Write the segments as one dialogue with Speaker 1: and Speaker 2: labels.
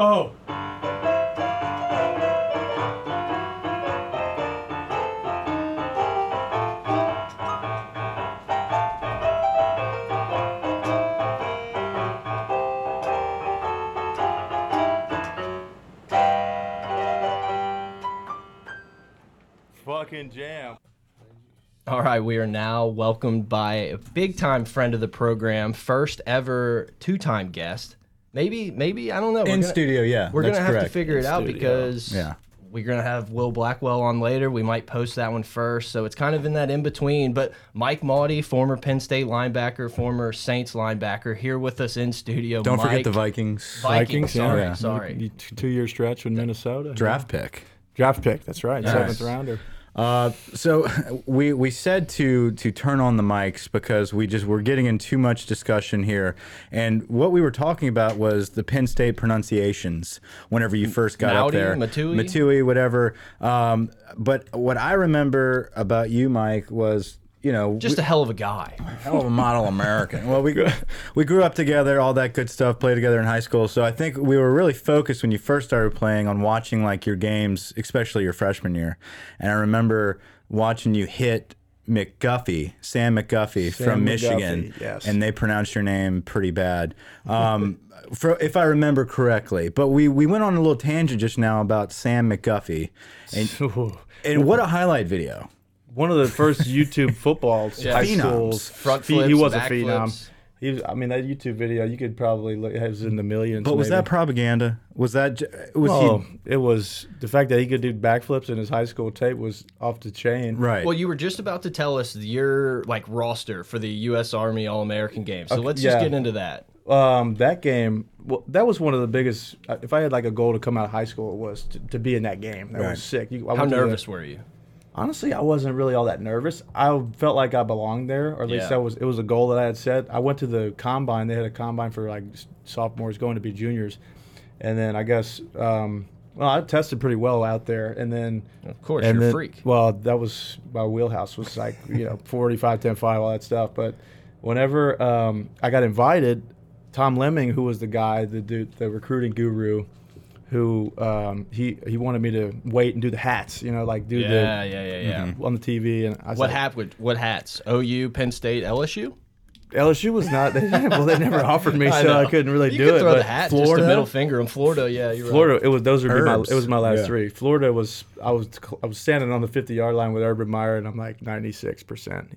Speaker 1: Oh. Fucking jam.
Speaker 2: All right, we are now welcomed by a big time friend of the program, first ever two time guest. Maybe, maybe I don't know. We're
Speaker 3: In
Speaker 2: gonna-
Speaker 3: studio, yeah.
Speaker 2: We're
Speaker 3: that's
Speaker 2: gonna have
Speaker 3: correct.
Speaker 2: to figure it out
Speaker 4: studio.
Speaker 2: because
Speaker 3: Yeah.
Speaker 2: we're gonna have Will Blackwell on later. We might post that one first, so it's kind of in that in between. But Mike Maudie, former Penn State linebacker, former Saints linebacker, here with us in studio.
Speaker 3: Don't
Speaker 2: Mike-
Speaker 3: forget the Vikings.
Speaker 2: Vikings.
Speaker 4: Vikings, yeah.
Speaker 2: Sorry,
Speaker 3: Yeah.
Speaker 2: sorry.
Speaker 4: Two year stretch in Minnesota.
Speaker 3: Draft pick.
Speaker 4: Draft pick. That's right. Seventh rounder.
Speaker 3: Uh, so we we said to to turn on the mics because we just were getting in too much discussion here, and what we were talking about was the Penn State pronunciations. Whenever you first got
Speaker 2: Maudie,
Speaker 3: up there,
Speaker 2: Matui?
Speaker 3: Matui, whatever. Um, but what I remember about you, Mike, was you know
Speaker 2: Just a hell of a guy.
Speaker 3: hell of a model American. Well, we we grew up together, all that good stuff, played together in high school. So I think we were really focused when you first started playing on watching like your games, especially your freshman year. And I remember watching you hit McGuffey, Sam McGuffey from
Speaker 4: McGuffey,
Speaker 3: Michigan,
Speaker 4: yes.
Speaker 3: and they pronounced your name pretty bad, um, for, if I remember correctly. But we we went on a little tangent just now about Sam McGuffey, and and what a highlight video.
Speaker 4: One of the first YouTube football high
Speaker 3: Phenoms.
Speaker 4: schools.
Speaker 2: Front
Speaker 4: He- he
Speaker 2: flips,
Speaker 4: was a
Speaker 2: back
Speaker 4: phenom.
Speaker 2: flips.
Speaker 4: He was, I mean, that YouTube video you could probably look it was in the millions.
Speaker 3: But was
Speaker 4: maybe.
Speaker 3: that propaganda? Was that j- was
Speaker 4: Oh,
Speaker 3: he
Speaker 4: it was the fact that he could do backflips in his high school tape was off the chain.
Speaker 3: right?
Speaker 2: Well, you were just about to tell us your like roster for the U.S. Army All-American game, so let's just
Speaker 4: yeah.
Speaker 2: get into that.
Speaker 4: Um, that game, well, that was one of the biggest. uh, If I had like a goal to come out of high school, it was to, to be in that game. That
Speaker 3: Right.
Speaker 4: was sick. You, I
Speaker 2: How
Speaker 4: went to the-
Speaker 2: nervous were you?
Speaker 4: honestly, I wasn't really all that nervous. I felt like I belonged there, or at least
Speaker 2: Yeah.
Speaker 4: that was it was a goal that I had set. I went to the combine. They had a combine for like s- sophomores going to be juniors, and then I guess um, well, I tested pretty well out there, and then.
Speaker 2: Of course,
Speaker 4: And
Speaker 2: you're
Speaker 4: then,
Speaker 2: a freak.
Speaker 4: Well, that was my wheelhouse was like you know 45, 10, 5, all that stuff. But whenever um, I got invited, Tom Lemming, who was the guy, the dude, the recruiting guru, who um, he he wanted me to wait and do the hats, you know, like do
Speaker 2: yeah, yeah,
Speaker 4: the
Speaker 2: yeah, yeah.
Speaker 4: on the TV. And I
Speaker 2: What
Speaker 4: said,
Speaker 2: hat? would- What hats? OU, Penn State, LSU.
Speaker 4: LSU was not. They, well, they never offered me, so I,
Speaker 2: know.
Speaker 4: couldn't really
Speaker 2: you
Speaker 4: do
Speaker 2: could
Speaker 4: it.
Speaker 2: Throw
Speaker 4: but
Speaker 2: the hat, just
Speaker 4: Florida-
Speaker 2: a middle finger in Florida. Yeah, you're
Speaker 4: Florida, it was those would be my,
Speaker 3: Herbs.
Speaker 4: it was my last
Speaker 3: Yeah.
Speaker 4: three. Florida was I was I was standing on the fifty yard line with Urban Meyer, and I'm like ninety six percent.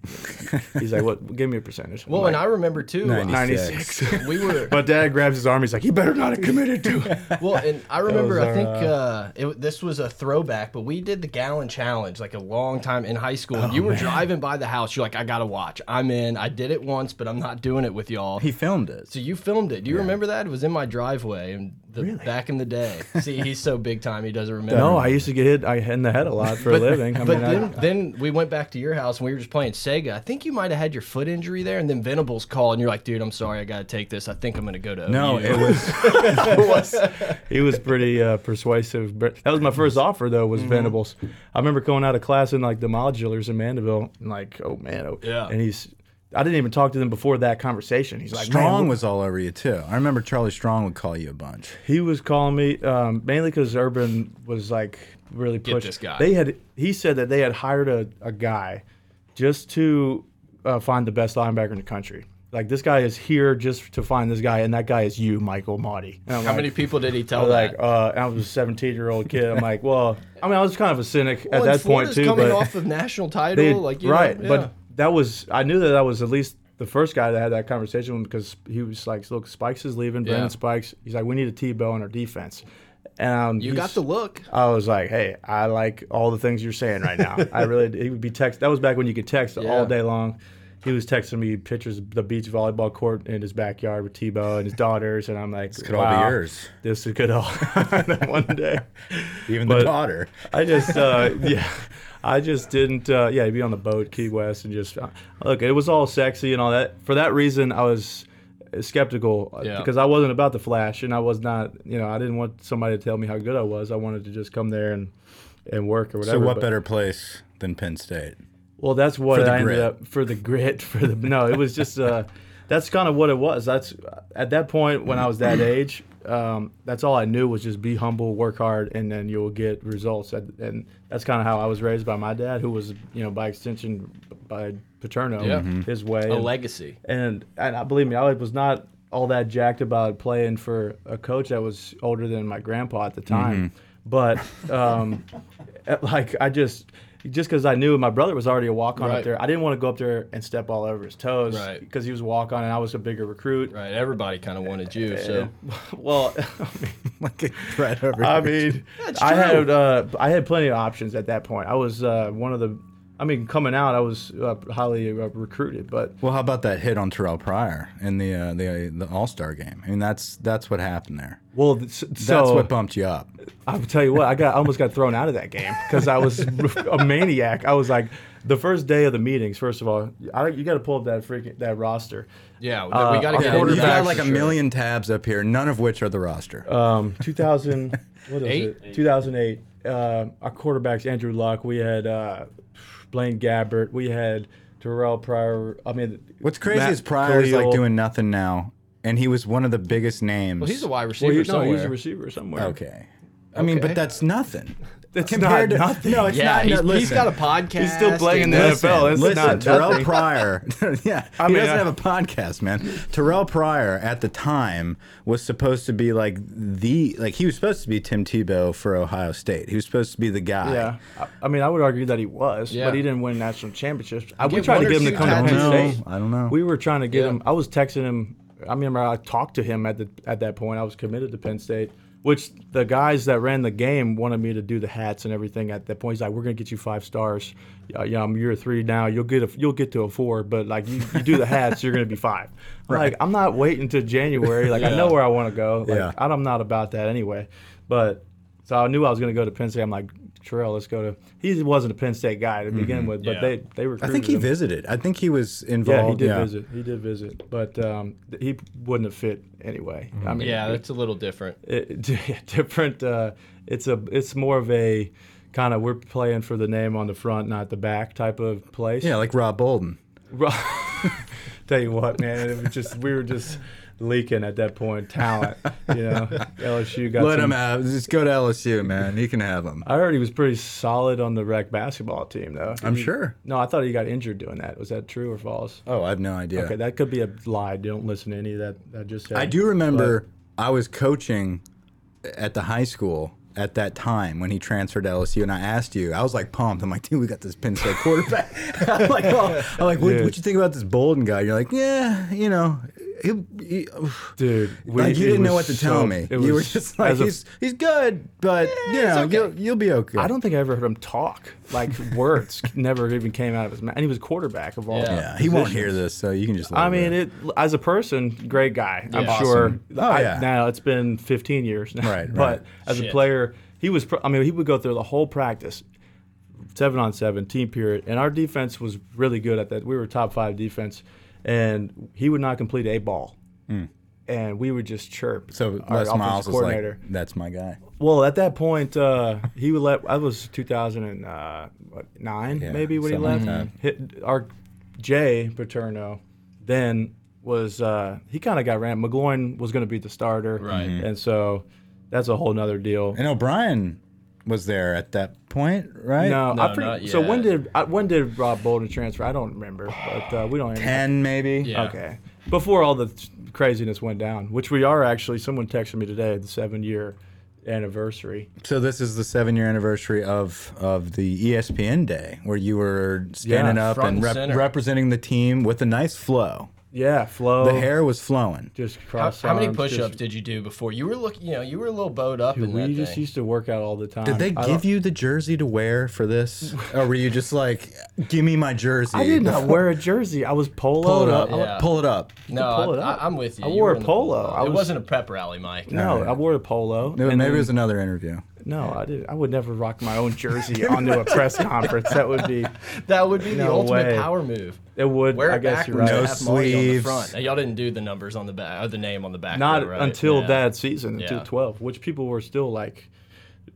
Speaker 4: He's like, "What? Give me a percentage." I'm
Speaker 2: Well, and I
Speaker 4: like,
Speaker 2: remember too. uh,
Speaker 4: ninety six.
Speaker 2: we were
Speaker 4: but Dad grabs his arm. He's like, "He better not have committed to." it."
Speaker 2: well, and I remember.
Speaker 4: was
Speaker 2: I
Speaker 4: our,
Speaker 2: think uh, it, this was a throwback, but we did the gallon challenge like a long time in high school.
Speaker 4: Oh,
Speaker 2: you were driving by the house. You're like, I gotta watch. I'm in. I did it once, but I'm not doing it with y'all.
Speaker 3: He filmed it.
Speaker 2: So you filmed it. Do you remember that? It was in my driveway and the, back in the day. See, he's so big time he doesn't remember.
Speaker 4: no, I used to get hit I, in the head a lot for a living. I
Speaker 2: But
Speaker 4: mean, I-
Speaker 2: then, then we went back to your house and we were just playing Sega. I think you might have had your foot injury there, and then Venables called and you're like, "Dude, I'm sorry, I gotta take this. I think I'm gonna go to."
Speaker 3: No,
Speaker 2: OU."
Speaker 3: it was
Speaker 4: he was pretty uh, persuasive. But that was my first
Speaker 2: Mm-hmm.
Speaker 4: offer though. Was Venables? I remember going out of class in like the modulars in Mandeville, and like, oh man, oh
Speaker 2: Yeah.
Speaker 4: And he's, I didn't even talk to them before that conversation. He's like, "Man,
Speaker 3: Strong was all over you too. I remember Charlie Strong would call you a bunch.
Speaker 4: He was calling me um, mainly because Urban was like really pushing.
Speaker 2: this guy.
Speaker 4: They had he said that they had hired a, a guy just to uh, find the best linebacker in the country. Like this guy is here just to find this guy, and that guy is you, Michael Motti. And I'm
Speaker 2: How
Speaker 4: like-
Speaker 2: many people did he
Speaker 4: I
Speaker 2: tell
Speaker 4: was like,
Speaker 2: that?
Speaker 4: uh, I was a 17 year old kid. I'm like, well, I mean, I was kind of a cynic at
Speaker 2: Well, and
Speaker 4: that point
Speaker 2: Florida's
Speaker 4: too.
Speaker 2: coming
Speaker 4: but
Speaker 2: off of national title,
Speaker 4: they-
Speaker 2: like you know,
Speaker 4: right,
Speaker 2: yeah.
Speaker 4: but that was I knew that I was at least the first guy that had that conversation because he was like, look, Spikes is leaving. Brandon
Speaker 2: Yeah.
Speaker 4: Spikes. He's like, we need a T-Bow in our defense. And um,
Speaker 2: you got the look.
Speaker 4: I was like, hey, I like all the things you're saying right now. I really. He would be text. That was back when you could text
Speaker 2: Yeah.
Speaker 4: all day long. He was texting me pictures of the beach volleyball court in his backyard with T-Bow and his daughters, and I'm like, this
Speaker 3: could all be yours."
Speaker 4: This could all one day.
Speaker 3: Even
Speaker 4: But-
Speaker 3: the daughter.
Speaker 4: I just, uh, yeah, I just didn't, uh, yeah, be on the boat, Key West, and just uh, look. It was all sexy and all that. For that reason, I was skeptical uh,
Speaker 2: Yeah.
Speaker 4: because I wasn't about the flash, and I was not, you know, I didn't want somebody to tell me how good I was. I wanted to just come there and and work or
Speaker 3: So
Speaker 4: whatever.
Speaker 3: what
Speaker 4: but-
Speaker 3: better place than Penn State?
Speaker 4: Well, that's what
Speaker 3: the
Speaker 4: I ended
Speaker 3: grit.
Speaker 4: up for the grit for the no. It was just. Uh, that's kind of what it was. That's at that point when I was that age. Um, that's all I knew was just be humble, work hard, and then you'll get results. And- And that's kind of how I was raised by my dad, who was, you know, by extension, by paterno,
Speaker 2: Yeah.
Speaker 3: Mm-hmm.
Speaker 2: Mhm.
Speaker 4: his way.
Speaker 2: A
Speaker 4: And-
Speaker 2: legacy.
Speaker 4: and and I, believe me, I was not all that jacked about playing for a coach that was older than my grandpa at the time. But um, at- like I just just because I knew my brother was already a walk on
Speaker 2: Right.
Speaker 4: up there, I didn't want to go up there and step all over his toes
Speaker 2: Right.
Speaker 4: because he was a walk on and I was a bigger recruit.
Speaker 2: Right. Everybody kind of wanted you. So
Speaker 4: Well,
Speaker 3: like a threat over.
Speaker 4: I
Speaker 3: here.
Speaker 4: mean, I had uh, I had plenty of options at that point. I was uh, one of the. I mean, coming out, I was uh, highly uh, recruited, but
Speaker 3: Well, how about that hit on Terrell Pryor in the uh, the the All Star game? I mean, that's that's what happened there.
Speaker 4: well, so,
Speaker 3: That's what bumped you up.
Speaker 4: I will tell you what, I got I almost got thrown out of that game because I was a maniac. I was like, the first day of the meetings. First of all, I, you got to pull up that freaking that roster.
Speaker 2: yeah,
Speaker 4: Uh,
Speaker 2: we got to
Speaker 4: a
Speaker 2: get
Speaker 3: Yeah,
Speaker 2: into
Speaker 3: you
Speaker 2: that
Speaker 3: got
Speaker 2: for
Speaker 3: like a
Speaker 2: sure.
Speaker 3: million tabs up here, none of which are the roster.
Speaker 4: Um, 2000, what is
Speaker 2: Eight?
Speaker 4: it? 2008. Uh, our quarterbacks Andrew Luck. We had uh, Blaine Gabbert. We had Terrell Pryor. I mean,
Speaker 3: What's crazy
Speaker 4: Matt
Speaker 3: is Pryor's like
Speaker 4: Khalil.
Speaker 3: doing nothing now, and he was one of the biggest names.
Speaker 2: Well, he's a wide receiver
Speaker 4: Well, he, no,
Speaker 2: somewhere.
Speaker 4: he's a receiver somewhere.
Speaker 3: okay. I mean,
Speaker 2: Okay.
Speaker 3: but that's nothing.
Speaker 4: That's
Speaker 3: Compared
Speaker 4: not
Speaker 3: to-
Speaker 4: nothing.
Speaker 3: No, it's
Speaker 2: yeah,
Speaker 3: not.
Speaker 2: he's,
Speaker 3: no,
Speaker 2: he's
Speaker 3: listen.
Speaker 2: got a podcast.
Speaker 4: He's still playing
Speaker 2: and
Speaker 4: in the
Speaker 2: this.
Speaker 3: Listen,
Speaker 4: NFL. It's
Speaker 3: listen,
Speaker 4: not
Speaker 3: Terrell
Speaker 4: nothing.
Speaker 3: Pryor. yeah,
Speaker 4: I
Speaker 3: he
Speaker 4: mean, uh,
Speaker 3: doesn't
Speaker 4: I-
Speaker 3: have a podcast, man. Terrell Pryor at the time was supposed to be like the like he was supposed to be Tim Tebow for Ohio State. He was supposed to be the guy.
Speaker 4: Yeah, I, I mean, I would argue that he was,
Speaker 2: Yeah.
Speaker 4: but he didn't win national championships. I, we
Speaker 2: Get
Speaker 4: tried
Speaker 2: one
Speaker 4: to
Speaker 2: or
Speaker 4: get him to
Speaker 2: two
Speaker 4: come to
Speaker 2: titles.
Speaker 4: Penn
Speaker 3: I don't know.
Speaker 4: State.
Speaker 3: I don't know.
Speaker 4: We were trying to get
Speaker 2: Yeah.
Speaker 4: him. I was texting him. I remember I talked to him at the at that point. I was committed to Penn State, which the guys that ran the game wanted me to do the hats and everything. At that point, he's like, "We're gonna get you five stars. Yeah, yeah I'm year three now. You'll get a you'll get to a four, but like you, you do the hats, you're gonna be five. I'm Like I'm not waiting till January. Like I know where I want to go. Like,
Speaker 3: Yeah.
Speaker 4: I'm not about that anyway. But so I knew I was going to go to Penn State. I'm like, Terrell, let's go to. He wasn't a Penn State guy to begin with, but
Speaker 1: Yeah.
Speaker 4: they they
Speaker 3: Mm-hmm. I
Speaker 4: recruited.
Speaker 3: think he
Speaker 4: him.
Speaker 3: visited. I think he was involved.
Speaker 4: Yeah, he did visit. He did visit, but um, th- he wouldn't have fit anyway.
Speaker 3: Mm-hmm.
Speaker 4: I mean,
Speaker 2: Yeah, that's a little different.
Speaker 4: it, different. Uh, it's a it's more of a kind of we're playing for the name on the front, not the back type of place.
Speaker 3: Yeah, like Rob Bolden.
Speaker 4: Ro- Tell you what, man, it was just we were just leaking at that point talent. You know, LSU got
Speaker 3: Let
Speaker 4: some,
Speaker 3: him have. Just go to LSU, man. He can have him.
Speaker 4: I heard he was pretty solid on the rec basketball team, though.
Speaker 3: I'm
Speaker 4: He-
Speaker 3: sure.
Speaker 4: No, I thought he got injured doing that. Was that true or false?
Speaker 3: Oh, I have no idea.
Speaker 4: Okay, that could be a lie. Don't listen to any of that. I just said.
Speaker 3: I do remember I was coaching at the high school at that time when he transferred to LSU, and I asked you. I was like pumped. I'm like, dude, we got this Penn State quarterback. I'm like, oh. I'm like, what,
Speaker 4: Dude.
Speaker 3: what you think about this Bolden guy? You're like, yeah, you know. He, he-
Speaker 4: dude. we-
Speaker 3: like you
Speaker 4: it
Speaker 3: didn't know
Speaker 4: was
Speaker 3: what to
Speaker 4: so-
Speaker 3: tell me.
Speaker 4: it
Speaker 3: you were
Speaker 4: was-
Speaker 3: just like
Speaker 4: as a-
Speaker 3: he's he's good, but you know you'll, you'll be okay.
Speaker 4: I don't think I ever heard him talk. Like words never even came out of his mouth, and he was quarterback of all.
Speaker 2: Yeah.
Speaker 3: Yeah, he won't
Speaker 4: positions.
Speaker 3: hear this, so you can just. Let
Speaker 4: I
Speaker 3: it
Speaker 4: mean,
Speaker 3: rip.
Speaker 4: it as a person, great guy. I'm
Speaker 2: Yeah.
Speaker 4: sure.
Speaker 3: Oh,
Speaker 4: I-
Speaker 3: yeah.
Speaker 4: Now it's been 15 years. Now.
Speaker 3: Right, right.
Speaker 4: But as
Speaker 2: Shit.
Speaker 4: a player, he was. pr- I mean, he would go through the whole practice, seven on seven, team period, and our defense was really good at that. We were top five defense, and he would not complete a ball. And we would just chirp.
Speaker 3: Hmm. So
Speaker 4: our
Speaker 3: Les
Speaker 4: offensive
Speaker 3: Miles is
Speaker 4: coordinator.
Speaker 3: like, that's my guy.
Speaker 4: Well, at that point, uh, he would let. I was 2009,
Speaker 3: Yeah,
Speaker 4: uh, maybe when he
Speaker 3: something like
Speaker 4: left. Hit- our Jay Paterno then was uh, he kind of got ran. McGloin was going to be the starter,
Speaker 2: Right. Mhm.
Speaker 4: And so that's a whole nother deal.
Speaker 3: And O'Brien was there at that point, right?
Speaker 4: No,
Speaker 2: No,
Speaker 4: I pre-
Speaker 2: not
Speaker 4: so when
Speaker 2: yet.
Speaker 4: did I, when did Rob Bolden transfer? I don't remember, but uh, we don't. even-
Speaker 3: ten maybe.
Speaker 2: Yeah.
Speaker 4: Okay. Before all the th- craziness went down, which we are actually, someone texted me today the seven year anniversary.
Speaker 3: So this is the seven-year anniversary of of the E ESPN day where you were standing
Speaker 4: Yeah,
Speaker 3: up
Speaker 2: front
Speaker 3: and
Speaker 2: and
Speaker 3: rep-
Speaker 2: center.
Speaker 3: representing the team with a nice flow.
Speaker 4: Yeah, flow.
Speaker 3: The hair was flowing.
Speaker 4: just
Speaker 2: How,
Speaker 4: cross
Speaker 2: how many
Speaker 4: arms, just-
Speaker 2: push-ups did you do before? You were looking, you know, you were a little bowed up in
Speaker 4: we
Speaker 2: that
Speaker 4: just
Speaker 2: thing.
Speaker 4: used to work out all the time.
Speaker 3: Did they
Speaker 4: I
Speaker 3: give
Speaker 4: don't-
Speaker 3: you the jersey to wear for this, or were you just like, "Give me my jersey"?
Speaker 4: I did not wear a jersey. I was polo.
Speaker 3: Pull it up.
Speaker 4: I-
Speaker 2: Yeah.
Speaker 3: Pull it up.
Speaker 2: No,
Speaker 4: could pull it
Speaker 2: I,
Speaker 4: up.
Speaker 2: I, am with you.
Speaker 4: I
Speaker 2: You
Speaker 4: wore
Speaker 2: were
Speaker 4: a
Speaker 2: in the
Speaker 4: polo. I
Speaker 2: It
Speaker 4: was-
Speaker 2: wasn't a prep rally, Mike.
Speaker 4: No, I wore a polo.
Speaker 3: Maybe
Speaker 4: and
Speaker 3: it
Speaker 4: then-
Speaker 3: was another interview.
Speaker 4: no, I did. I would never rock my own jersey onto a press conference. That would be.
Speaker 2: That would be the
Speaker 4: No
Speaker 2: ultimate
Speaker 4: way.
Speaker 2: power move.
Speaker 4: It would.
Speaker 2: Wear
Speaker 4: I
Speaker 2: it
Speaker 4: guess you're
Speaker 2: backwards.
Speaker 4: right.
Speaker 3: No
Speaker 2: and have Marty on the
Speaker 3: sleeves.
Speaker 2: front. Now, y'all didn't do the numbers on the back or the name on the back.
Speaker 4: Not
Speaker 2: though, right?
Speaker 4: until
Speaker 2: Yeah.
Speaker 4: that season,
Speaker 2: Yeah.
Speaker 4: until twelve, which people were still like.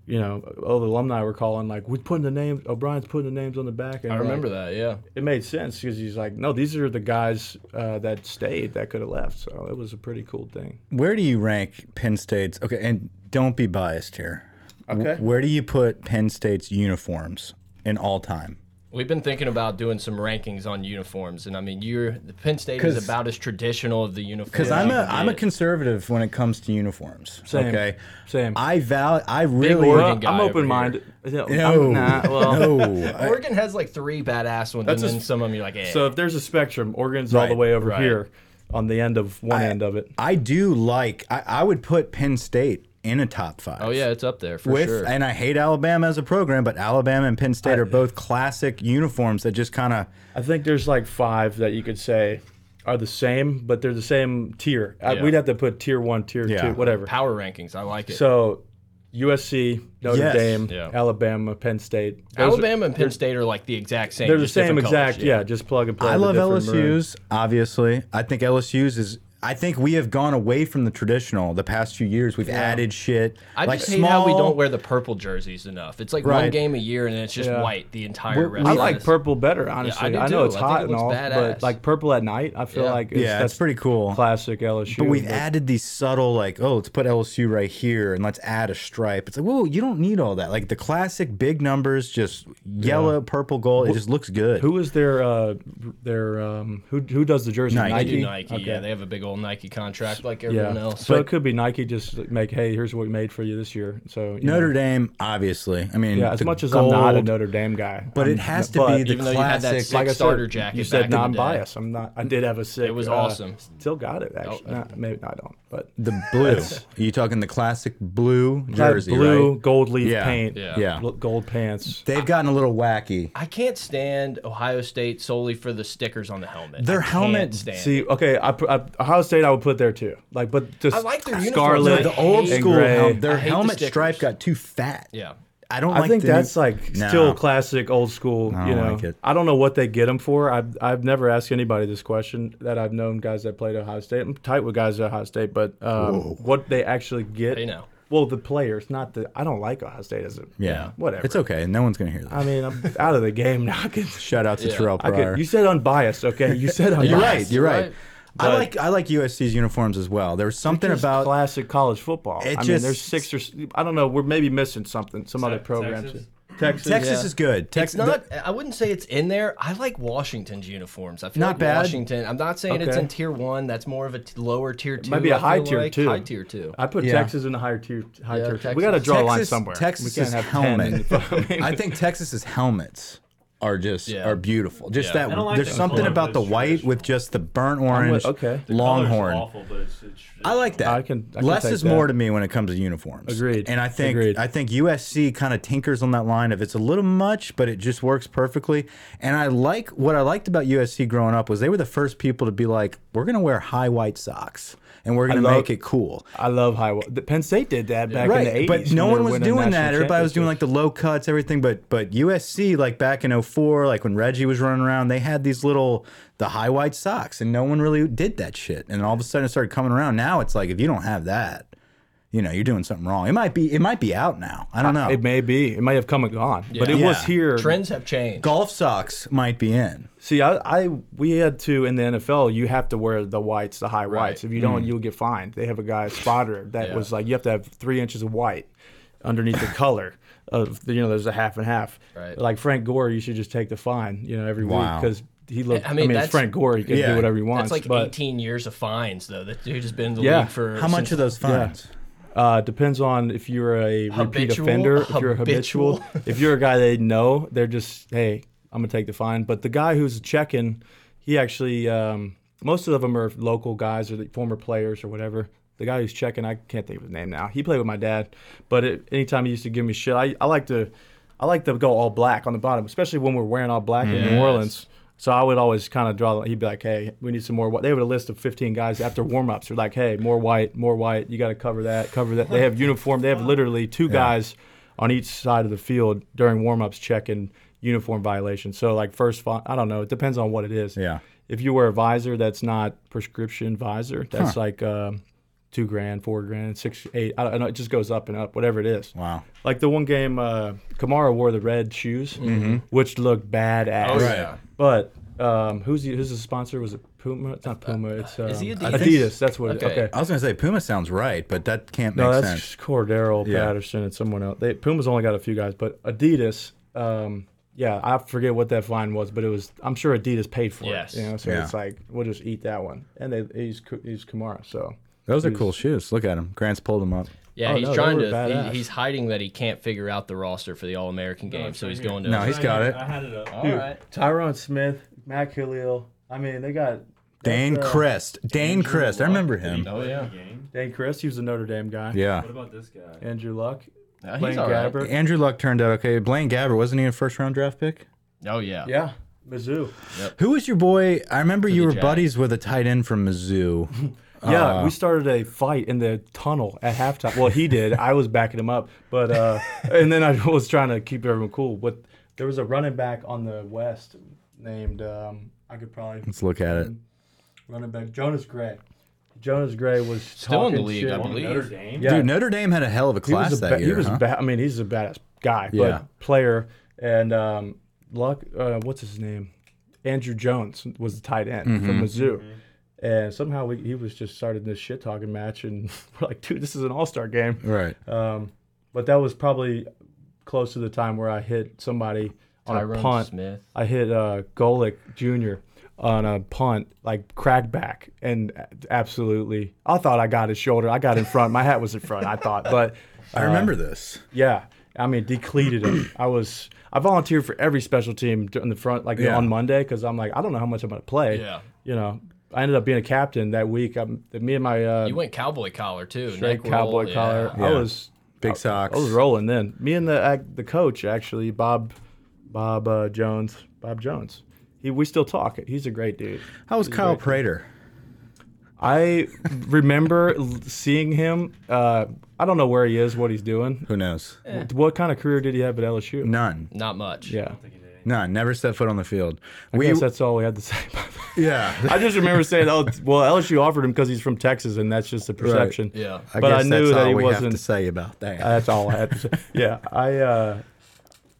Speaker 4: you know, all the alumni were calling like, "We're putting the names. O'Brien's putting the names on the back." And
Speaker 2: I
Speaker 4: like,
Speaker 2: remember that. Yeah.
Speaker 4: it made sense because he's like, "No, these are the guys uh, that stayed that could have left." So it was a pretty cool thing.
Speaker 3: Where do you rank Penn State's? Okay, and don't be biased here. W-
Speaker 4: Okay.
Speaker 3: Where do you put Penn State's uniforms in all time?
Speaker 2: We've been thinking about doing some rankings on uniforms, and I mean, you're the Penn State
Speaker 3: 'Cause-
Speaker 2: is about as traditional of the uniform.
Speaker 3: Because I'm a I'm a conservative when it comes to uniforms.
Speaker 4: Same.
Speaker 3: Okay.
Speaker 4: Same.
Speaker 3: I val I really
Speaker 2: Oregon
Speaker 4: Well,
Speaker 2: guy
Speaker 4: I'm
Speaker 2: over
Speaker 4: open minded.
Speaker 3: no, no. I-
Speaker 2: Oregon has like three badass ones, and
Speaker 4: That's a-
Speaker 2: then some of them you're like, eh.
Speaker 4: So if there's a spectrum, Oregon's all the
Speaker 3: Right,
Speaker 4: way over
Speaker 2: right.
Speaker 4: here on the end of one end of it.
Speaker 3: I do like I, I would put Penn State in a top five.
Speaker 2: oh yeah, it's up there for
Speaker 3: With
Speaker 2: sure.
Speaker 3: and I hate Alabama as a program, but Alabama and Penn State are both classic uniforms that just kind of
Speaker 4: I think there's like five that you could say are the same, but they're the same tier. I-
Speaker 2: Yeah.
Speaker 4: we'd have to put tier one, tier
Speaker 3: Yeah.
Speaker 4: two, whatever.
Speaker 2: Power rankings, I like it.
Speaker 4: So USC, Notre
Speaker 3: Yes.
Speaker 4: Dame,
Speaker 2: Yeah.
Speaker 4: Alabama, Penn State. Those are-
Speaker 2: Alabama and Penn State are like the exact same.
Speaker 4: They're the
Speaker 2: just
Speaker 4: same
Speaker 2: different colors,
Speaker 4: exact. yeah. just plug and play.
Speaker 3: I
Speaker 4: the
Speaker 3: love
Speaker 4: different
Speaker 3: LSU's,
Speaker 4: maroon.
Speaker 3: obviously. I think LSU's is I think we have gone away from the traditional the past few years. We've added shit.
Speaker 2: I
Speaker 3: like
Speaker 2: just hate how we
Speaker 3: small-
Speaker 2: don't wear the purple jerseys enough. It's like one
Speaker 3: Right.
Speaker 2: game a year, and then it's just
Speaker 4: Yeah.
Speaker 2: white the entire
Speaker 3: We're-
Speaker 2: rest.
Speaker 4: I
Speaker 2: of
Speaker 4: like
Speaker 2: this.
Speaker 4: purple better, honestly.
Speaker 2: do
Speaker 4: I, know
Speaker 2: too.
Speaker 4: it's
Speaker 2: I think
Speaker 4: hot
Speaker 2: it
Speaker 4: and
Speaker 2: looks
Speaker 4: all,
Speaker 2: badass.
Speaker 4: but like purple at night, I feel
Speaker 2: Yeah.
Speaker 4: like it's,
Speaker 3: Yeah,
Speaker 4: that's
Speaker 3: it's pretty cool.
Speaker 4: classic LSU.
Speaker 3: But we've added these subtle, like, oh, let's put LSU right here and let's add a stripe. It's like, whoa, you don't need all that. Like the classic big numbers, just yellow, purple, gold. It just looks good.
Speaker 4: Who is their uh, their um, who who does the jersey?
Speaker 3: Nike.
Speaker 2: They do
Speaker 3: Nike?
Speaker 2: Nike. Yeah, they have a big old Nike contract like
Speaker 4: Yeah.
Speaker 2: everyone else.
Speaker 4: So it could be Nike just make, hey, here's what we made for you this year. So you
Speaker 3: Notre
Speaker 4: know.
Speaker 3: Dame, obviously. I mean,
Speaker 4: Yeah, as
Speaker 3: the
Speaker 4: much as I'm not a
Speaker 3: gold,
Speaker 4: Notre Dame guy,
Speaker 3: but it
Speaker 4: I'm-
Speaker 3: has to
Speaker 4: but
Speaker 3: be the
Speaker 2: Even though you had that
Speaker 3: classic.
Speaker 2: six-
Speaker 4: I
Speaker 2: starter jacket
Speaker 4: You
Speaker 2: back in
Speaker 4: said
Speaker 2: the day.
Speaker 4: non-biased. I'm not. I did have a sick.
Speaker 2: was
Speaker 4: uh,
Speaker 2: awesome. Oh, uh,
Speaker 4: Still got it actually. Nah, maybe no, I don't. But
Speaker 3: the blue. Are you talking the classic blue
Speaker 4: That
Speaker 3: jersey?
Speaker 4: blue
Speaker 3: right?
Speaker 4: gold leaf
Speaker 3: Yeah.
Speaker 4: paint.
Speaker 2: Yeah.
Speaker 3: Yeah.
Speaker 4: L- Gold pants.
Speaker 3: They've gotten a little wacky.
Speaker 2: I can't stand Ohio State solely for the stickers on the helmet.
Speaker 3: Their
Speaker 2: I can't
Speaker 3: helmet-
Speaker 2: stand it.
Speaker 4: See, okay, I, put- I, Ohio State I would put there too. Like, but just
Speaker 2: I like their uniforms.
Speaker 4: scarlet,
Speaker 2: I
Speaker 3: The old
Speaker 2: hate-
Speaker 4: and
Speaker 3: school,
Speaker 4: gray.
Speaker 3: hel- their
Speaker 2: I hate the
Speaker 3: helmet
Speaker 2: stickers.
Speaker 3: stripe got too fat.
Speaker 2: Yeah.
Speaker 3: I don't.
Speaker 4: I
Speaker 3: like
Speaker 4: think
Speaker 3: the new-
Speaker 4: that's like
Speaker 3: No.
Speaker 4: still classic, old school.
Speaker 3: I
Speaker 4: you
Speaker 3: don't
Speaker 4: know,
Speaker 3: like it.
Speaker 4: I don't know what they get them for. I've I've never asked anybody this question that I've known guys that played at Ohio State. I'm tight with guys at Ohio State, but um, what they actually get?
Speaker 2: They know.
Speaker 4: Well, the players, not the. I don't like Ohio State as a.
Speaker 3: Yeah,
Speaker 4: whatever.
Speaker 3: It's okay. No one's gonna hear that.
Speaker 4: I mean, I'm out of the game now. I could,
Speaker 3: Shout out to
Speaker 2: Yeah.
Speaker 3: Terrell
Speaker 4: I
Speaker 3: Pryor.
Speaker 4: could, you said unbiased, okay? You said unbiased.
Speaker 3: You're right. You're right.
Speaker 2: right.
Speaker 3: I like I like USC's uniforms as well. There was something
Speaker 4: Just
Speaker 3: about
Speaker 4: classic college football. I
Speaker 3: It
Speaker 4: mean,
Speaker 3: just-
Speaker 4: there's six or s- I don't know. We're maybe missing something. Some other programs.
Speaker 1: Texas?
Speaker 4: Texas.
Speaker 3: Texas
Speaker 4: yeah.
Speaker 3: is good.
Speaker 2: It's
Speaker 3: Texas
Speaker 2: not. I wouldn't say it's in there. I like Washington's uniforms. I feel
Speaker 3: Not
Speaker 2: like
Speaker 3: bad.
Speaker 2: Washington. I'm not saying it's
Speaker 4: Okay.
Speaker 2: in tier one. That's more of a t- lower tier two.
Speaker 4: might be a
Speaker 2: I
Speaker 4: high
Speaker 2: feel
Speaker 4: tier
Speaker 2: like.
Speaker 4: two.
Speaker 2: High tier two.
Speaker 4: I put
Speaker 3: Yeah.
Speaker 4: Texas in the higher tier. High
Speaker 2: Yeah,
Speaker 4: tier.
Speaker 2: Texas.
Speaker 4: We got to draw a line
Speaker 3: Texas-
Speaker 4: somewhere.
Speaker 3: Texas's
Speaker 4: we can't have 10
Speaker 3: helmet.
Speaker 4: in the- I mean,
Speaker 3: I think Texas's helmets are just
Speaker 2: Yeah.
Speaker 3: are beautiful. Just
Speaker 2: Yeah.
Speaker 3: that
Speaker 1: I don't like
Speaker 3: there's
Speaker 1: the
Speaker 3: something
Speaker 1: color,
Speaker 3: about the
Speaker 1: but it's
Speaker 3: white
Speaker 1: traditional.
Speaker 3: with just the burnt orange
Speaker 4: okay. The
Speaker 1: Color's
Speaker 3: longhorn.
Speaker 1: awful, but it's, it's
Speaker 3: I like that.
Speaker 4: I can- I can
Speaker 3: Less
Speaker 4: take
Speaker 3: is more
Speaker 4: that.
Speaker 3: to me when it comes to uniforms.
Speaker 4: Agreed.
Speaker 3: And I think
Speaker 4: Agreed.
Speaker 3: I think USC kind of tinkers on that line of it's a little much, but it just works perfectly. And I like what I liked about USC growing up was they were the first people to be like, we're gonna wear high white socks and we're gonna
Speaker 4: love-
Speaker 3: make it cool.
Speaker 4: I love high. The Penn State did that back in the 80s.
Speaker 3: but no
Speaker 4: when
Speaker 3: one
Speaker 4: they
Speaker 3: was
Speaker 4: won a
Speaker 3: doing that.
Speaker 4: national
Speaker 3: Everybody was doing like
Speaker 4: championship.
Speaker 3: the low cuts, everything. But but USC, like back in 04, like when Reggie was running around, they had these little the high white socks, and no one really did that shit. And all of a sudden, it started coming around. Now it's like if you don't have that, you know, you're doing something wrong. It might be it might be out now. I don't know.
Speaker 4: It may be. It might have come and gone, but it
Speaker 3: Yeah.
Speaker 4: was here.
Speaker 2: Trends have changed.
Speaker 3: Golf socks might be in.
Speaker 4: See, I, I we had to in the NFL. You have to wear the whites, the high whites. If you don't,
Speaker 2: Mm-hmm.
Speaker 4: you'll get fined. They have a guy a spotter that was like, you have to have three inches of white underneath the color of the, you know. There's a half and half.
Speaker 2: Right.
Speaker 4: Like Frank Gore, you should just take the fine. You know, every
Speaker 3: Wow.
Speaker 4: week because he looked.
Speaker 2: I
Speaker 4: I
Speaker 2: mean,
Speaker 4: mean, it's
Speaker 2: that's-
Speaker 4: Frank Gore. He can
Speaker 3: Yeah.
Speaker 4: do whatever he wants.
Speaker 2: That's like
Speaker 4: but
Speaker 2: 18 years of fines, though. That dude has been in the
Speaker 4: Yeah.
Speaker 2: league for
Speaker 3: How much
Speaker 2: since-
Speaker 3: are those fines?
Speaker 4: Uh, depends on if you're a repeat
Speaker 2: Habitual?
Speaker 4: offender, if you're a habitual,
Speaker 2: Habitual?
Speaker 4: if you're a guy they know, they're just, hey, I'm gonna take the fine. But the guy who's checking, he actually, um, most of them are local guys or the former players or whatever. The guy who's checking, I can't think of his name now. He played with my dad, but it, anytime he used to give me shit, I, I like to, I like to go all black on the bottom, especially when we're wearing all black in New Orleans. So I would always kind of draw. He'd be like, "Hey, we need some more." white." They would a list of 15 guys after warm-ups. They're like, "Hey, more white, more white. You got to cover that, cover that." They have uniform. They have literally two guys on each side of the field during warm-ups checking uniform violations. So like first, fi- I don't know. It depends on what it is.
Speaker 3: Yeah.
Speaker 4: If you wear a visor that's not prescription visor, that's like um, two grand, four grand, six, eight. I don't know. It just goes up and up, whatever it is.
Speaker 3: Wow.
Speaker 4: Like the one game, uh, Kamara wore the red shoes, which looked badass.
Speaker 1: Oh,
Speaker 3: Right. yeah.
Speaker 4: But um, who's the, who's the sponsor? Was it Puma? It's not Puma. It's um,
Speaker 2: Is he Adidas?
Speaker 4: Adidas? That's what.
Speaker 2: Okay.
Speaker 4: It, okay.
Speaker 3: I was gonna say Puma sounds right, but that can't make
Speaker 4: No, that's
Speaker 3: sense.
Speaker 4: Cordero
Speaker 3: Yeah.
Speaker 4: Patterson and someone else. They, Puma's only got a few guys, but Adidas. Um, yeah, I forget what that fine was, but it was. I'm sure Adidas paid for
Speaker 2: Yes.
Speaker 4: it. You know, so
Speaker 3: Yeah.
Speaker 4: it's like we'll just eat that one, and they he's he's Kamara. So
Speaker 3: Those are cool shoes. Look at them. Grant's pulled them up.
Speaker 2: Yeah,
Speaker 4: Oh,
Speaker 2: he's
Speaker 4: no, they
Speaker 2: trying
Speaker 4: were
Speaker 2: to.
Speaker 4: badass.
Speaker 2: he- he's hiding that he can't figure out the roster for the All American game, so he's going to.
Speaker 3: No, he's got it.
Speaker 1: I had it up.
Speaker 2: All right.
Speaker 4: Tyrone Smith, Matt Khalil. I mean, they got
Speaker 3: Dane
Speaker 4: that's, uh,
Speaker 3: Christ. Dane Christ. I remember
Speaker 1: Did he
Speaker 3: him.
Speaker 1: play the
Speaker 2: Oh, yeah.
Speaker 1: game?
Speaker 4: Dan Chris. He was a Notre Dame guy.
Speaker 3: Yeah.
Speaker 1: What about this guy?
Speaker 4: Andrew Luck.
Speaker 2: No, he's
Speaker 4: Blaine
Speaker 2: all right.
Speaker 4: Gabbert.
Speaker 3: Andrew Luck turned out okay. Blaine Gabbert wasn't he a first round draft pick?
Speaker 2: Oh yeah.
Speaker 4: Yeah, Mizzou.
Speaker 3: Who was your boy? I remember you
Speaker 2: the
Speaker 3: were
Speaker 2: Jags.
Speaker 3: buddies with a tight end from Mizzou.
Speaker 4: Yeah,
Speaker 3: Uh,
Speaker 4: we started a fight in the tunnel at halftime. Well, he did. I was backing him up, but uh, and then I was trying to keep everyone cool. But there was a running back on the West named um, I could probably
Speaker 3: Let's look at it.
Speaker 4: running back Jonas Gray. Jonas Gray was
Speaker 2: Still in the
Speaker 4: talking
Speaker 2: league,
Speaker 4: shit.
Speaker 2: I believe.
Speaker 1: Notre Dame.
Speaker 4: Yeah,
Speaker 3: Dude, Notre Dame had a hell of a
Speaker 4: he
Speaker 3: class
Speaker 4: was a
Speaker 3: that
Speaker 4: ba-
Speaker 3: year.
Speaker 4: he was
Speaker 3: huh?
Speaker 4: a ba- I mean, he's a badass guy,
Speaker 3: Yeah.
Speaker 4: but player and um, luck. Uh, what's his name? Andrew Jones was the tight end
Speaker 3: Mm-hmm.
Speaker 4: from Mizzou. And somehow we, he was just starting this shit talking match, and we're like, dude, this is an all star game.
Speaker 3: Right.
Speaker 4: Um, but that was probably close to the time where I hit somebody on
Speaker 2: Tyrone
Speaker 4: a punt.
Speaker 2: Smith.
Speaker 4: I hit uh, Golick Jr. on a punt, like crackback, and absolutely, I thought I got his shoulder. I got in front. My hat was in front. I thought, but
Speaker 3: I
Speaker 4: uh,
Speaker 3: remember this.
Speaker 4: yeah, I mean, depleted him. I was. I volunteered for every special team in the front, like
Speaker 3: Yeah.
Speaker 4: on Monday, because I'm like, I don't know how much I'm going to play.
Speaker 2: Yeah.
Speaker 4: You know, I ended up being a captain that week. I'm, me and my uh,
Speaker 2: You went cowboy collar too.
Speaker 4: straight
Speaker 2: neck roll,
Speaker 4: cowboy
Speaker 2: yeah.
Speaker 4: collar. I
Speaker 3: Yeah.
Speaker 4: was
Speaker 3: Big socks.
Speaker 4: I was rolling then. Me and the ac- the coach actually, Bob, Bob uh, Jones, Bob Jones. He we still talk. He's a great dude.
Speaker 3: How was Kyle Prater?
Speaker 4: I remember l- seeing him. Uh, I don't know where he is, what he's doing.
Speaker 3: Who knows?
Speaker 4: What kind of career did he have at LSU?
Speaker 3: None.
Speaker 2: Not much.
Speaker 4: Yeah,
Speaker 3: None. Never set foot on the field.
Speaker 4: I
Speaker 3: We.
Speaker 4: guess that's all we had to say. about that.
Speaker 3: Yeah.
Speaker 4: I just remember saying, "Oh, well, LSU offered him because he's from Texas, and that's just the perception."
Speaker 2: Yeah.
Speaker 3: I
Speaker 4: but I
Speaker 3: guess that's
Speaker 4: knew that
Speaker 3: all
Speaker 4: he
Speaker 3: we have
Speaker 4: wasn't
Speaker 3: to say about that.
Speaker 4: That's all I had to say. Yeah, I uh,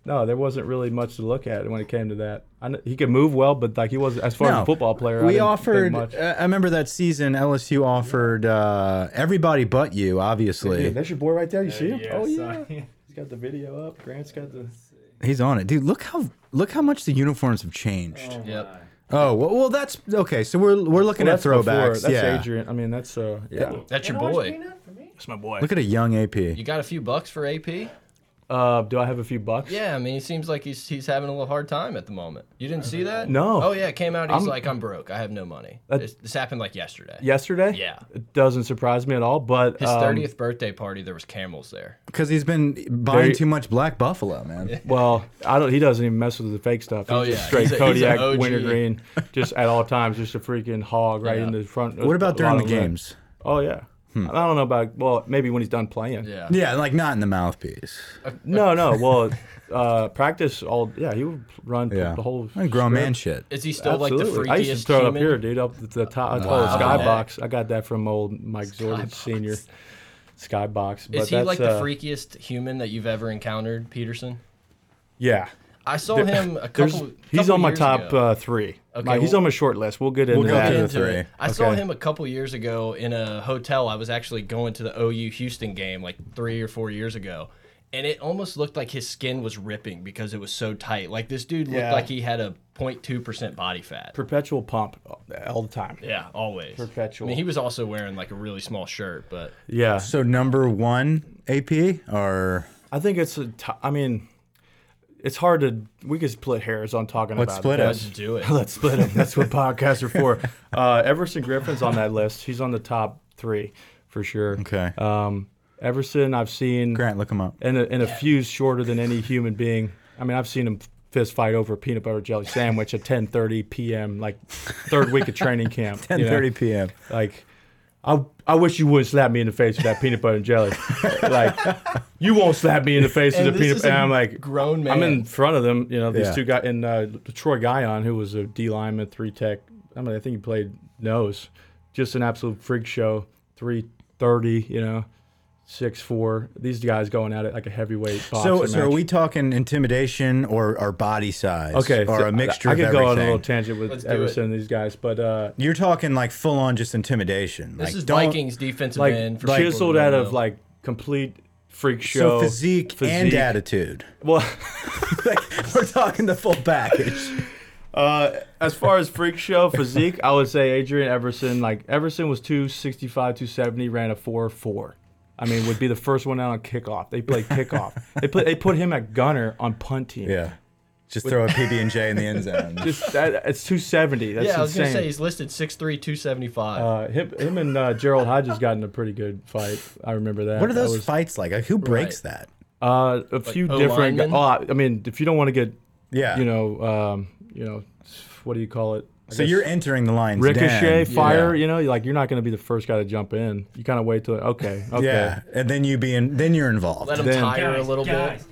Speaker 4: no, there wasn't really much to look at when it came to that. I kn- he could move well, but like he was as far as a football player. I
Speaker 3: We
Speaker 4: didn't think
Speaker 3: offered.
Speaker 4: much.
Speaker 3: uh, I remember that season. LSU offered uh, everybody but you,
Speaker 4: Dude,
Speaker 3: obviously.
Speaker 4: that's your boy right there. You see him?
Speaker 1: Yeah,
Speaker 4: oh yeah,
Speaker 1: sorry.
Speaker 4: he's got the video up. Grant's got the.
Speaker 3: He's on it, dude. Look how look how much the uniforms have changed.
Speaker 2: Yep.
Speaker 3: Oh, well, well that's okay. So we're we're looking at
Speaker 4: before-
Speaker 3: throwbacks.
Speaker 4: That's
Speaker 3: yeah,
Speaker 4: Adrian. I mean, that's uh, yeah.
Speaker 2: That's your boy.
Speaker 4: That's my boy.
Speaker 3: look at a young AP.
Speaker 2: You got a few bucks for AP?
Speaker 4: Uh, do I have a few bucks?
Speaker 2: Yeah, I mean, he seems like he's he's having a little hard time at the moment. You didn't see that?
Speaker 4: No.
Speaker 2: Oh yeah, it came out. He's
Speaker 4: I'm-
Speaker 2: like, I'm broke. I have no money. This, this happened like yesterday.
Speaker 4: Yesterday.
Speaker 2: Yeah.
Speaker 4: It doesn't surprise me at all. But
Speaker 2: His
Speaker 4: um,
Speaker 2: thirtieth birthday party, there was camels there.
Speaker 3: Because he's been buying
Speaker 4: Very-
Speaker 3: too much Black Buffalo, man.
Speaker 4: Well, I don't. He doesn't even mess with the fake stuff. He's
Speaker 2: Oh,
Speaker 4: just
Speaker 2: yeah.
Speaker 4: straight
Speaker 2: He's a- he's a
Speaker 4: Kodiak
Speaker 2: OG.
Speaker 4: wintergreen, just at all times, just a freaking hog right in the front.
Speaker 3: What about
Speaker 4: lot
Speaker 3: during the
Speaker 4: of red.
Speaker 3: games? Hmm.
Speaker 4: Oh yeah. I don't know about well, maybe when he's done playing.
Speaker 2: Yeah.
Speaker 3: Yeah, like not in the mouthpiece.
Speaker 4: No, no. Well, uh, practice all. Yeah, he would run
Speaker 3: Yeah,
Speaker 4: the whole.
Speaker 3: Like grown man
Speaker 4: script.
Speaker 3: shit.
Speaker 2: Is he still like the freakiest
Speaker 4: I used to throw it up
Speaker 2: human?
Speaker 4: here, dude, up at the top. I call it Skybox. I got that from old Mike Zordich Senior. Skybox. But
Speaker 2: Is he
Speaker 4: that's,
Speaker 2: like
Speaker 4: uh,
Speaker 2: the freakiest human that you've ever encountered, Peterson?
Speaker 4: Yeah.
Speaker 2: I saw him a
Speaker 4: There's,
Speaker 2: couple.
Speaker 4: he's
Speaker 2: couple
Speaker 4: on my
Speaker 2: years
Speaker 4: top
Speaker 2: ago.
Speaker 4: uh, three. Okay,
Speaker 2: Okay,
Speaker 4: he's
Speaker 2: well-
Speaker 4: on my short list. We'll get into
Speaker 3: We'll go
Speaker 4: that.
Speaker 3: into
Speaker 2: into
Speaker 3: three.
Speaker 2: it. I saw
Speaker 4: Okay.
Speaker 2: him a couple years ago in a hotel. I was actually going to the OU Houston game like three or four years ago, and it almost looked like his skin was ripping because it was so tight. Like this dude looked
Speaker 4: Yeah.
Speaker 2: like he had a 0.2 percent body fat.
Speaker 4: Perpetual pump all the time.
Speaker 2: Yeah, always
Speaker 4: Perpetual.
Speaker 2: I mean, he was also wearing like a really small shirt, but
Speaker 4: Yeah.
Speaker 3: So number one AP or
Speaker 4: I think it's a. T- I mean, it's hard to. We could split hairs on talking
Speaker 3: Let's
Speaker 4: about.
Speaker 3: split
Speaker 4: it.
Speaker 3: it.
Speaker 2: let's do it.
Speaker 4: Let's split them. That's what podcasts are for. Uh, Everson Griffin's on that list. He's on the top three for sure.
Speaker 3: okay?
Speaker 4: Um, Everson, I've seen
Speaker 3: Grant, look him up.
Speaker 4: and a, and a fuse shorter than any human being. I mean, I've seen him fist fight over a peanut butter jelly sandwich at 10:30 p.m. like third week of training camp. you know?
Speaker 3: 10:30 p.m.
Speaker 4: Like, I I wish you wouldn't slap me in the face with that peanut butter and jelly. like, you won't slap me in the face
Speaker 2: And
Speaker 4: with a
Speaker 2: this
Speaker 4: peanut.
Speaker 2: is
Speaker 4: butter.
Speaker 2: a
Speaker 4: And I'm like
Speaker 2: grown man.
Speaker 4: I'm in front of them. You know, these
Speaker 3: Yeah.
Speaker 4: two guys and uh, Troy Guyon, who was a D lineman, three tech. I mean, I think he played nose. Just an absolute freak show. Three thirty, you know, six four. These guys going at it like a heavyweight. Boxing
Speaker 3: So, so are
Speaker 4: match.
Speaker 3: we talking intimidation or, or body size?
Speaker 4: okay?
Speaker 3: Or
Speaker 4: so
Speaker 3: a mixture
Speaker 4: I, I
Speaker 3: of
Speaker 4: could
Speaker 3: everything?
Speaker 4: go on a little tangent
Speaker 2: Let's
Speaker 4: with
Speaker 2: do
Speaker 4: Everson and these guys, but uh,
Speaker 3: You're talking like full on just intimidation.
Speaker 2: This
Speaker 3: like,
Speaker 2: is
Speaker 3: don't-
Speaker 2: Vikings defensive
Speaker 4: like
Speaker 2: end for people
Speaker 4: chiseled
Speaker 2: who
Speaker 4: out
Speaker 2: don't
Speaker 4: of
Speaker 2: know.
Speaker 4: like complete freak show
Speaker 3: So physique, and
Speaker 4: physique.
Speaker 3: attitude.
Speaker 4: Well.
Speaker 3: Like, we're talking the full package.
Speaker 4: Uh, as far as freak show physique, I would say Adrian Everson. Like Everson was 265, 270, ran a 4 4. I mean, would be the first one out on kickoff. They played kickoff. they put they put him at gunner on punt team.
Speaker 3: Yeah. Just throw a PB and J in the end zone.
Speaker 4: Just that, it's 270. That's
Speaker 2: yeah, I was
Speaker 4: insane.
Speaker 2: gonna say he's listed 6'3", 275.
Speaker 4: uh, him, him and uh, Gerald Hodges got in a pretty good fight. I remember that.
Speaker 3: what are
Speaker 4: That
Speaker 3: those
Speaker 4: was-
Speaker 3: fights like? Like, Who breaks that?
Speaker 4: Uh, a few
Speaker 2: O
Speaker 4: different.
Speaker 2: linemen?
Speaker 4: Oh, I mean, if you don't want to get,
Speaker 3: Yeah.
Speaker 4: you know, um, you know, what do you call it? I
Speaker 3: so
Speaker 4: guess-
Speaker 3: you're entering the lines.
Speaker 4: ricochet
Speaker 3: den.
Speaker 4: fire
Speaker 3: Yeah.
Speaker 4: you know like you're not going to be the first guy to jump in you kind of wait till okay okay
Speaker 3: Yeah, and then you being then you're involved.
Speaker 2: Let him
Speaker 4: then-
Speaker 2: tire a little bit.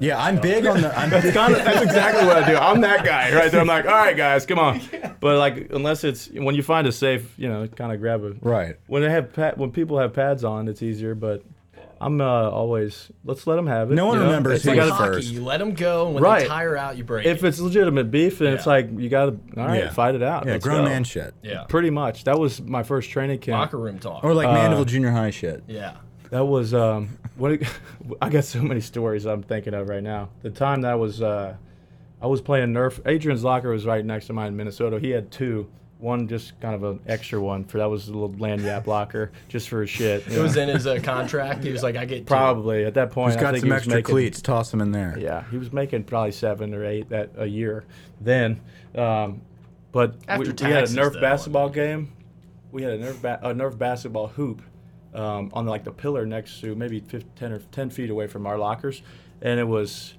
Speaker 3: Yeah, I'm big on the. I'm,
Speaker 4: Kinda- that's exactly what I do. I'm that guy right there. I'm like, all right, guys, come on. But like, unless it's when you find a safe, you know, kind of grab it.
Speaker 3: Right.
Speaker 4: When they have pa- when people have pads on, it's easier. But I'm uh, always let's let them have it.
Speaker 3: No one
Speaker 4: you know? It's
Speaker 3: remembers who
Speaker 4: like
Speaker 3: was
Speaker 4: a-
Speaker 3: first.
Speaker 2: You let him go, and when
Speaker 4: Right.
Speaker 2: they tire out, you break.
Speaker 4: If
Speaker 2: it.
Speaker 4: it's legitimate beef, then it's
Speaker 2: Yeah.
Speaker 4: like you gotta all right,
Speaker 3: Yeah.
Speaker 4: fight it out.
Speaker 3: yeah,
Speaker 4: Let's
Speaker 3: grown
Speaker 4: go.
Speaker 3: man shit.
Speaker 2: yeah,
Speaker 4: Pretty much. That was my first training camp.
Speaker 2: locker room talk.
Speaker 3: Or like
Speaker 4: Uh,
Speaker 3: Mandeville Junior High shit.
Speaker 2: yeah,
Speaker 4: That was um, what I got so many stories I'm thinking of right now. The time that was uh, I was playing Nerf. Adrian's locker was right next to mine in Minnesota. He had two. One just kind of an extra one for that was a little land yap locker just for his shit. you
Speaker 2: it
Speaker 4: know.
Speaker 2: was in his uh, contract. He was like, I get two.
Speaker 4: probably at that point.
Speaker 3: He's
Speaker 4: I
Speaker 3: got
Speaker 4: think
Speaker 3: some
Speaker 4: he was
Speaker 3: extra
Speaker 4: making,
Speaker 3: cleats. Toss them in there.
Speaker 4: Yeah, he was making probably seven or eight that a year then. Um, but
Speaker 2: After
Speaker 4: we, we had a
Speaker 2: taxes,
Speaker 4: Nerf
Speaker 2: though,
Speaker 4: basketball game. We had a Nerf, ba- a Nerf basketball hoop um, on like the pillar next to maybe fif 10 or 10 feet away from our lockers. And it was,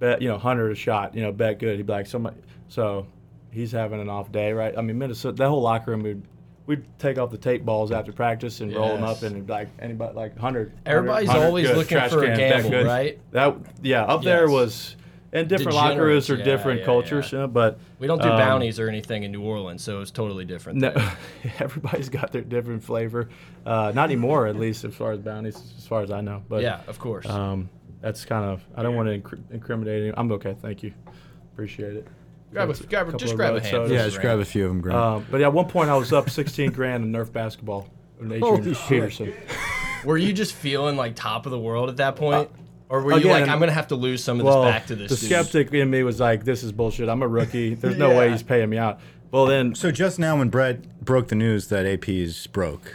Speaker 4: bet, you know, Hunter a shot, you know, bet good. He'd be like, somebody. So he's having an off day, right? I mean, Minnesota, that whole locker room, we'd, we'd take off the tape balls after practice and roll 'em roll them
Speaker 2: Yes.
Speaker 4: up and it'd be like anybody, like 100. 100,
Speaker 2: Everybody's
Speaker 4: 100,
Speaker 2: always
Speaker 4: good,
Speaker 2: looking
Speaker 4: trash
Speaker 2: for a
Speaker 4: can, bet
Speaker 2: gamble,
Speaker 4: good.
Speaker 2: right?
Speaker 4: That yeah, up there
Speaker 2: Yes.
Speaker 4: was, and different locker rooms are
Speaker 2: Degenerates, yeah,
Speaker 4: different
Speaker 2: yeah,
Speaker 4: cultures,
Speaker 2: yeah.
Speaker 4: You know, but
Speaker 2: We don't do
Speaker 4: um,
Speaker 2: bounties or anything in New Orleans, so it's totally different.
Speaker 4: No,
Speaker 2: there.
Speaker 4: everybody's got their different flavor. Uh, not anymore, at least as far as bounties, as far as I know. But
Speaker 2: Yeah, of course.
Speaker 4: um, that's kind of I don't want to incri- incriminate. Any, I'm okay, thank you, appreciate it.
Speaker 2: grab a, grab a,
Speaker 4: couple
Speaker 2: just
Speaker 4: of
Speaker 2: grab a
Speaker 4: road
Speaker 2: hand.
Speaker 4: sodas.
Speaker 3: Yeah, just grab a few of them, Grant.
Speaker 4: Um, but yeah, at one point I was up 16 grand in Nerf basketball. with Adrian
Speaker 3: Holy shit.
Speaker 4: Peterson.
Speaker 2: Were you just feeling like top of the world at that point? or were you
Speaker 4: uh, again,
Speaker 2: like, I'm going to have to lose some of
Speaker 4: well,
Speaker 2: this back to this
Speaker 4: the
Speaker 2: dude?
Speaker 4: skeptic in me was like, "This is bullshit. I'm a rookie. There's no way
Speaker 2: Yeah.
Speaker 4: he's paying me out." Well, then
Speaker 3: so just now, when Brett broke the news that AP's broke,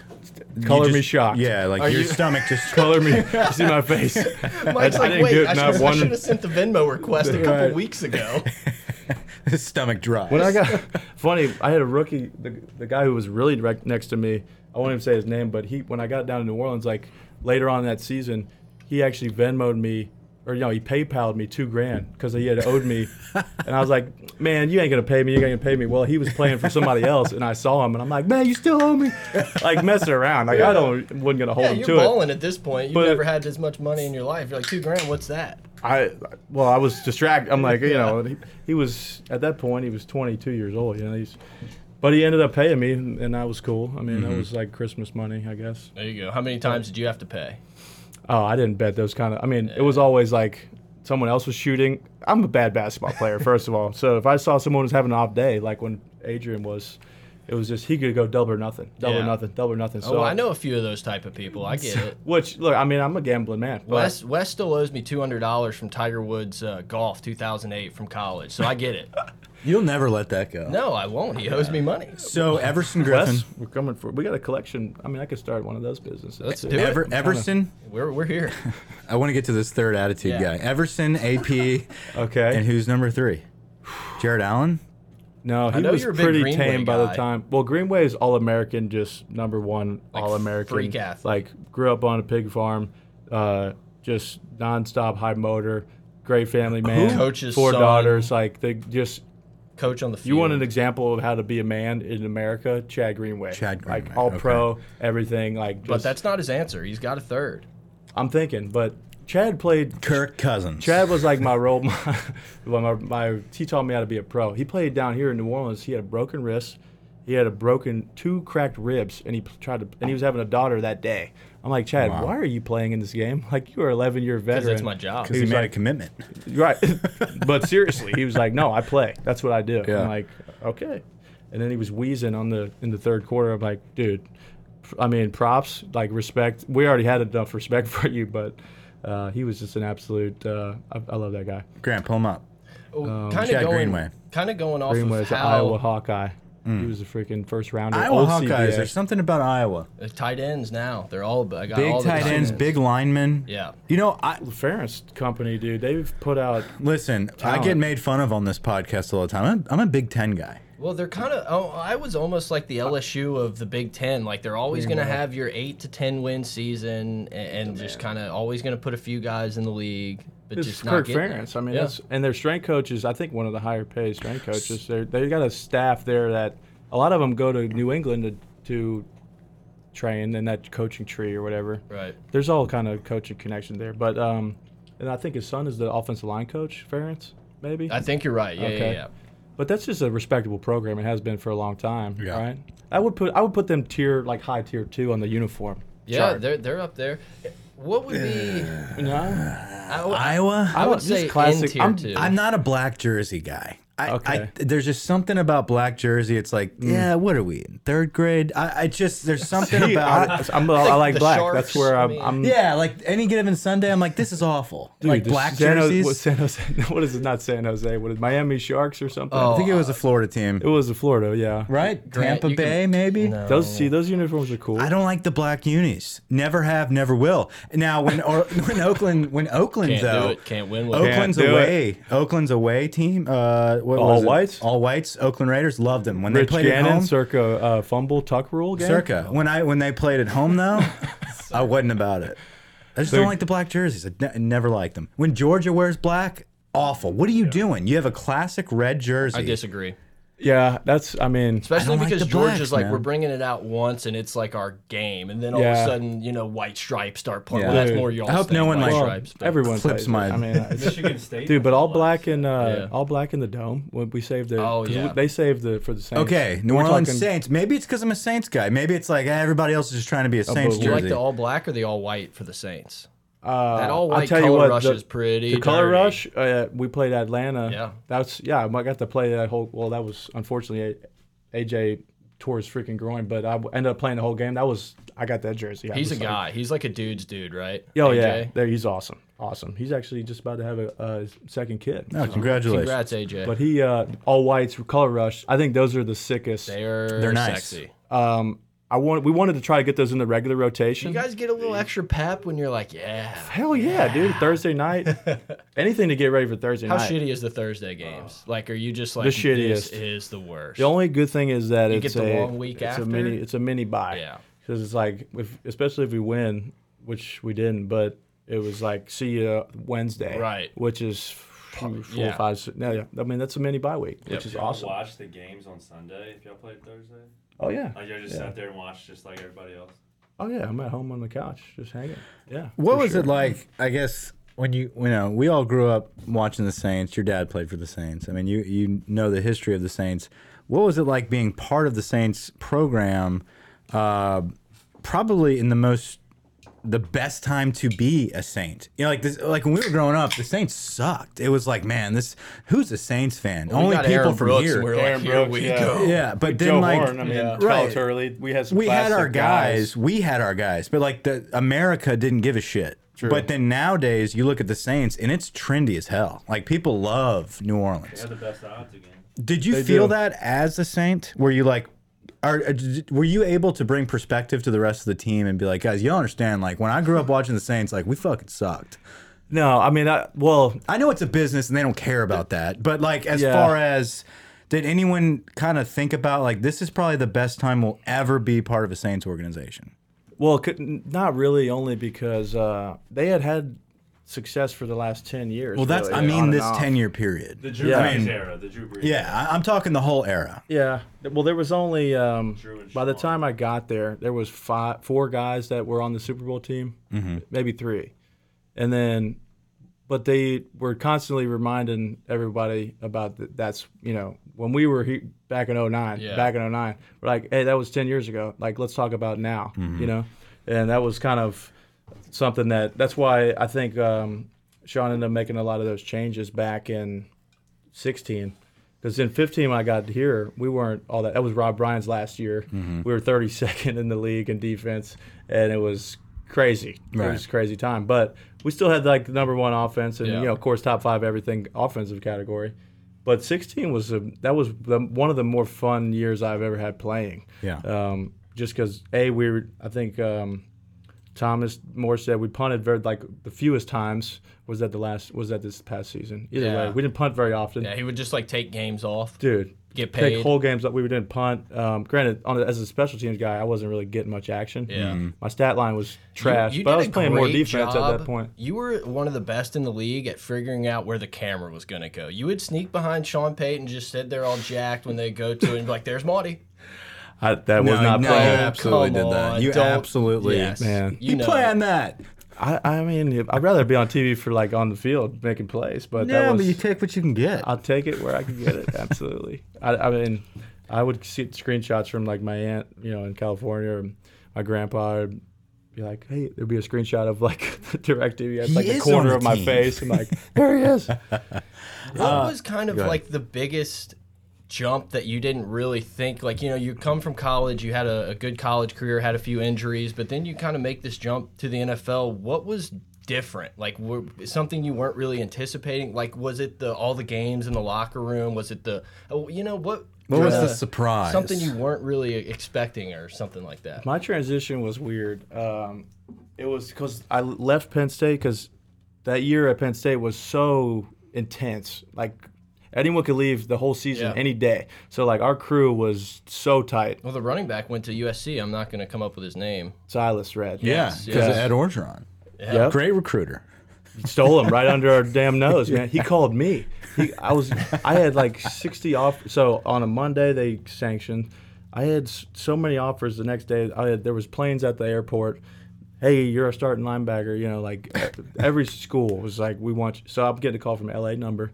Speaker 3: you
Speaker 4: Color me
Speaker 3: just-
Speaker 4: shocked.
Speaker 3: Yeah, like your stomach just.
Speaker 4: color me. You see my face.
Speaker 2: Mike's
Speaker 4: I
Speaker 2: like,
Speaker 4: didn't
Speaker 2: wait,
Speaker 4: do it,
Speaker 2: I,
Speaker 4: not
Speaker 2: should, I
Speaker 4: one-
Speaker 2: should have sent the Venmo request a couple
Speaker 3: Right.
Speaker 2: weeks ago.
Speaker 3: his stomach dries.
Speaker 4: When I got funny, I had a rookie, the, the guy who was really direct next to me. I won't even say his name, but he when I got down to New Orleans, like later on that season, he actually Venmoed me, or you know, he PayPal'd me two grand because he had owed me, and I was like, man, you ain't gonna pay me, you ain't gonna pay me. Well, he was playing for somebody else, and I saw him, and I'm like, man, you still owe me, like messing around. Like I don't, wasn't gonna hold
Speaker 2: yeah,
Speaker 4: him
Speaker 2: you're
Speaker 4: to it.
Speaker 2: balling at this point. You've
Speaker 4: But-
Speaker 2: never had this much money in your life. You're like, two grand, what's that?
Speaker 4: I well, I was distracted. I'm like, you know, he, he was at that point. He was 22 years old. You know, he's, but he ended up paying me, and, and that was cool. I mean, that
Speaker 2: Mm-hmm.
Speaker 4: was like Christmas money, I guess.
Speaker 2: There you go. How many times did you have to pay?
Speaker 4: Oh, I didn't bet those kind of. I mean, it was always like someone else was shooting. I'm a bad basketball player, first of all. So if I saw someone was having an off day, like when Adrian was, it was just he could go double or nothing, double or
Speaker 2: Yeah.
Speaker 4: nothing, double or nothing. So
Speaker 2: oh, I know a few of those type of people. I get it.
Speaker 4: Which look, I mean, I'm a gambling man. but-
Speaker 2: Wes, Wes still owes me two hundred dollars from Tiger Woods uh, golf two thousand eight from college, so I get it.
Speaker 3: You'll never let that go.
Speaker 2: No, I won't. He owes me money.
Speaker 3: So Everson Griffin.
Speaker 4: Wes, we're coming for. We got a collection. I mean, I could start one of those businesses.
Speaker 2: Let's
Speaker 4: it.
Speaker 2: do it.
Speaker 3: Ever, Everson,
Speaker 2: We're we're here.
Speaker 3: I want to get to this third attitude
Speaker 2: Yeah.
Speaker 3: guy. Everson, AP,
Speaker 4: Okay.
Speaker 3: and who's number three? Jared Allen.
Speaker 4: No, he
Speaker 2: know
Speaker 4: was
Speaker 2: you're a big
Speaker 4: pretty
Speaker 2: Greenway
Speaker 4: tame by the
Speaker 2: guy.
Speaker 4: time. Well, Greenway is all American, just number one all American.
Speaker 2: freak athlete.
Speaker 4: Like grew up on a pig farm, uh, just nonstop high motor, great family man,
Speaker 2: Coach's
Speaker 4: four
Speaker 2: son.
Speaker 4: daughters. Like they just.
Speaker 2: Coach on the field.
Speaker 4: You want an example of how to be a man in America? Chad Greenway.
Speaker 3: Chad Greenway,
Speaker 4: Like all
Speaker 3: okay.
Speaker 4: pro, everything. Like,
Speaker 2: but
Speaker 4: just,
Speaker 2: that's not his answer. He's got a third.
Speaker 4: I'm thinking. But Chad played
Speaker 3: Kirk Cousins.
Speaker 4: Chad was like my role model. well, my, my, he taught me how to be a pro. He played down here in New Orleans. He had a broken wrist. He had a broken two cracked ribs, and he p- tried to. And he was having a daughter that day. I'm like Chad,
Speaker 3: Wow.
Speaker 4: why are you playing in this game? Like you are 11 year veteran.
Speaker 2: Because that's my job.
Speaker 3: Because he
Speaker 4: was
Speaker 3: made a
Speaker 4: like-
Speaker 3: commitment.
Speaker 4: Right. but seriously, he was like, "No, I play. That's what I do."
Speaker 3: Yeah.
Speaker 4: I'm like, "Okay." And then he was wheezing on the in the third quarter. I'm like, "Dude, pr- I mean, props. Like respect. We already had enough respect for you, but uh, he was just an absolute. Uh, I, I love that guy.
Speaker 3: Grant, pull him up.
Speaker 2: kind
Speaker 3: um, Chad
Speaker 2: of Oh, going,
Speaker 3: Greenway.
Speaker 2: kind of going off
Speaker 4: Greenway
Speaker 2: of
Speaker 4: is an
Speaker 2: how
Speaker 4: Iowa Hawkeye. He was a freaking first rounder.
Speaker 3: Iowa
Speaker 4: old
Speaker 3: Hawkeyes.
Speaker 4: CBA.
Speaker 3: There's something about Iowa.
Speaker 2: uh, tight ends now they're all. I got
Speaker 3: Big
Speaker 2: all the
Speaker 3: tight ends, big linemen.
Speaker 2: Yeah.
Speaker 3: You know, I
Speaker 4: The Ferris company, dude. They've put out.
Speaker 3: listen. I get
Speaker 4: Talent.
Speaker 3: made fun of on this podcast all the time. I'm, I'm a Big Ten guy.
Speaker 2: Well, they're kind of. Oh, I was almost like the LSU of the Big Ten. Like they're always going to have your eight to ten win season, and, and just kind of always going to put a few guys in the league, but
Speaker 4: It's
Speaker 2: just not
Speaker 4: Kirk
Speaker 2: getting
Speaker 4: Ferentz. I mean,
Speaker 2: Yeah.
Speaker 4: that's and their strength coaches. I think one of the higher paid strength coaches. They they got a staff there that a lot of them go to New England to, to train in that coaching tree or whatever.
Speaker 2: it. right.
Speaker 4: There's all kind of coaching connection there, but um, and I think his son is the offensive line coach, Ferentz, maybe.
Speaker 2: I think you're right. Yeah,
Speaker 4: Okay.
Speaker 2: yeah,
Speaker 4: but that's just a respectable program. It has been for a long time,
Speaker 3: Yeah.
Speaker 4: right? I would put I would put them tier like high tier two on the uniform.
Speaker 2: yeah. Yeah,
Speaker 4: chart.
Speaker 2: they're they're up there. What would be?
Speaker 4: no.
Speaker 2: I would-
Speaker 3: Iowa.
Speaker 2: I would
Speaker 4: just
Speaker 2: say
Speaker 4: classic-
Speaker 2: in tier
Speaker 4: I'm-
Speaker 2: two.
Speaker 3: I'm not a black jersey guy. I, I,
Speaker 4: Okay.
Speaker 3: there's just something about black jersey. It's like, yeah, what are we in third grade? I, I just there's something
Speaker 4: Yeah,
Speaker 3: about
Speaker 4: I,
Speaker 3: it.
Speaker 4: I'm, I like
Speaker 2: the
Speaker 4: black.
Speaker 2: Sharks,
Speaker 4: That's where
Speaker 2: I
Speaker 4: I'm.
Speaker 2: mean-
Speaker 4: I'm
Speaker 3: Yeah, like any given Sunday, I'm like, this is awful.
Speaker 4: Dude,
Speaker 3: like
Speaker 4: the
Speaker 3: black
Speaker 4: San Jose-
Speaker 3: jerseys.
Speaker 4: what, San Jose, what is it? Not San Jose. What is it, Miami Sharks or something?
Speaker 2: Oh.
Speaker 3: I think it was a Florida team,
Speaker 4: It was the Florida. Yeah.
Speaker 3: right?
Speaker 2: Grant,
Speaker 3: Tampa
Speaker 2: you can-
Speaker 3: Bay, maybe.
Speaker 2: No.
Speaker 4: Those see those uniforms are cool.
Speaker 3: I don't like the black unis. Never have, never will. Now when or, when Oakland when Oakland
Speaker 2: Can't
Speaker 3: though
Speaker 2: do it. Can't win with
Speaker 3: Oakland's
Speaker 4: do it.
Speaker 3: away. Oakland's away team. Uh, what
Speaker 4: All
Speaker 3: was it?
Speaker 4: whites?
Speaker 3: All whites. Oakland Raiders loved them when
Speaker 4: Rich
Speaker 3: they played at
Speaker 4: Gannon
Speaker 3: home.
Speaker 4: circa uh, fumble tuck rule game.
Speaker 3: Circa. When I when they played at home though, I wasn't about it. I just don't like the black jerseys. I ne- never liked them. When Georgia wears black, awful. What are you doing? You have a classic red jersey.
Speaker 2: I disagree.
Speaker 4: Yeah, that's. I mean,
Speaker 2: Especially
Speaker 3: like
Speaker 2: because
Speaker 3: the blacks,
Speaker 2: Georgia's like,
Speaker 3: man.
Speaker 2: we're bringing it out once and it's like our game. And then all of
Speaker 4: Yeah.
Speaker 2: a sudden, you know, white stripes start playing.
Speaker 3: Yeah.
Speaker 2: Well, that's
Speaker 4: Dude,
Speaker 2: more y'all's
Speaker 3: I hope
Speaker 2: thing,
Speaker 3: no one,
Speaker 2: white
Speaker 3: like,
Speaker 4: well,
Speaker 2: stripes. but-
Speaker 4: everyone
Speaker 3: Flips
Speaker 4: plays
Speaker 3: my-
Speaker 4: it. I mean, it's-
Speaker 5: Michigan State.
Speaker 4: dude, but
Speaker 5: has
Speaker 4: all
Speaker 5: a lot.
Speaker 4: black and uh,
Speaker 2: Yeah.
Speaker 4: all black in the dome. When we saved the,
Speaker 2: Oh,
Speaker 4: 'cause
Speaker 2: yeah.
Speaker 4: we- they saved the for the Saints.
Speaker 3: Okay, New
Speaker 4: We're
Speaker 3: Orleans
Speaker 4: talking-
Speaker 3: Saints. Maybe it's because I'm a Saints guy. Maybe it's like eh, everybody else is just trying to be a
Speaker 4: Uh,
Speaker 3: Saints
Speaker 4: but
Speaker 2: Do you like
Speaker 3: jersey. Oh,
Speaker 2: the all black or the all white for the Saints?
Speaker 4: Uh,
Speaker 2: That all
Speaker 4: I'll
Speaker 2: white
Speaker 4: tell
Speaker 2: color
Speaker 4: you what,
Speaker 2: rush
Speaker 4: the,
Speaker 2: is pretty.
Speaker 4: The color
Speaker 2: dirty.
Speaker 4: rush, uh, we played Atlanta.
Speaker 2: Yeah.
Speaker 4: that's yeah. I got to play that whole. Well, that was unfortunately A- AJ tore his freaking groin, but I w- ended up playing the whole game. That was I got that jersey. I
Speaker 2: He's a
Speaker 4: was like,
Speaker 2: guy. He's like a dude's dude, right?
Speaker 4: Oh yeah,
Speaker 2: AJ?
Speaker 4: there he's awesome, awesome. He's actually just about to have a, a second kid.
Speaker 3: Oh, congratulations.
Speaker 2: Congrats, AJ.
Speaker 4: But he uh, all whites color rush. I think those are the sickest.
Speaker 2: they're
Speaker 3: They're nice.
Speaker 2: sexy.
Speaker 4: Um, I want we wanted to try to get those in the regular rotation.
Speaker 2: You guys get a little extra pep when you're like, yeah.
Speaker 4: Hell yeah, dude! Thursday night, anything to get ready for Thursday
Speaker 2: How
Speaker 4: night.
Speaker 2: shitty is the Thursday games? Like, are you just like This
Speaker 4: Oh. shittiest.
Speaker 2: is the worst.
Speaker 4: The only good thing is that it's
Speaker 2: get the
Speaker 4: a
Speaker 2: long week
Speaker 4: it's
Speaker 2: after?
Speaker 4: a mini it's a mini buy.
Speaker 2: Yeah.
Speaker 4: because it's like if, especially if we win, which we didn't, but it was like see you Wednesday,
Speaker 2: Right.
Speaker 4: Which is phew, four
Speaker 2: yeah.
Speaker 4: or five. si- No, yeah, I mean that's a mini buy week, which is
Speaker 5: Y'all
Speaker 4: awesome.
Speaker 5: Watch the games on Sunday if y'all played Thursday.
Speaker 4: Oh yeah,
Speaker 5: Like y'all just sat there and watched just like everybody else.
Speaker 4: oh yeah. I'm at home on the couch, just hanging. Yeah.
Speaker 3: What
Speaker 4: for
Speaker 3: was
Speaker 4: sure.
Speaker 3: it like? I guess when you you know we all grew up watching the Saints. Your dad played for the Saints. I mean, you you know the history of the Saints. What was it like being part of the Saints program? Uh, probably in the most the best time to be a Saint. You know, like this, like when we were growing up, the Saints sucked. It was like, man, this who's a Saints fan?
Speaker 2: We
Speaker 3: Only
Speaker 2: got
Speaker 3: people
Speaker 2: Aaron
Speaker 3: from
Speaker 2: Brooks,
Speaker 3: here.
Speaker 2: and We're like,
Speaker 4: Aaron
Speaker 2: here
Speaker 4: Brooks,
Speaker 2: we
Speaker 4: yeah.
Speaker 2: go.
Speaker 3: yeah, but then like
Speaker 2: Yeah.
Speaker 3: Right.
Speaker 4: Turley, we had some
Speaker 3: we had our
Speaker 4: classic
Speaker 3: guys, we had our guys but like the america didn't give a shit but then nowadays you look at the saints and it's trendy as hell like people love new orleans
Speaker 5: They had the best odds again.
Speaker 3: did you feel
Speaker 4: do.
Speaker 3: that as a saint were you like are, uh, d- were you able to bring perspective to the rest of the team and be like guys you don't understand like when i grew up watching the saints like we fucking sucked
Speaker 4: No, I mean, I, well,
Speaker 3: i know it's a business and they don't care about that but like as
Speaker 4: Yeah.
Speaker 3: far as did anyone kind of think about like this is probably the best time we'll ever be part of a saints organization
Speaker 4: Well, could, n- not really, only because uh, they had had success for the last ten years.
Speaker 3: Well, that's I mean this ten year period.
Speaker 5: The Drew
Speaker 4: Yeah.
Speaker 5: Brees
Speaker 4: I mean-
Speaker 5: era. The Drew Brees.
Speaker 3: Yeah, I, I'm talking the whole era.
Speaker 4: Yeah. Well, there was only um,
Speaker 5: Drew and
Speaker 4: by the
Speaker 5: Sean.
Speaker 4: time I got there, there was five, four guys that were on the Super Bowl team, maybe three, and then but they were constantly reminding everybody about that. That's you know when we were he, back in 09,
Speaker 2: Yeah.
Speaker 4: back in 09, we're like, hey, that was ten years ago. Like, let's talk about now. You know, and that was kind of something that that's why I think um, Sean ended up making a lot of those changes back in 16. Because in 15, when I got here, we weren't all that. That was Rob Bryan's last year. We were 32nd in the league in defense, and it was crazy. It
Speaker 3: Right.
Speaker 4: was a crazy time. But we still had like the number one offense, and
Speaker 2: Yeah.
Speaker 4: you know, of course, top five everything offensive category. But 16 was a, that was the, one of the more fun years I've ever had playing.
Speaker 3: Yeah.
Speaker 4: Um, just because a we were, I think um, Thomas Moore said we punted very like the fewest times was that the last was that this past season. Either
Speaker 2: Yeah.
Speaker 4: way, we didn't punt very often.
Speaker 2: Yeah, he would just like take games off.
Speaker 4: Dude,
Speaker 2: Get paid.
Speaker 4: Take whole games up. We didn't punt. Um, granted, on, as a special teams guy, I wasn't really getting much action.
Speaker 2: Yeah. Mhm.
Speaker 4: my stat line was trash,
Speaker 2: You
Speaker 4: but I
Speaker 2: did
Speaker 4: was
Speaker 2: a
Speaker 4: playing more
Speaker 2: great
Speaker 4: defense at
Speaker 2: job.
Speaker 4: that point.
Speaker 2: You were one of the best in the league at figuring out where the camera was going to go. You would sneak behind Sean Payton, just sit there all jacked when they go to it and be like, there's Marty.
Speaker 4: I, that was
Speaker 3: No,
Speaker 4: not
Speaker 3: no, you
Speaker 4: playing.
Speaker 3: absolutely
Speaker 2: come
Speaker 3: did that.
Speaker 2: on,
Speaker 3: You
Speaker 2: don't-
Speaker 3: absolutely,
Speaker 2: Yes.
Speaker 4: Man.
Speaker 2: You
Speaker 3: You,
Speaker 2: know
Speaker 3: planned that.
Speaker 4: I, I mean, I'd rather be on TV for like on the field making plays, but
Speaker 3: Yeah,
Speaker 4: that was
Speaker 3: but you take what you can get.
Speaker 4: I'll take it where I can get it. Absolutely. I, I mean, I would see screenshots from like my aunt, you know, in California, or my grandpa. Would be like, hey, there'd be a screenshot of like the direct TV. It's
Speaker 3: He
Speaker 4: like the
Speaker 3: is
Speaker 4: corner
Speaker 3: on the
Speaker 4: of my
Speaker 3: team.
Speaker 4: face. and like, there he is.
Speaker 2: What
Speaker 4: Uh,
Speaker 2: was kind of
Speaker 3: ahead.
Speaker 2: like the biggest jump that you didn't really think? Like, you know, you come from college, you had a, a good college career, had a few injuries, but then you kind of make this jump to the NFL. What was different? Like, were, something you weren't really anticipating? Like, was it the all the games in the locker room? Was it the, oh, you know, what?
Speaker 3: What was
Speaker 2: uh,
Speaker 3: the surprise?
Speaker 2: Something you weren't really e-, expecting or something like that.
Speaker 4: My transition was weird. Um, it was because I left Penn State because that year at Penn State was so intense. Like anyone could leave the whole season
Speaker 2: Yeah.
Speaker 4: any day. So like our crew was so tight.
Speaker 2: Well, the running back went to USC. I'm not going to come up with his name.
Speaker 4: Silas Red.
Speaker 3: yeah,
Speaker 2: Yes,
Speaker 3: because
Speaker 2: yes.
Speaker 3: Ed Orgeron,
Speaker 4: Yep.
Speaker 3: great recruiter.
Speaker 4: stole him right under our damn nose, man. He called me. He, I was, I had like sixty off. So on a Monday they sanctioned. I had s- so many offers the next day. I had, there was planes at the airport. Hey, you're a starting linebacker. You know, like e, every school was like, we want you. So I'm getting a call from LA number.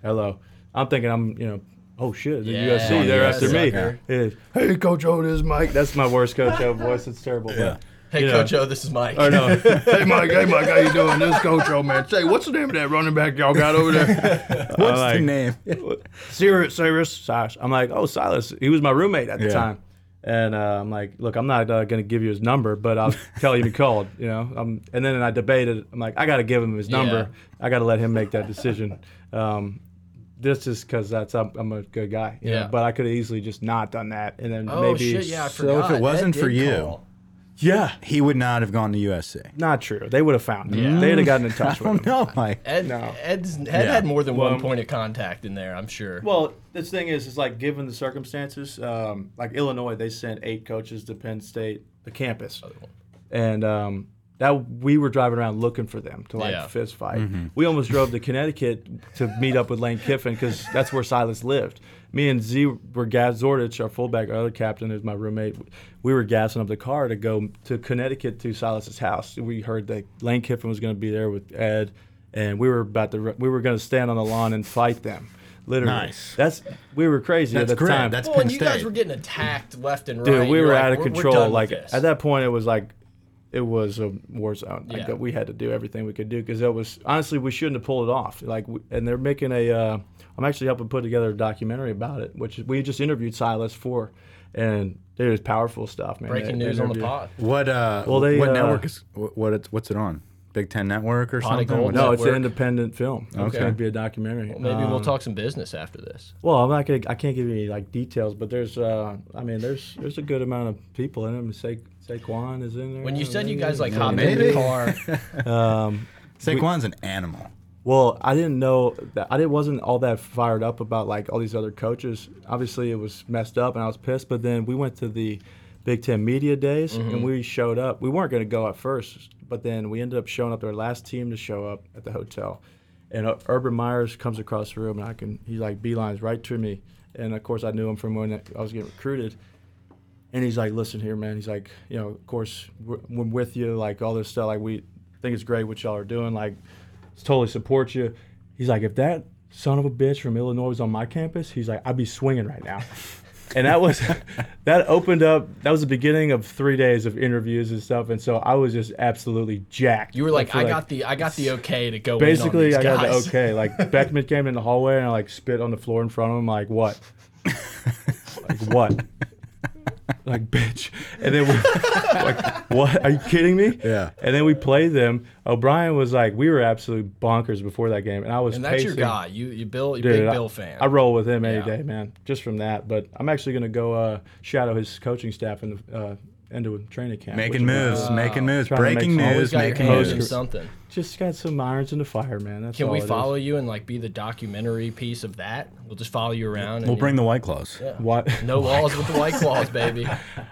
Speaker 4: Hello. I'm thinking I'm, you know, oh shit, the
Speaker 2: Yeah,
Speaker 4: USC, they're
Speaker 2: yeah,
Speaker 4: after
Speaker 2: sucker.
Speaker 4: me. It is, hey, Coach O, this is Mike. That's my worst Coach O voice. It's terrible.
Speaker 3: Yeah.
Speaker 2: Hey,
Speaker 4: You know.
Speaker 2: Coach O, this is Mike.
Speaker 4: But, or no,
Speaker 6: Hey Mike, hey Mike, how you doing? This is Coach O man. Say, what's the name of that running back y'all got over there?
Speaker 3: What's
Speaker 4: like-
Speaker 3: the name?
Speaker 4: Cyrus, Cyrus, Silas. I'm like, oh, Silas. He was my roommate at the
Speaker 3: Yeah.
Speaker 4: time. And uh, I'm like, look, I'm not uh, going to give you his number, but I'll tell you he called, you know. Um, and then I debated. I'm like, I got to give him his number. I got to let him make that decision. Um, this is because that's I'm, I'm a good guy. you know,
Speaker 2: Yeah.
Speaker 4: But I could have easily just not done that, and then
Speaker 2: Oh,
Speaker 4: maybe
Speaker 2: shit, yeah, I
Speaker 3: So if
Speaker 2: forgot.
Speaker 3: it wasn't
Speaker 2: Ed
Speaker 3: for
Speaker 2: did
Speaker 3: you-
Speaker 2: call.
Speaker 3: yeah, he would not have gone to USC.
Speaker 4: not true. They would have found him. They'd have gotten in touch
Speaker 3: I
Speaker 4: with him.
Speaker 3: don't know, Mike.
Speaker 2: Ed,
Speaker 4: No.
Speaker 2: Ed's, Ed
Speaker 3: Yeah.
Speaker 2: had more than
Speaker 4: Well,
Speaker 2: one point of contact in there, I'm sure.
Speaker 4: Well, this thing is, is like given the circumstances, um, like Illinois, they sent eight coaches to Penn State, the campus, and um, that we were driving around looking for them to like
Speaker 2: Yeah.
Speaker 4: fist fight. We almost drove to Connecticut to meet up with Lane Kiffin because that's where Silas lived. Me and Z were gas Zordich, our fullback, our other captain, is my roommate. We were gassing up the car to go to Connecticut to Silas's house. We heard that Lane Kiffin was going to be there with Ed, and we were about to we were going to stand on the lawn and fight them. Literally,
Speaker 3: Nice.
Speaker 4: That's we were crazy
Speaker 3: That's
Speaker 4: at the
Speaker 3: great.
Speaker 4: time.
Speaker 3: That's
Speaker 2: Well,
Speaker 3: Penn
Speaker 2: and you guys
Speaker 3: State.
Speaker 2: were getting attacked left and right.
Speaker 4: Dude, we
Speaker 2: You're
Speaker 4: were
Speaker 2: like,
Speaker 4: out of
Speaker 2: "We're- we're
Speaker 4: control.
Speaker 2: done with
Speaker 4: like
Speaker 2: this."
Speaker 4: at that point, it was like it was a war zone. Like,
Speaker 2: Yeah.
Speaker 4: that we had to do everything we could do because that was honestly we shouldn't have pulled it off. Like, we, and they're making a. Uh, I'm actually helping put together a documentary about it, which we just interviewed Silas for, and it was powerful stuff, man.
Speaker 2: breaking
Speaker 4: They- they
Speaker 2: news on the
Speaker 4: interviewed-
Speaker 2: pod.
Speaker 3: What? Uh,
Speaker 4: Well, they,
Speaker 3: what
Speaker 4: uh,
Speaker 3: network is what? what it's, what's it on? Big Ten Network or
Speaker 2: Pot of
Speaker 3: something?
Speaker 2: Gold.
Speaker 4: No, it's an
Speaker 2: Network.
Speaker 4: independent film. It's
Speaker 3: Okay.
Speaker 4: going to be a documentary. Well,
Speaker 2: Maybe we'll talk some business after this.
Speaker 4: Well, I'm not gonna. I can't give you any like details, but there's. Uh, I mean, there's there's a good amount of people in them. Sa- Saquon is in there.
Speaker 2: When you said you
Speaker 4: Maybe.
Speaker 2: guys like hopped in the
Speaker 3: maybe.
Speaker 2: car,
Speaker 3: Saquon's an animal.
Speaker 4: Well, I didn't know that I didn't, wasn't all that fired up about like all these other coaches. Obviously, it was messed up, and I was pissed. But then we went to the Big Ten media days,
Speaker 2: Mm-hmm.
Speaker 4: and we showed up. We weren't going to go at first, but then we ended up showing up. Their last team to show up at the hotel, and uh, Urban Myers comes across the room, and I can he like beelines right to me, and of course I knew him from when I was getting recruited. And he's like, listen here, man. He's like, you know, of course, we're, we're with you, like all this stuff. Like, we think it's great what y'all are doing. Like, totally support you. He's like, if that son of a bitch from Illinois was on my campus, he's like, I'd be swinging right now. and that was that opened up. That was the beginning of three days of interviews and stuff. And so I was just absolutely jacked.
Speaker 2: You were like,
Speaker 4: feel
Speaker 2: I got the I got the okay to go.
Speaker 4: basically
Speaker 2: in
Speaker 4: I
Speaker 2: on these
Speaker 4: got the
Speaker 2: guys.
Speaker 4: okay. Like Beckman came in the hallway and I like spit on the floor in front of him. Like what? like what? Like bitch. And then we like what? Are you kidding me?
Speaker 3: Yeah.
Speaker 4: And then we played them. O'Brien was like, we were absolute bonkers before that game, and I was
Speaker 2: And that's your
Speaker 4: pacing-
Speaker 2: guy. You you Bill, you
Speaker 4: Dude,
Speaker 2: big
Speaker 4: I-
Speaker 2: Bill fan.
Speaker 4: I roll with him any
Speaker 2: Yeah.
Speaker 4: day, man. Just from that, but I'm actually gonna go uh, shadow his coaching staff in the uh, end of training camp. which
Speaker 3: Making
Speaker 4: I'm
Speaker 3: moves,
Speaker 4: gonna-
Speaker 3: making moves,
Speaker 4: Uh, Trying to make
Speaker 3: breaking
Speaker 4: some-
Speaker 2: Always
Speaker 3: news,
Speaker 2: got your
Speaker 3: making
Speaker 2: hands in
Speaker 3: moves.
Speaker 4: moves.
Speaker 2: something.
Speaker 4: Just got some irons in the fire, man. That's
Speaker 2: Can
Speaker 4: all
Speaker 2: we
Speaker 4: it is.
Speaker 2: follow you and like be the documentary piece of that? We'll just follow you around. And
Speaker 3: We'll bring the white claws.
Speaker 4: What?
Speaker 2: no walls with the white claws, baby.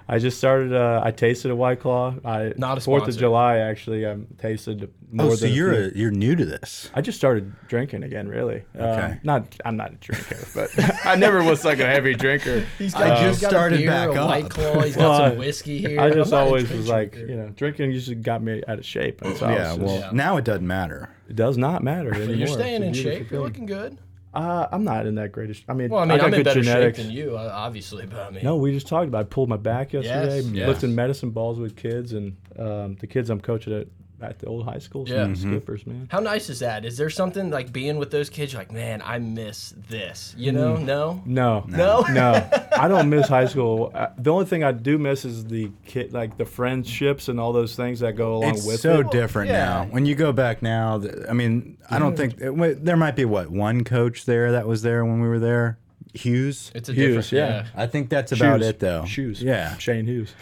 Speaker 4: I just started. Uh, I tasted a White Claw. I
Speaker 2: Not a
Speaker 4: Fourth of
Speaker 2: sponsor.
Speaker 4: July actually. I tasted more
Speaker 3: Oh,
Speaker 4: than.
Speaker 3: so
Speaker 4: a
Speaker 3: you're
Speaker 4: few.
Speaker 3: a, you're new to this.
Speaker 4: I just started drinking again, really. Um,
Speaker 3: Okay.
Speaker 4: not, I'm not a drinker, but I never was like a heavy drinker.
Speaker 2: He's
Speaker 3: got- I just
Speaker 2: got
Speaker 3: started
Speaker 2: a beer,
Speaker 3: back
Speaker 2: a
Speaker 3: up.
Speaker 2: White claw. He's got
Speaker 4: Well, I-
Speaker 2: some whiskey here.
Speaker 4: I just
Speaker 2: I'm not a
Speaker 4: always
Speaker 2: big
Speaker 4: was like,
Speaker 2: drinker.
Speaker 4: you know, drinking usually got me out of shape, and so I
Speaker 3: Yeah.
Speaker 4: was
Speaker 3: Well,
Speaker 4: just-
Speaker 2: Oh, Yeah.
Speaker 3: now it doesn't matter.
Speaker 4: it does not matter anymore.
Speaker 2: But you're
Speaker 4: It's a
Speaker 2: staying in
Speaker 4: beautiful
Speaker 2: shape.
Speaker 4: thing.
Speaker 2: You're looking good.
Speaker 4: Uh, I'm not in that great. a sh- I mean,
Speaker 2: Well, I mean,
Speaker 4: got
Speaker 2: I'm in
Speaker 4: good
Speaker 2: better
Speaker 4: genetics.
Speaker 2: shape than you, uh, obviously, but I mean,
Speaker 4: No, we just talked about. it. I pulled my back yesterday,
Speaker 2: Yes,
Speaker 4: lifting
Speaker 2: yes.
Speaker 4: medicine balls with kids, and um, the kids I'm coaching at at the old high school.
Speaker 2: Yeah.
Speaker 3: Mm-hmm.
Speaker 4: some skippers, man.
Speaker 2: how nice is that? Is there something like being with those kids? You're like, man, I miss this. You know? No.
Speaker 4: No,
Speaker 2: No.
Speaker 4: no, I don't miss high school. Uh, The only thing I do miss is the kid, like the friendships and all those things that go along
Speaker 3: It's
Speaker 4: with
Speaker 3: so
Speaker 4: it.
Speaker 3: different
Speaker 2: yeah.
Speaker 3: now. When you go back now, th- I mean, I don't think it, wait, there might be what one coach there that was there when we were there, Hughes.
Speaker 2: It's a
Speaker 4: Hughes,
Speaker 2: different.
Speaker 4: yeah.
Speaker 2: Yeah.
Speaker 3: I think that's about
Speaker 4: Shoes.
Speaker 3: it, though.
Speaker 4: Shoes,
Speaker 3: yeah.
Speaker 4: Shane Hughes.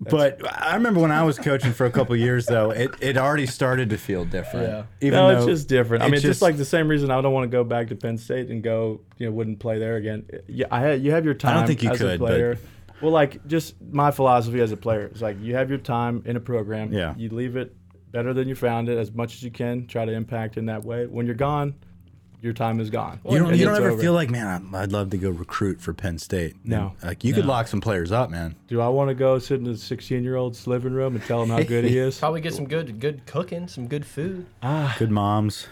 Speaker 3: But I remember when I was coaching for a couple years, though, it, it already started to feel different.
Speaker 2: Yeah.
Speaker 3: Even
Speaker 4: no, it's
Speaker 3: though
Speaker 4: just different. I
Speaker 3: it
Speaker 4: mean, just, like the same reason I don't want to go back to Penn State and go, you know, wouldn't play there again. Yeah, I had, you have your time.
Speaker 3: think you
Speaker 4: as a
Speaker 3: could, but-
Speaker 4: player. Well, like just my philosophy as a player is like you have your time in a program.
Speaker 3: Yeah.
Speaker 4: You leave it better than you found it as much as you can. Try to impact in that way. When you're gone, your time is gone.
Speaker 3: you don't
Speaker 4: And
Speaker 3: you don't
Speaker 4: it's
Speaker 3: ever
Speaker 4: over.
Speaker 3: feel like, man, I- I'd love to go recruit for Penn State.
Speaker 4: No.
Speaker 3: like you could lock some players up, man.
Speaker 4: Do I want to go sit in the 16 year old's living room and tell him how good he is?
Speaker 2: Probably get some good, good cooking, some good food.
Speaker 3: Good moms.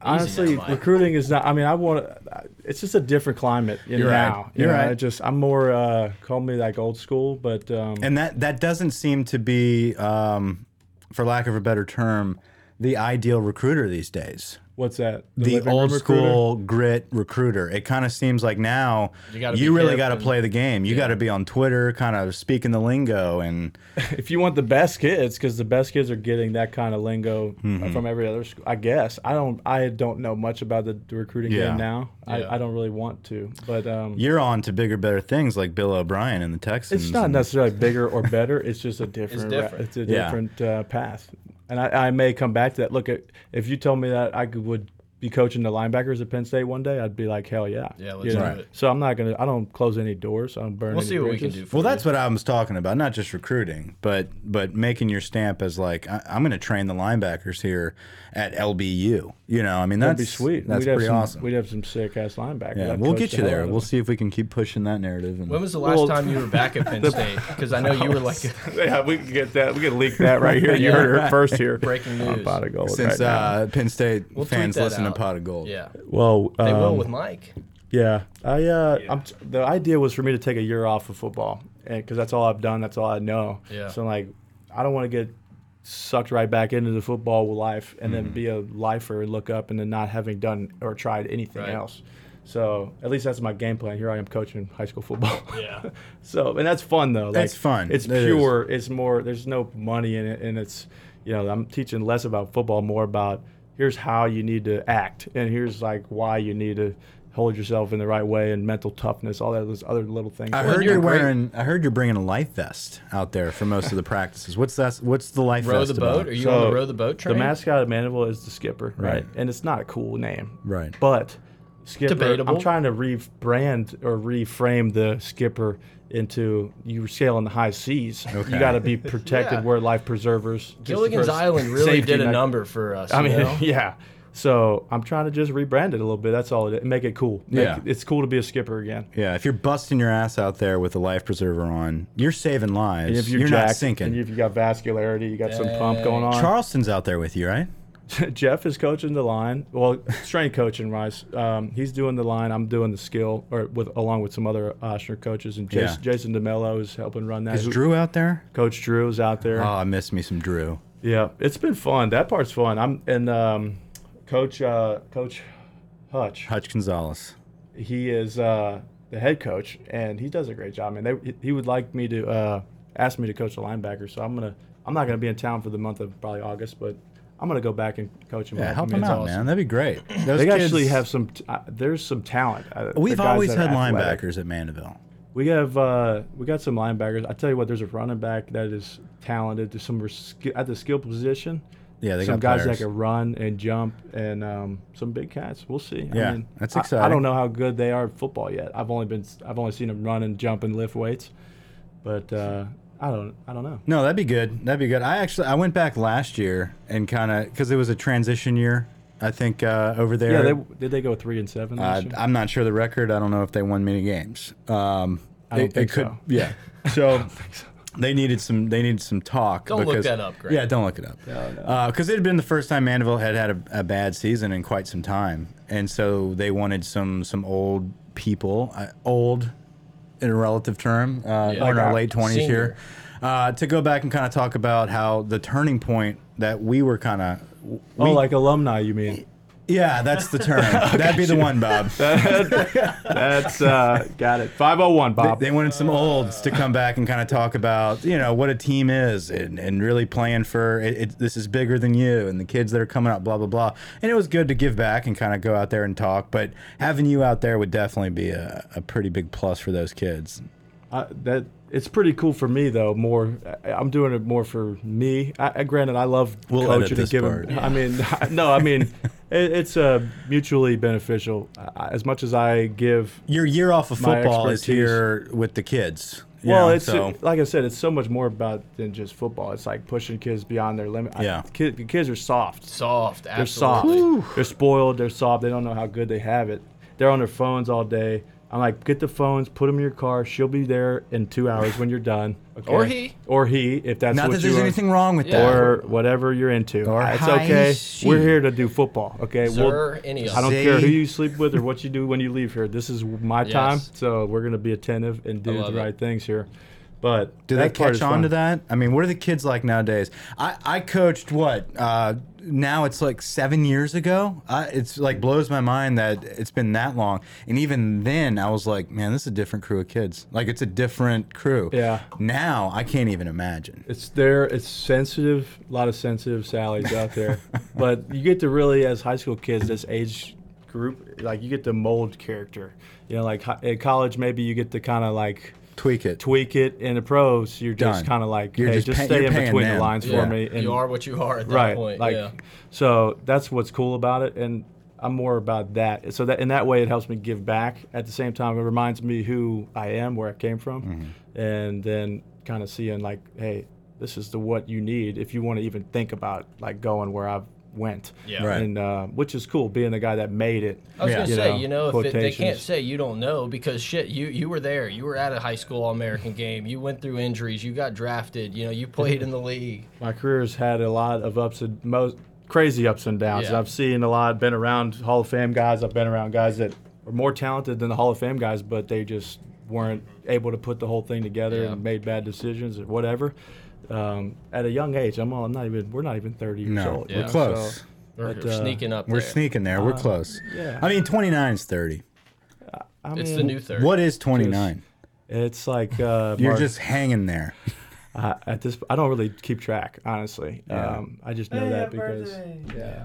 Speaker 4: Honestly,
Speaker 2: now, Mike.
Speaker 4: recruiting is not. I mean, I want to. It's just a different climate in
Speaker 3: You're right.
Speaker 4: now. you
Speaker 3: You're
Speaker 4: know,
Speaker 3: right.
Speaker 4: I just I'm more uh, call me like old school, but um,
Speaker 3: And that that doesn't seem to be, um, for lack of a better term, the ideal recruiter these days.
Speaker 4: what's that?
Speaker 3: The,
Speaker 4: living room
Speaker 3: old
Speaker 4: recruiter?
Speaker 3: school grit recruiter. It kind of seems like now
Speaker 2: You
Speaker 3: you,
Speaker 2: gotta be
Speaker 3: really
Speaker 2: hip
Speaker 3: got to
Speaker 2: and-
Speaker 3: play the game. You got to be on Twitter, kind of speaking the lingo, and
Speaker 4: If you want the best kids, because the best kids are getting that kind of lingo
Speaker 3: Mm-hmm.
Speaker 4: from every other school. I guess I don't. I don't know much about the recruiting
Speaker 3: Yeah.
Speaker 4: game now.
Speaker 2: Yeah.
Speaker 4: I, I don't really want to, but um,
Speaker 3: you're on to bigger, better things like Bill O'Brien and the Texans.
Speaker 4: It's not
Speaker 3: and-
Speaker 4: necessarily bigger or better. It's just a different. ra-
Speaker 2: different.
Speaker 4: it's a
Speaker 3: Yeah.
Speaker 4: different uh, path, and I, I may come back to that. Look, i- if you told me that I could, would be coaching the linebackers at Penn State one day, I'd be like, hell yeah.
Speaker 2: Yeah, let's
Speaker 4: You
Speaker 2: do
Speaker 4: know?
Speaker 2: it.
Speaker 4: So I'm not gonna. I don't close any doors. I don't burn.
Speaker 2: We'll
Speaker 4: any
Speaker 2: see what we can
Speaker 4: bridges.
Speaker 2: do. For
Speaker 3: Well,
Speaker 2: you.
Speaker 3: that's what I was talking about. Not just recruiting, but but making your stamp as like I, I'm going to train the linebackers here at LBU. You know, I mean that's
Speaker 4: That'd be sweet.
Speaker 3: That's
Speaker 4: we'd have
Speaker 3: pretty
Speaker 4: some,
Speaker 3: awesome.
Speaker 4: We'd have some sick ass linebackers.
Speaker 3: Yeah,
Speaker 4: I'd
Speaker 3: we'll
Speaker 4: coach
Speaker 3: get
Speaker 4: the
Speaker 3: you
Speaker 4: hell out
Speaker 3: there.
Speaker 4: of
Speaker 3: We'll
Speaker 4: them.
Speaker 3: see if we can keep pushing that narrative. And
Speaker 2: When was the last
Speaker 4: Well-
Speaker 2: time you were back at Penn State? Because I know you were like
Speaker 4: yeah, we can get that. We can leak that right here. You heard it first here.
Speaker 2: breaking
Speaker 4: I'm
Speaker 2: news.
Speaker 4: about to go
Speaker 3: since
Speaker 4: right now.
Speaker 3: uh, Penn State
Speaker 2: We'll tweet
Speaker 3: fans
Speaker 2: that
Speaker 3: listen
Speaker 2: out.
Speaker 3: to Pot of Gold,
Speaker 2: Yeah,
Speaker 4: well,
Speaker 2: they will
Speaker 4: um,
Speaker 2: with Mike.
Speaker 4: Yeah, I uh,
Speaker 5: Yeah.
Speaker 4: I'm t- the idea was for me to take a year off of football, because that's all I've done, that's all I know.
Speaker 2: Yeah.
Speaker 4: So like, I don't want to get sucked right back into the football life and
Speaker 2: Mm-hmm.
Speaker 4: then be a lifer and look up and then not having done or tried anything
Speaker 2: Right.
Speaker 4: else. So at least that's my game plan. Here I am coaching high school football.
Speaker 2: Yeah.
Speaker 4: so and that's fun though. Like,
Speaker 3: It's fun.
Speaker 4: It's
Speaker 3: It is.
Speaker 4: pure. It's more. There's no money in it, and it's you know I'm teaching less about football, more about here's how you need to act, and here's like why you need to hold yourself in the right way and mental toughness, all that those other little things.
Speaker 3: I
Speaker 4: Well,
Speaker 3: heard
Speaker 2: you're
Speaker 3: you're,
Speaker 2: great-
Speaker 3: wearing. I heard you're bringing a life vest out there for most of the practices. What's that? What's the life
Speaker 2: Row
Speaker 3: vest
Speaker 2: the boat?
Speaker 3: about?
Speaker 2: Are you
Speaker 4: So,
Speaker 2: on the row the boat train?
Speaker 4: The mascot of Mandeville is the skipper, right?
Speaker 3: Right.
Speaker 4: And it's not a cool name,
Speaker 3: Right.
Speaker 4: But skipper,
Speaker 2: Debatable.
Speaker 4: I'm trying to rebrand or reframe the skipper into you were sailing the high seas. You got to be protected.
Speaker 2: Yeah.
Speaker 4: Wear life preservers. just
Speaker 2: Gilligan's
Speaker 4: for
Speaker 2: Island really
Speaker 4: safety
Speaker 2: did a
Speaker 4: mech-
Speaker 2: number for us.
Speaker 4: I mean,
Speaker 2: you know?
Speaker 4: yeah. So I'm trying to just rebrand it a little bit. That's all. It is. Make it cool. Make-
Speaker 3: Yeah.
Speaker 4: it's cool to be a skipper again.
Speaker 3: Yeah, if you're busting your ass out there with a life preserver on, you're saving lives.
Speaker 4: And if
Speaker 3: you're
Speaker 4: jacked,
Speaker 3: not sinking.
Speaker 4: and if you got vascularity, you got some pump going on.
Speaker 3: Charleston's out there with you, right?
Speaker 4: Jeff is coaching the line. Well, strength coaching wise, um, he's doing the line. I'm doing the skill, or with along with some other Oshner coaches, and Jason,
Speaker 3: Yeah.
Speaker 4: Jason Demello is helping run that.
Speaker 3: Is Drew out there?
Speaker 4: Coach Drew is out there.
Speaker 3: Oh, I miss me some Drew.
Speaker 4: Yeah, it's been fun. That part's fun. I'm and um, Coach uh, Coach Hutch.
Speaker 3: Hutch Gonzalez.
Speaker 4: He is uh, the head coach, and he does a great job. I mean, they, he would like me to uh, ask me to coach the linebacker, so I'm gonna. I'm not gonna be in town for the month of probably August, but I'm gonna go back and coach him.
Speaker 3: Yeah,
Speaker 4: back. I
Speaker 3: help
Speaker 4: mean,
Speaker 3: him
Speaker 4: it's
Speaker 3: out,
Speaker 4: awesome.
Speaker 3: man. That'd be great. Those
Speaker 4: They
Speaker 3: kids-
Speaker 4: actually have some. T- uh, there's some talent. uh, the
Speaker 3: We've
Speaker 4: guys
Speaker 3: always
Speaker 4: that are
Speaker 3: had
Speaker 4: athletic.
Speaker 3: linebackers at Mandeville.
Speaker 4: We have uh, we got some linebackers. I tell you what, there's a running back that is talented. There's some res- at the skill position.
Speaker 3: Yeah, they
Speaker 4: some
Speaker 3: got
Speaker 4: guys
Speaker 3: players.
Speaker 4: that can run and jump and um, some big cats. We'll see.
Speaker 3: Yeah,
Speaker 4: I mean,
Speaker 3: that's
Speaker 4: I- I,
Speaker 3: exciting.
Speaker 4: don't know how good they are at football yet. I've only been I've only seen them run and jump and lift weights, but uh, I don't I don't know.
Speaker 3: No, that'd be good. That'd be good. I actually I went back last year and kind of because it was a transition year. I think uh, over there.
Speaker 4: Yeah, they, did they go three and seven?
Speaker 3: Uh,
Speaker 4: last year?
Speaker 3: I'm not sure the record. I don't know if they won many games. Um,
Speaker 4: I don't
Speaker 3: it,
Speaker 4: think
Speaker 3: it could,
Speaker 4: so.
Speaker 3: Yeah. So they needed some. They needed some talk.
Speaker 2: Don't look
Speaker 3: because-
Speaker 2: that up, Greg.
Speaker 3: Yeah, don't look it up. Because it had been the first time Mandeville had had a, a bad season in quite some time, and so they wanted some some old people, uh, old in a relative term, uh,
Speaker 2: Yeah.
Speaker 3: or in
Speaker 2: Like
Speaker 3: our
Speaker 4: our
Speaker 3: late twenties here,
Speaker 2: senior.
Speaker 3: uh, to go back and kind of talk about how the turning point that we were kind of.
Speaker 4: oh, like alumni, you mean?
Speaker 3: Yeah, that's the term. That'd be the one, Bob.
Speaker 4: That's uh, got it. Five oh one, Bob.
Speaker 3: They wanted some olds to come back and kind of talk about, you know, what a team is and, and really playing for it, it, this is bigger than you and the kids that are coming up, blah, blah, blah. And it was good to give back and kind of go out there and talk. But having you out there would definitely be a, a pretty big plus for those kids.
Speaker 4: I, that it's pretty cool for me though. More, I- I'm doing it more for me. I, I granted, I love
Speaker 3: We'll edit
Speaker 4: coaching and
Speaker 3: this
Speaker 4: giving.
Speaker 3: part.
Speaker 4: I mean, no, I mean, it, it's uh, mutually beneficial. I, as much as I give,
Speaker 3: Your year off of
Speaker 4: My
Speaker 3: football is
Speaker 4: expertise.
Speaker 3: here with the kids. you
Speaker 4: well,
Speaker 3: know,
Speaker 4: it's
Speaker 3: so-
Speaker 4: like I said, it's so much more about than just football. It's like pushing kids beyond their limit. I-
Speaker 3: Yeah.
Speaker 4: kid, kids are soft.
Speaker 2: Soft.
Speaker 4: They're soft.
Speaker 2: Absolutely.
Speaker 4: They're spoiled. They're soft. They don't know how good they have it. They're on their phones all day. I'm like, get the phones, put them in your car. She'll be there in two hours when you're done. Okay?
Speaker 2: Or he.
Speaker 4: Or he, if that's
Speaker 3: not
Speaker 4: what
Speaker 3: that there's
Speaker 4: you are-
Speaker 3: anything wrong with
Speaker 2: Yeah.
Speaker 3: that.
Speaker 4: or whatever you're into. Ah,
Speaker 3: Or
Speaker 4: it's
Speaker 3: high
Speaker 4: okay.
Speaker 3: she.
Speaker 4: We're here to do football. Okay. We'll-
Speaker 2: Sir, any
Speaker 4: I don't
Speaker 2: of them.
Speaker 3: Z.
Speaker 4: care who you sleep with or what you do when you leave here. This is my time,
Speaker 2: Yes.
Speaker 4: so we're gonna be attentive and do the
Speaker 2: love it.
Speaker 4: right things here. But
Speaker 3: Do they
Speaker 4: that part
Speaker 3: catch
Speaker 4: is
Speaker 3: on
Speaker 4: fun.
Speaker 3: to that? I mean, what are the kids like nowadays? I, I coached what? Uh, now it's like seven years ago. I, it's like blows my mind that it's been that long. And even then, I was like, man, this is a different crew of kids. Like it's a different crew.
Speaker 4: Yeah.
Speaker 3: Now I can't even imagine.
Speaker 4: It's there. It's sensitive. A lot of sensitive Sallys out there, but you get to really, as high school kids, this age group, like you get to mold character. You know, like hi- at college, maybe you get to kind of like
Speaker 3: Tweak it.
Speaker 4: tweak it. In the pros, you're just
Speaker 3: Done.
Speaker 4: kind of like,
Speaker 3: You're
Speaker 4: hey,
Speaker 3: just
Speaker 4: just,
Speaker 3: pay-
Speaker 4: stay
Speaker 3: you're
Speaker 4: in
Speaker 3: paying
Speaker 4: between
Speaker 3: them.
Speaker 4: the lines
Speaker 3: Yeah.
Speaker 4: for me. And
Speaker 2: You are what you are at that
Speaker 4: right
Speaker 2: point.
Speaker 4: like
Speaker 2: yeah.
Speaker 4: so that's what's cool about it and i'm more about that so that in that way it helps me give back at the same time it reminds me who i am where i came from and then kind of seeing like hey this is the what you need if you want to even think about like going where i've went
Speaker 2: Yeah. Oh,
Speaker 3: Right.
Speaker 4: and uh, which is cool being the guy that made it
Speaker 2: I was
Speaker 3: Yeah.
Speaker 2: gonna
Speaker 4: You
Speaker 2: say,
Speaker 4: know,
Speaker 2: you know, if it, they can't
Speaker 4: quotations.
Speaker 2: say you don't know because shit, you you were there, you were at a high school All American game, you went through injuries, you got drafted, you know, you played in the league.
Speaker 4: my career's had a lot of ups and most crazy ups and downs.
Speaker 2: Yeah.
Speaker 4: I've seen a lot, been around Hall of Fame guys. I've been around guys that are more talented than the Hall of Fame guys, but they just weren't able to put the whole thing together
Speaker 2: Yeah.
Speaker 4: and made bad decisions or whatever. Um, at a young age, I'm, all, I'm not even. We're not even 30 years
Speaker 3: No,
Speaker 4: old.
Speaker 3: we're
Speaker 2: Yeah.
Speaker 3: close.
Speaker 2: We're
Speaker 4: But, uh,
Speaker 2: sneaking up.
Speaker 3: We're
Speaker 2: there.
Speaker 3: sneaking there. We're close.
Speaker 4: yeah.
Speaker 3: I mean, 29 is 30.
Speaker 4: I
Speaker 2: It's the
Speaker 4: mean,
Speaker 2: new third.
Speaker 3: What is 29?
Speaker 4: It's like uh,
Speaker 3: You're
Speaker 4: Mark,
Speaker 3: just hanging there.
Speaker 4: I, at this. I don't really keep track, honestly. Um, I just know that because.
Speaker 2: Yeah.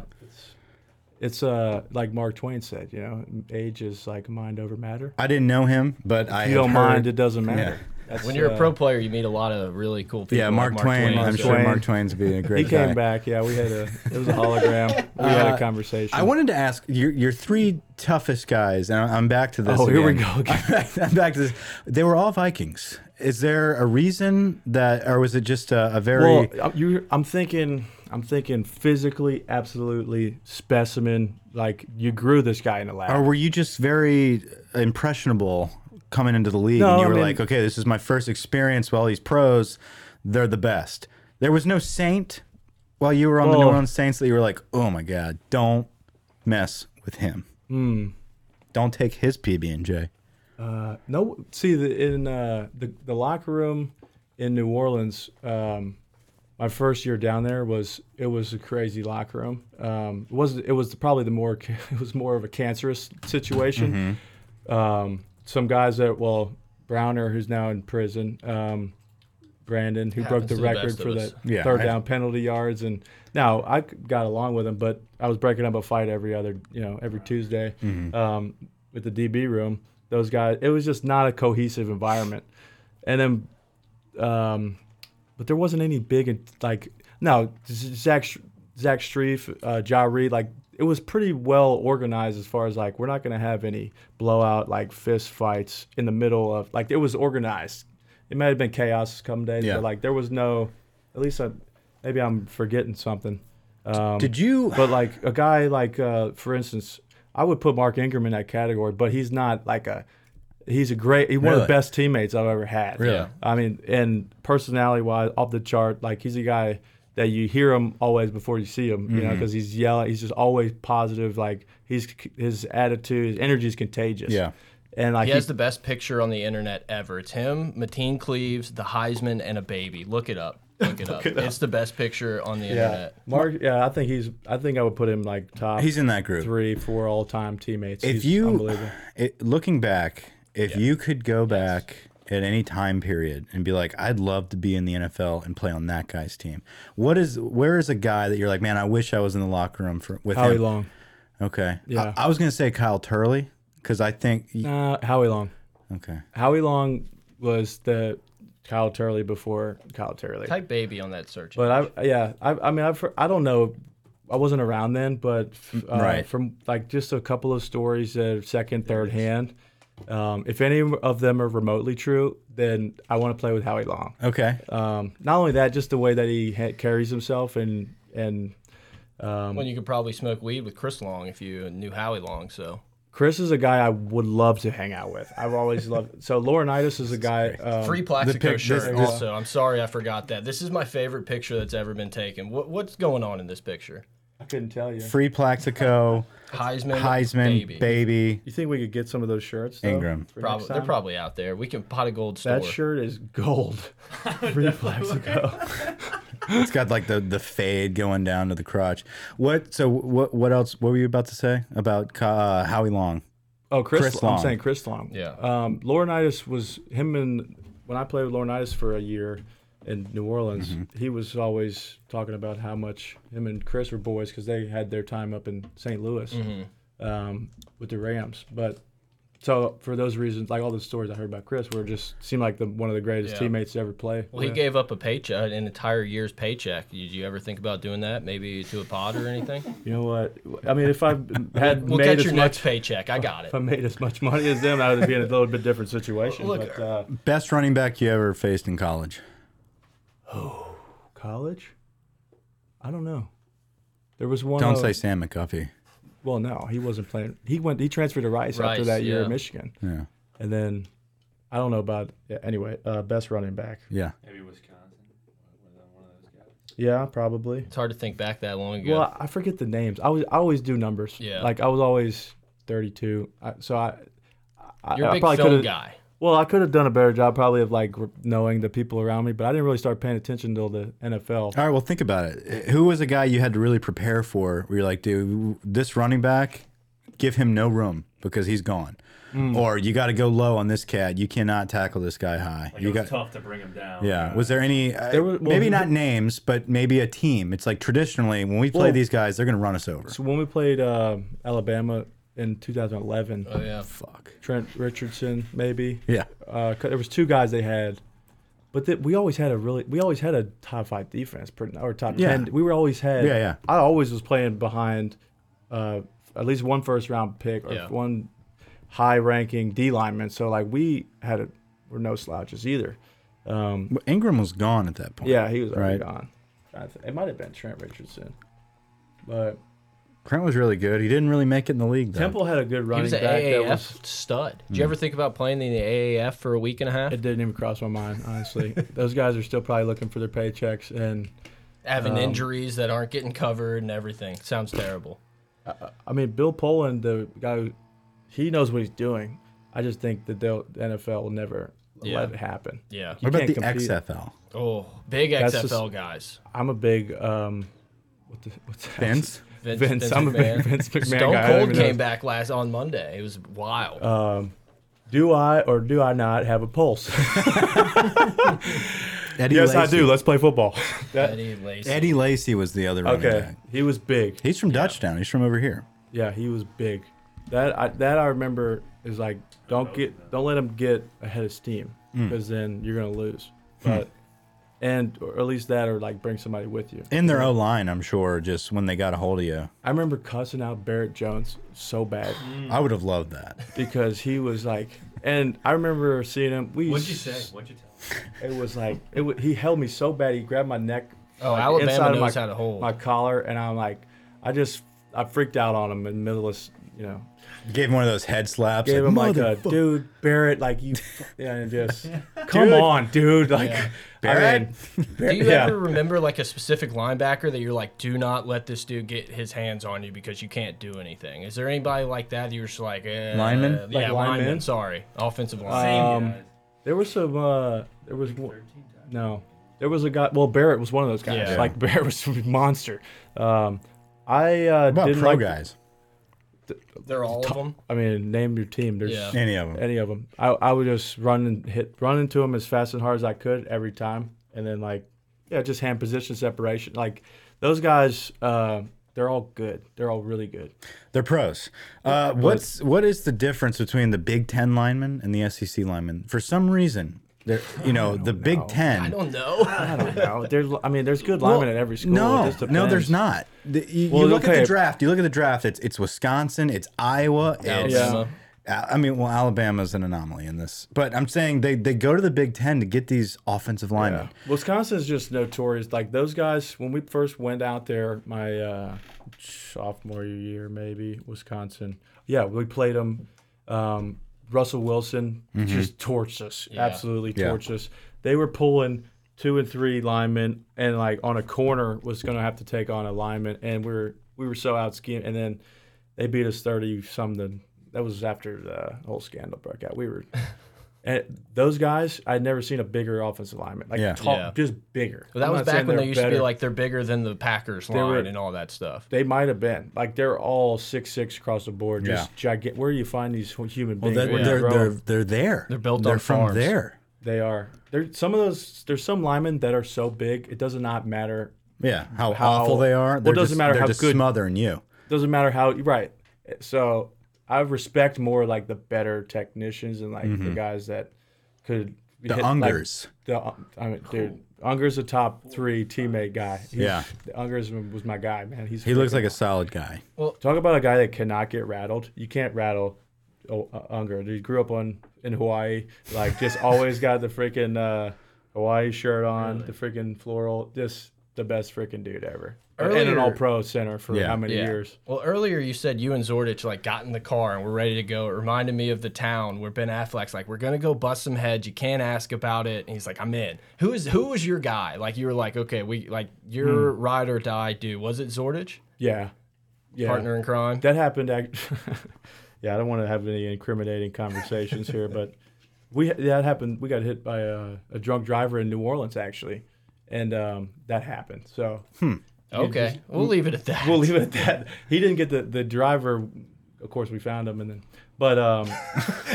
Speaker 4: It's uh like Mark Twain said, you know, age is like mind over matter.
Speaker 3: I didn't know him, but I
Speaker 4: you
Speaker 3: have
Speaker 4: don't
Speaker 3: heard-
Speaker 4: mind, it doesn't matter. That's,
Speaker 2: When you're a
Speaker 4: uh,
Speaker 2: pro player, you meet a lot of really cool people.
Speaker 3: Yeah,
Speaker 2: like
Speaker 3: Mark, Twain. I'm
Speaker 2: so-
Speaker 3: sure
Speaker 4: Twain.
Speaker 3: Mark Twain's being a
Speaker 4: he
Speaker 3: great guy.
Speaker 4: came back. Yeah, we had a it was a hologram. We had
Speaker 3: Uh,
Speaker 4: a conversation.
Speaker 3: I wanted to ask your your three toughest guys, and I'm- I'm back to this.
Speaker 4: Oh, here we
Speaker 3: again.
Speaker 4: go again.
Speaker 3: I'm back- I'm back to this. They were all Vikings. Is there a reason that, or was it just a, a very?
Speaker 4: well, I'm- you, I'm thinking, I'm thinking physically, absolutely specimen. Like you grew this guy in the lab.
Speaker 3: or were you just very impressionable coming into the league,
Speaker 4: No,
Speaker 3: and you
Speaker 4: I
Speaker 3: were
Speaker 4: mean-
Speaker 3: like, okay, this is my first experience with all these pros. They're the best. There was no saint. while you were on the New
Speaker 4: Well-
Speaker 3: Orleans Saints that you were like, oh my god, don't mess with him.
Speaker 4: Hmm.
Speaker 3: Don't take his PB and J.
Speaker 4: No, see the, in uh, the the locker room in New Orleans. Um, my first year down there was it was a crazy locker room. Um, it was it was probably the more it was more of a cancerous situation. Um, some guys that well Browner who's now in prison. Um, Brandon, who broke
Speaker 2: Happens
Speaker 4: the
Speaker 2: to the
Speaker 4: record
Speaker 2: best of
Speaker 4: for
Speaker 2: us.
Speaker 4: the
Speaker 3: Yeah,
Speaker 4: third
Speaker 3: I-
Speaker 4: down penalty yards, and now I c- got along with him, but I was breaking up a fight every other, you know, every Tuesday
Speaker 3: Mm-hmm.
Speaker 4: um, with the DB room. Those guys, it was just not a cohesive environment. And then, um, but there wasn't any big like no Z- Zach Sh- Zach Streif, uh, Ja Reed, like it was pretty well organized as far as like we're not gonna have any blowout like fist fights in the middle of like it was organized. It might have been chaos come days,
Speaker 3: Yeah.
Speaker 4: but like there was no, at least I, maybe I'm forgetting something. Um,
Speaker 3: Did you?
Speaker 4: But like a guy like uh, for instance, I would put Mark Ingram in that category, but he's not like a he's a great he's one of
Speaker 3: Really?
Speaker 4: the best teammates I've ever had.
Speaker 3: Really?
Speaker 4: I mean, and personality wise, off the chart, like he's a guy that you hear him always before you see him, you know,
Speaker 3: Mm-hmm.
Speaker 4: because he's yelling, he's just always positive. Like he's his attitude, his energy is contagious.
Speaker 3: Yeah.
Speaker 4: and like
Speaker 2: He
Speaker 4: he-
Speaker 2: has the best picture on the internet ever. It's him, Mateen Cleaves, the Heisman, and a baby. Look it up. Look it, up. It's the best picture on the
Speaker 4: yeah,
Speaker 2: internet.
Speaker 4: Mark, yeah, I think he's, I think I would put him like top.
Speaker 3: He's in that group.
Speaker 4: three, four all time teammates.
Speaker 3: if
Speaker 4: He's
Speaker 3: you
Speaker 4: unbelievable.
Speaker 3: it, looking back if you could go back at any time period and be like i'd love to be in the nfl and play on that guy's team what is where is a guy that you're like man i wish i was in the locker room for with
Speaker 4: Howie
Speaker 3: him
Speaker 4: Long.
Speaker 3: okay
Speaker 4: Yeah.
Speaker 3: I, I was gonna say kyle turley because i think
Speaker 4: Uh, Howie Long.
Speaker 3: okay
Speaker 4: Howie Long was the Kyle Turley before Kyle Turley.
Speaker 2: Type baby on that search.
Speaker 4: But I, yeah, I, I mean, I've heard, I don't know, I wasn't around then, but uh,
Speaker 3: Right.
Speaker 4: from like just a couple of stories that are second, third hand. Um, if any of them are remotely true, then I want to play with Howie Long.
Speaker 3: okay
Speaker 4: Um, not only that, just the way that he ha- carries himself and and
Speaker 3: um,
Speaker 2: Well, you could probably smoke weed with Chris Long if you knew Howie Long. So
Speaker 4: Chris is a guy I would love to hang out with. I've always loved. So Laurinaitis is a guy. Um,
Speaker 2: free Plaxico
Speaker 3: pic- this-
Speaker 2: shirt.
Speaker 3: this-
Speaker 2: also, I'm sorry I forgot that. This is my favorite picture that's ever been taken. What, what's going on in this picture?
Speaker 4: I couldn't tell you.
Speaker 3: free plaxico
Speaker 2: Heisman,
Speaker 3: heisman
Speaker 2: baby.
Speaker 3: baby,
Speaker 4: You think we could get some of those shirts? Though,
Speaker 3: Ingram.
Speaker 4: for
Speaker 2: Probably,
Speaker 4: next
Speaker 2: they're
Speaker 4: time?
Speaker 2: probably out there. We can pot a gold store.
Speaker 4: That shirt is gold. Reflex ago.
Speaker 3: it's got like the the fade going down to the crotch what so what what else what were you about to say about Ky- uh, howie long
Speaker 4: Oh, Chris,
Speaker 3: Chris
Speaker 4: I'm
Speaker 3: Long.
Speaker 4: saying Chris Long.
Speaker 2: Yeah.
Speaker 4: Um, Laurinaitis was him and when I played with Laurinaitis for a year in New Orleans, he was always talking about how much him and Chris were boys because they had their time up in St. Louis
Speaker 2: Mm-hmm.
Speaker 4: um, with the Rams. But so for those reasons, like all the stories I heard about Chris, were just seemed like the one of the greatest
Speaker 2: Yeah.
Speaker 4: teammates to ever play.
Speaker 2: Well, he gave up a paycheck, an entire year's paycheck. Did you ever think about doing that? Maybe to a pod or anything?
Speaker 4: you know what? I mean, if I had
Speaker 2: We'll
Speaker 4: made
Speaker 2: catch
Speaker 4: as
Speaker 2: your
Speaker 4: much
Speaker 2: next paycheck. I got it.
Speaker 4: if I made as much money as them, I would be in a little bit different situation.
Speaker 2: Look,
Speaker 4: but uh,
Speaker 3: best running back you ever faced in college
Speaker 4: college, I don't know. There was one.
Speaker 3: Don't
Speaker 4: of-
Speaker 3: say Sam McCuffey.
Speaker 4: Well, no, he wasn't playing. He went. He transferred to Rice, after
Speaker 2: Rice,
Speaker 4: that year
Speaker 2: yeah.
Speaker 4: in Michigan,
Speaker 3: Yeah.
Speaker 4: and then I don't know about. yeah, Anyway, uh, best running back.
Speaker 3: Yeah.
Speaker 5: Maybe Wisconsin. One of- one of those guys.
Speaker 4: Yeah, probably.
Speaker 2: It's hard to think back that long ago.
Speaker 4: Well, I forget the names. I was. I always do numbers.
Speaker 2: Yeah.
Speaker 4: Like I was always thirty-two. I, so I. I,
Speaker 2: You're a
Speaker 4: I
Speaker 2: big
Speaker 4: probably
Speaker 2: film
Speaker 4: could've-
Speaker 2: guy.
Speaker 4: Well, I could have done a better job probably of like r- knowing the people around me, but I didn't really start paying attention till the NFL.
Speaker 3: All right. Well, think about it. Eh, Who was a guy you had to really prepare for where you're like, dude, this running back, give him no room because he's gone.
Speaker 4: Hmm.
Speaker 3: Or you got to go low on this cat. You cannot tackle this guy high.
Speaker 5: Like,
Speaker 3: you
Speaker 5: it was
Speaker 3: got.
Speaker 5: tough to bring him down.
Speaker 3: Yeah. Was there any, uh,
Speaker 4: There were- well,
Speaker 3: maybe
Speaker 4: he-
Speaker 3: not names, but maybe a team? It's like traditionally when we play
Speaker 4: Well-
Speaker 3: these guys, they're going to run us over.
Speaker 4: So when we played uh, Alabama in 2011,
Speaker 2: Oh, yeah.
Speaker 3: Fuck.
Speaker 4: Trent Richardson maybe.
Speaker 3: Uh. Yeah.
Speaker 4: Uh, 'cause there was two guys they had, but that we always had a really we always had a top five defense pretty- or top
Speaker 3: Yeah.
Speaker 4: ten. We were always had.
Speaker 3: Yeah, yeah.
Speaker 4: I always was playing behind uh, at least one first round pick or
Speaker 2: Yeah.
Speaker 4: one high ranking D lineman. So like we had a, were no slouches either. Um,
Speaker 3: Well, Ingram was gone at that point.
Speaker 4: yeah, he was already
Speaker 3: Right.
Speaker 4: gone. I th- it might have been Trent Richardson, but
Speaker 3: Trent was really good. He didn't really make it in the league, though.
Speaker 4: Temple had a good
Speaker 2: He
Speaker 4: running
Speaker 2: was an
Speaker 4: back. that
Speaker 2: AAF
Speaker 4: was- Hmm.
Speaker 2: stud. Did you ever think about playing in the AAF for a week and a half?
Speaker 4: It didn't even cross my mind, honestly. Those guys are still probably looking for their paychecks, and
Speaker 2: having injuries that aren't getting covered and everything. Sounds terrible.
Speaker 4: I mean, Bill Poland, the guy, who, he knows what he's doing. I just think that they'll- the NFL will never
Speaker 2: Yeah.
Speaker 4: let it happen.
Speaker 2: Yeah.
Speaker 4: You
Speaker 3: What about
Speaker 4: can't
Speaker 3: the
Speaker 4: compete.
Speaker 3: XFL?
Speaker 2: Oh, big
Speaker 4: That's
Speaker 2: XFL
Speaker 4: just-
Speaker 2: guys.
Speaker 4: I'm a big um, what the, what's that?
Speaker 3: Vince?
Speaker 2: Vince,
Speaker 4: Vince, I'm a big Vince McMahon
Speaker 2: Stone
Speaker 4: guy. Uh, I don't
Speaker 2: Cold
Speaker 4: even know.
Speaker 2: came back last on Monday. It was wild.
Speaker 4: Do I or do I not have a pulse?
Speaker 3: Eddie
Speaker 4: yes, I
Speaker 3: Lacy.
Speaker 4: do. Let's play football. That-
Speaker 2: Eddie Lacy.
Speaker 3: Eddie Lacy was the other running
Speaker 4: okay,
Speaker 3: back.
Speaker 4: he was big.
Speaker 3: He's from Dutchtown. He's from over here.
Speaker 4: Yeah, he was big. That I, that I remember is like don't get don't let him get ahead of steam
Speaker 2: Mm.
Speaker 4: because then you're gonna lose.
Speaker 2: Hmm.
Speaker 4: But and or at least that or like bring somebody with you.
Speaker 3: In their O line, I'm sure, just when they got a hold of you.
Speaker 4: I remember cussing out Barrett Jones so bad
Speaker 3: I would have loved that.
Speaker 4: because he was like, and I remember seeing him. We
Speaker 5: What'd you say? What'd you tell?
Speaker 4: It was like it. wa he held me so bad. He grabbed my neck.
Speaker 2: Oh,
Speaker 4: like,
Speaker 2: Alabama
Speaker 4: inside of
Speaker 2: knows
Speaker 4: my,
Speaker 2: how to hold.
Speaker 4: my collar, and I'm like, I just I freaked out on him in the middle of s- you know
Speaker 3: Gave him one of those head slaps.
Speaker 4: gave him like a
Speaker 3: "Motherfucker."
Speaker 4: dude Barrett like you fu- yeah and just come on dude like
Speaker 2: Yeah.
Speaker 4: Barrett
Speaker 2: Do you
Speaker 4: yeah.
Speaker 2: ever remember like a specific linebacker that you're like, do not let this dude get his hands on you because you can't do anything? Is there anybody like that you're just like, eh,
Speaker 3: Lineman?
Speaker 2: Yeah,
Speaker 4: Like
Speaker 2: lineman.
Speaker 4: linemen?
Speaker 2: Sorry, offensive line.
Speaker 4: Um, there was some uh there was one- no there was a guy well Barrett was one of those guys
Speaker 2: Yeah.
Speaker 4: like Barrett was a monster um I uh
Speaker 3: What about
Speaker 4: didn't
Speaker 3: pro
Speaker 4: like
Speaker 3: guys?
Speaker 2: They're all of them.
Speaker 4: I mean name your team there's
Speaker 2: Yeah.
Speaker 3: Any of them.
Speaker 4: any of them I, I would just run and hit run into them as fast and hard as I could every time and then like yeah just hand position separation like those guys uh they're all good they're all really good
Speaker 3: They're pros. Uh, what's what is the difference between the Big Ten lineman and the SEC lineman? For some reason, they're you know the Big Ten.
Speaker 2: I don't know.
Speaker 4: I don't know. There's, I mean, there's good
Speaker 3: Well,
Speaker 4: linemen at every school. It
Speaker 3: No,
Speaker 4: just
Speaker 3: no,
Speaker 4: depends.
Speaker 3: there's not. The- you
Speaker 4: Well,
Speaker 3: you look at
Speaker 4: okay.
Speaker 3: the draft. You look at the draft. It's it's Wisconsin. It's Iowa. It's,
Speaker 2: Alabama.
Speaker 3: I mean, well, Alabama's an anomaly in this, but I'm saying they they go to the Big Ten to get these offensive linemen.
Speaker 4: Yeah. Wisconsin's just notorious. Like those guys, when we first went out there, my uh, sophomore year, maybe Wisconsin. Yeah, we played them. Um, Russell Wilson just torched us. Absolutely
Speaker 3: Mm-hmm. Yeah.
Speaker 4: torched us. They were pulling two and three linemen, and like on a corner was going to have to take on a lineman, and we were we were so out schemed, and then they beat us thirty something. That was after the whole scandal broke out. We were. And those guys, I'd never seen a bigger offensive lineman. Like
Speaker 3: Yeah.
Speaker 4: tall,
Speaker 2: Yeah.
Speaker 4: just bigger.
Speaker 2: But that
Speaker 4: I'm
Speaker 2: was
Speaker 4: not
Speaker 2: back
Speaker 4: saying
Speaker 2: when
Speaker 4: they're
Speaker 2: they used to be
Speaker 4: better.
Speaker 2: like they're bigger than the Packers line
Speaker 4: were-
Speaker 2: and all that stuff.
Speaker 4: they might have been like they're all six six across the board. Just gigantic. Where do you find these hu- human beings?
Speaker 3: They're,
Speaker 4: Where do you
Speaker 3: they're,
Speaker 4: grow
Speaker 3: they're
Speaker 4: them?
Speaker 3: they're there.
Speaker 2: They're built
Speaker 3: they're
Speaker 2: on
Speaker 3: from
Speaker 2: farms.
Speaker 3: there.
Speaker 4: They are. There. Some of those. There's some linemen that are so big it does not matter.
Speaker 3: Yeah, how,
Speaker 4: How-
Speaker 3: awful they
Speaker 4: Well,
Speaker 3: are.
Speaker 4: it
Speaker 3: They're
Speaker 4: doesn't
Speaker 3: just-
Speaker 4: matter
Speaker 3: they're
Speaker 4: how
Speaker 3: just
Speaker 4: good-
Speaker 3: smothering you.
Speaker 4: Doesn't matter how. Right. So I respect more like the better technicians and like the guys that could.
Speaker 3: Mm-hmm. The
Speaker 4: hit, like,
Speaker 3: Ungers.
Speaker 4: the I mean, dude, Unger's a top three teammate guy. He's-
Speaker 3: Yeah.
Speaker 4: Unger's was my guy, man. He's
Speaker 3: he looks like a solid guy.
Speaker 4: Talk about a guy that cannot get rattled. You can't rattle oh, uh, Unger. He grew up on in Hawaii, like just always got the freaking uh, Hawaii shirt on, the freaking floral. Just the best freaking dude ever. Uh, and an
Speaker 2: Earlier-
Speaker 4: All Pro center for
Speaker 3: Yeah.
Speaker 4: how many
Speaker 2: Yeah.
Speaker 4: years?
Speaker 2: Well, earlier you said you and Zordich like got in the car and we're ready to go. It reminded me of the town where Ben Affleck's like, "We're gonna go bust some heads. You can't ask about it." And he's like, "I'm in." Who is who was your guy? Like you were like, "Okay, we like
Speaker 4: Hmm.
Speaker 2: your ride or die dude." Was it Zordich,
Speaker 4: Yeah, yeah.
Speaker 2: partner in crime?
Speaker 4: That happened. Act- yeah, I don't want to have any incriminating conversations here, but we that happened. We got hit by a, a drunk driver in New Orleans actually, and um, that happened. So
Speaker 2: okay, we'll leave it at that.
Speaker 4: we'll leave it at that. He didn't get the the driver. Of course, we found him, and then but um,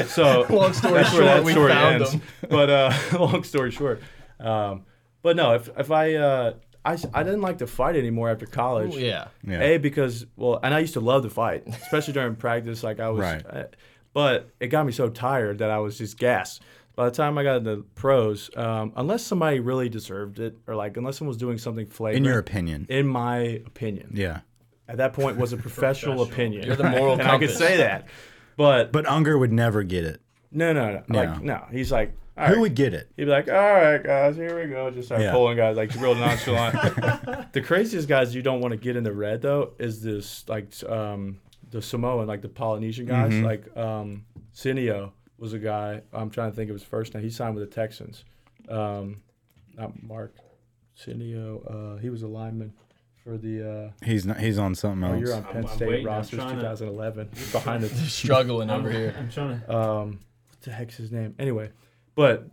Speaker 4: so
Speaker 2: Long story
Speaker 4: that's
Speaker 2: short,
Speaker 4: where that
Speaker 2: we
Speaker 4: story
Speaker 2: found
Speaker 4: ends.
Speaker 2: him.
Speaker 4: But uh, long story short, um, but no, if if I uh, I s- I didn't like to fight anymore after college.
Speaker 2: Ooh, yeah.
Speaker 3: Yeah.
Speaker 4: A because well, and I used to love to fight, especially during practice. Like I was,
Speaker 3: Right.
Speaker 4: uh, but it got me so tired that I was just gassed. By the time I got into pros, um, unless somebody really deserved it, or like unless someone was doing something flagrant,
Speaker 3: In your opinion.
Speaker 4: in my opinion,
Speaker 3: yeah.
Speaker 4: at that point was a professional opinion.
Speaker 2: You're the moral
Speaker 4: and I could
Speaker 2: compass.
Speaker 4: say that, but,
Speaker 3: But Unger would never get it.
Speaker 4: no, no, no, like no. He's like, all right.
Speaker 3: Who would get it?
Speaker 4: he'd be like, all right, guys, here we go. Just start
Speaker 3: Yeah.
Speaker 4: pulling guys like real nonchalant. the craziest guys you don't want to get in the red though is this like um the Samoan like the Polynesian guys like um Cineo was a guy. I'm trying to think of his first name. He signed with the Texans. Um, not Mark. Cineo, uh, he was a lineman for the. Uh,
Speaker 3: He's not, he's on something
Speaker 4: oh,
Speaker 3: else.
Speaker 4: you're on Penn
Speaker 5: I'm
Speaker 4: State
Speaker 5: waiting, I'm
Speaker 4: rosters
Speaker 5: trying to-
Speaker 4: 2011. behind it.
Speaker 2: Struggling
Speaker 5: I'm,
Speaker 2: over here.
Speaker 5: I'm trying to.
Speaker 4: Um, what the heck's his name? Anyway, but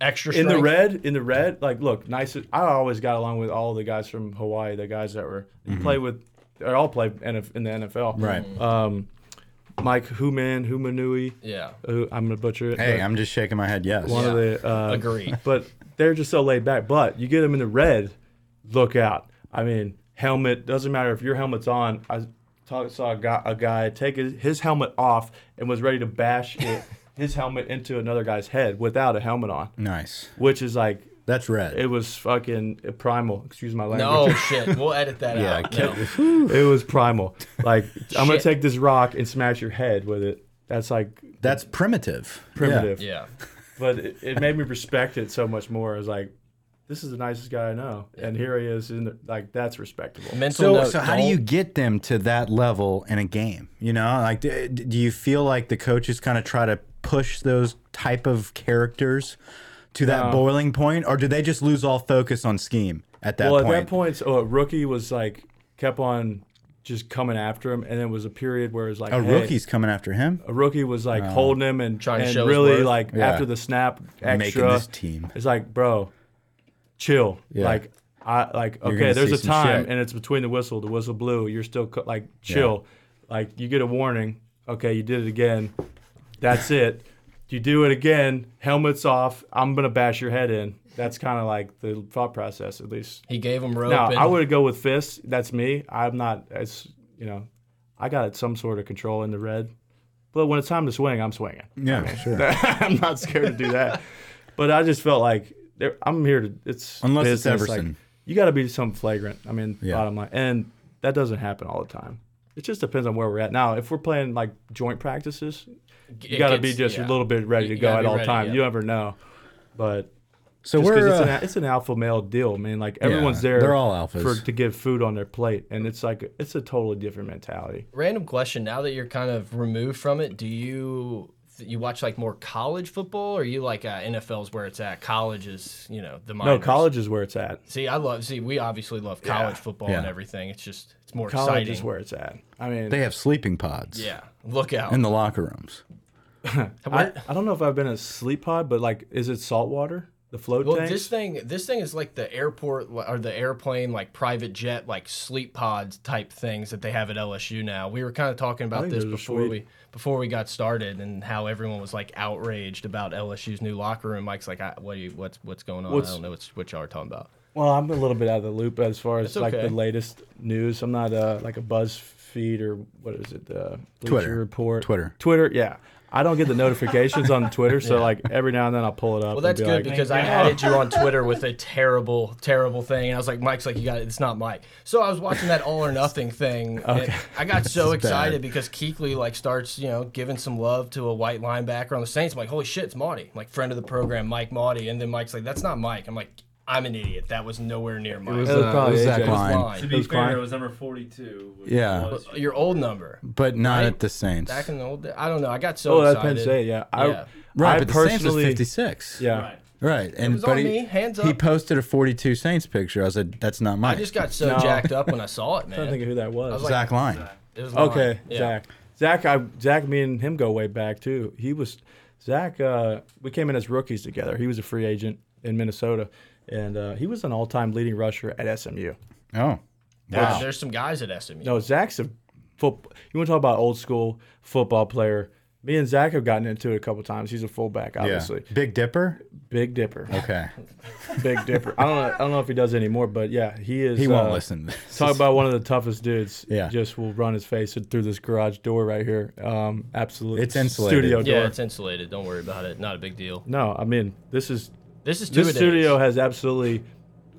Speaker 2: Extra
Speaker 4: in the
Speaker 2: strength.
Speaker 4: red, in the red, like look, nice. I always got along with all the guys from Hawaii, the guys that were you play with, they all play NF in the NFL.
Speaker 3: Mm-hmm. Right.
Speaker 4: Um, Mike Human, Humanui.
Speaker 2: Yeah.
Speaker 4: Who, I'm gonna butcher it.
Speaker 3: Hey,
Speaker 4: but
Speaker 3: I'm just shaking my head. Yes.
Speaker 4: one of the. Uh,
Speaker 2: Agree.
Speaker 4: But they're just so laid back. But you get them in the red, look out. I mean, helmet doesn't matter if your helmet's on. I talk, saw a guy, a guy take his, his helmet off and was ready to bash it, his helmet into another guy's head without a helmet on,
Speaker 3: Nice.
Speaker 4: which is like
Speaker 3: That's red.
Speaker 4: it was fucking primal. Excuse my
Speaker 2: No oh,
Speaker 4: language.
Speaker 2: shit. We'll edit that
Speaker 3: Yeah,
Speaker 2: out.
Speaker 3: kill-
Speaker 2: No.
Speaker 4: it was primal. Like I'm gonna
Speaker 2: Shit.
Speaker 4: take this rock and smash your head with it. That's like
Speaker 3: That's primitive. Yeah.
Speaker 4: primitive.
Speaker 2: Yeah.
Speaker 4: But it, it made me respect it so much more. It was like, this is the nicest guy I know, and here he is. In the, like that's respectable.
Speaker 2: Mental
Speaker 3: So,
Speaker 2: note.
Speaker 3: so how do you
Speaker 2: don't-
Speaker 3: get them to that level in a game? You know, like do, do you feel like the coaches kind of try to push those type of characters to that boiling point, or do they just lose all focus on scheme at that
Speaker 4: well,
Speaker 3: point?
Speaker 4: at that point, so a rookie was like kept on just coming after him, and it was a period where it was like
Speaker 3: a
Speaker 4: hey,
Speaker 3: Oh, rookie's coming after him.
Speaker 4: A rookie was like holding him and
Speaker 2: Trying to
Speaker 4: and
Speaker 2: show his
Speaker 4: really
Speaker 2: worth.
Speaker 4: like
Speaker 3: Yeah.
Speaker 4: after the snap
Speaker 3: making
Speaker 4: extra.
Speaker 3: this team.
Speaker 4: It's like, bro, chill.
Speaker 3: Yeah.
Speaker 4: Like I like okay.
Speaker 3: gonna
Speaker 4: There's
Speaker 3: see
Speaker 4: a
Speaker 3: some
Speaker 4: time,
Speaker 3: shit.
Speaker 4: and it's between the whistle. The whistle blew. You're still co- like chill. Like you get a warning. Okay, you did it again. That's it. You do it again. Helmets off. I'm gonna bash your head in. That's kind of like the thought process, at least.
Speaker 2: He gave him rope.
Speaker 4: Now
Speaker 2: and
Speaker 4: I would go with fists. That's me. I'm not as you know. I got some sort of control in the red, but when it's time to swing, I'm swinging.
Speaker 3: Yeah, sure.
Speaker 4: I'm not scared to do that. But I just felt like there, I'm here to. It's
Speaker 3: Unless it's
Speaker 4: business, like,
Speaker 3: Everson.
Speaker 4: you got to be something flagrant. I mean,
Speaker 3: Yeah.
Speaker 4: bottom line, and that doesn't happen all the time. It just depends on where we're at now. If we're playing like joint practices, you
Speaker 2: It
Speaker 4: got to
Speaker 2: gets-
Speaker 4: be just a
Speaker 2: yeah.
Speaker 4: little bit ready
Speaker 2: You-
Speaker 4: to
Speaker 2: you
Speaker 4: go
Speaker 2: gotta
Speaker 4: at
Speaker 2: be
Speaker 4: all
Speaker 2: ready,
Speaker 4: time.
Speaker 2: yeah.
Speaker 4: You never know. But
Speaker 3: so
Speaker 4: just 'cause
Speaker 3: we're
Speaker 4: it's,
Speaker 3: uh,
Speaker 4: an, it's an alpha male deal, man. Like everyone's there.
Speaker 3: they're all alphas.
Speaker 4: for, to give food on their plate, and it's like it's a totally different mentality.
Speaker 2: Random question. Now that you're kind of removed from it, do you you watch like more college football, or you like uh, NFL's where it's at? College is you know the
Speaker 4: No,
Speaker 2: minors.
Speaker 4: Oh, college is where it's at.
Speaker 2: See, I love. See, we obviously love college football and
Speaker 3: Yeah.
Speaker 2: everything. It's just it's more
Speaker 4: College
Speaker 2: exciting.
Speaker 4: is where it's at. I mean,
Speaker 3: they have sleeping pods.
Speaker 2: yeah, look out.
Speaker 3: in the locker rooms.
Speaker 4: I,
Speaker 2: Where-
Speaker 4: I don't know if I've been in a sleep pod, but like, is it salt water? The float
Speaker 2: well,
Speaker 4: tanks?
Speaker 2: this thing, this thing is like the airport or the airplane, like private jet, like sleep pods type things that they have at LSU now. We were kind of talking about
Speaker 4: think
Speaker 2: this
Speaker 4: those are
Speaker 2: before
Speaker 4: sweet.
Speaker 2: we before we got started, and how everyone was like outraged about LSU's new locker room. Mike's like, I, "What? Are you, what's what's going on? I
Speaker 4: What's-
Speaker 2: don't know what's, what y'all are talking about."
Speaker 4: well, I'm a little bit out of the loop as far as
Speaker 2: It's
Speaker 4: like
Speaker 2: okay.
Speaker 4: the latest news. I'm not uh, like a BuzzFeed or what is it? Uh, Bleacher
Speaker 3: Twitter.
Speaker 4: Report.
Speaker 3: Twitter.
Speaker 4: Twitter. Yeah. I don't get the notifications on Twitter, so like every now and then I'll pull it up.
Speaker 2: Well, that's
Speaker 4: and be
Speaker 2: good
Speaker 4: like,
Speaker 2: because I added you on Twitter with a terrible, terrible thing, and I was like, "Mike's like, you got it. It's not Mike." So I was watching that All or Nothing thing. and I got so excited because Keekly like starts, you know, giving some love to a white linebacker on the Saints. I'm like, "Holy shit, it's Marty!" I'm like friend of the program, Mike Marty, and then Mike's like, "That's not Mike." I'm like, "I'm an idiot. That was nowhere near Mike.
Speaker 4: It was
Speaker 3: Uh,
Speaker 4: probably
Speaker 3: Zach
Speaker 4: AJ.
Speaker 2: It was
Speaker 3: Klein,
Speaker 5: To
Speaker 2: mine.
Speaker 5: be
Speaker 4: Those
Speaker 5: fair,
Speaker 4: clients- Uh,
Speaker 5: it was number 42. which
Speaker 3: Yeah.
Speaker 5: was-
Speaker 2: Your old number
Speaker 3: but not
Speaker 2: Right?
Speaker 3: at the Saints.
Speaker 2: back in the old. Day. I don't know. I got so
Speaker 4: Oh, that's
Speaker 2: excited.
Speaker 4: Penn State. Yeah. I,
Speaker 2: Yeah.
Speaker 3: right,
Speaker 4: I
Speaker 3: but the Saints was
Speaker 4: personally.
Speaker 3: 56.
Speaker 4: yeah.
Speaker 5: Right.
Speaker 3: Right, and
Speaker 2: was
Speaker 3: but
Speaker 2: on
Speaker 3: he,
Speaker 2: me, hands
Speaker 3: he
Speaker 2: up.
Speaker 3: posted a 42 Saints picture. I said, "That's not
Speaker 2: I
Speaker 3: mine."
Speaker 2: just got so jacked up when I saw it, man.
Speaker 4: I don't think of who that was.
Speaker 2: was like,
Speaker 3: Zach Line.
Speaker 2: It
Speaker 3: Oh,
Speaker 2: was
Speaker 4: Okay,
Speaker 2: mine. Yeah.
Speaker 4: Zach. Zach, I Zach, me and him go way back too. He was Zach. Uh, we came in as rookies together. He was a free agent in Minnesota, and uh, he was an all-time leading rusher at SMU.
Speaker 3: Oh,
Speaker 2: There's, there's some guys at SMU.
Speaker 4: No, Zach's a football. You want to talk about old school football player? Me and Zach have gotten into it a couple times. He's a fullback, obviously.
Speaker 3: Big Dipper.
Speaker 4: Big Dipper,
Speaker 3: Okay,
Speaker 4: Big Dipper. I don't, know, I don't know if he does anymore, but yeah, he is.
Speaker 3: he won't
Speaker 4: uh,
Speaker 3: listen. To this.
Speaker 4: Talk about one of the toughest dudes.
Speaker 3: Yeah.
Speaker 4: just will run his face through this garage door right here. Um, absolutely,
Speaker 3: It's insulated.
Speaker 4: Studio door.
Speaker 2: Yeah, it's insulated. Don't worry about it. Not a big deal.
Speaker 4: No, I mean this is
Speaker 2: This is two
Speaker 4: this studio has absolutely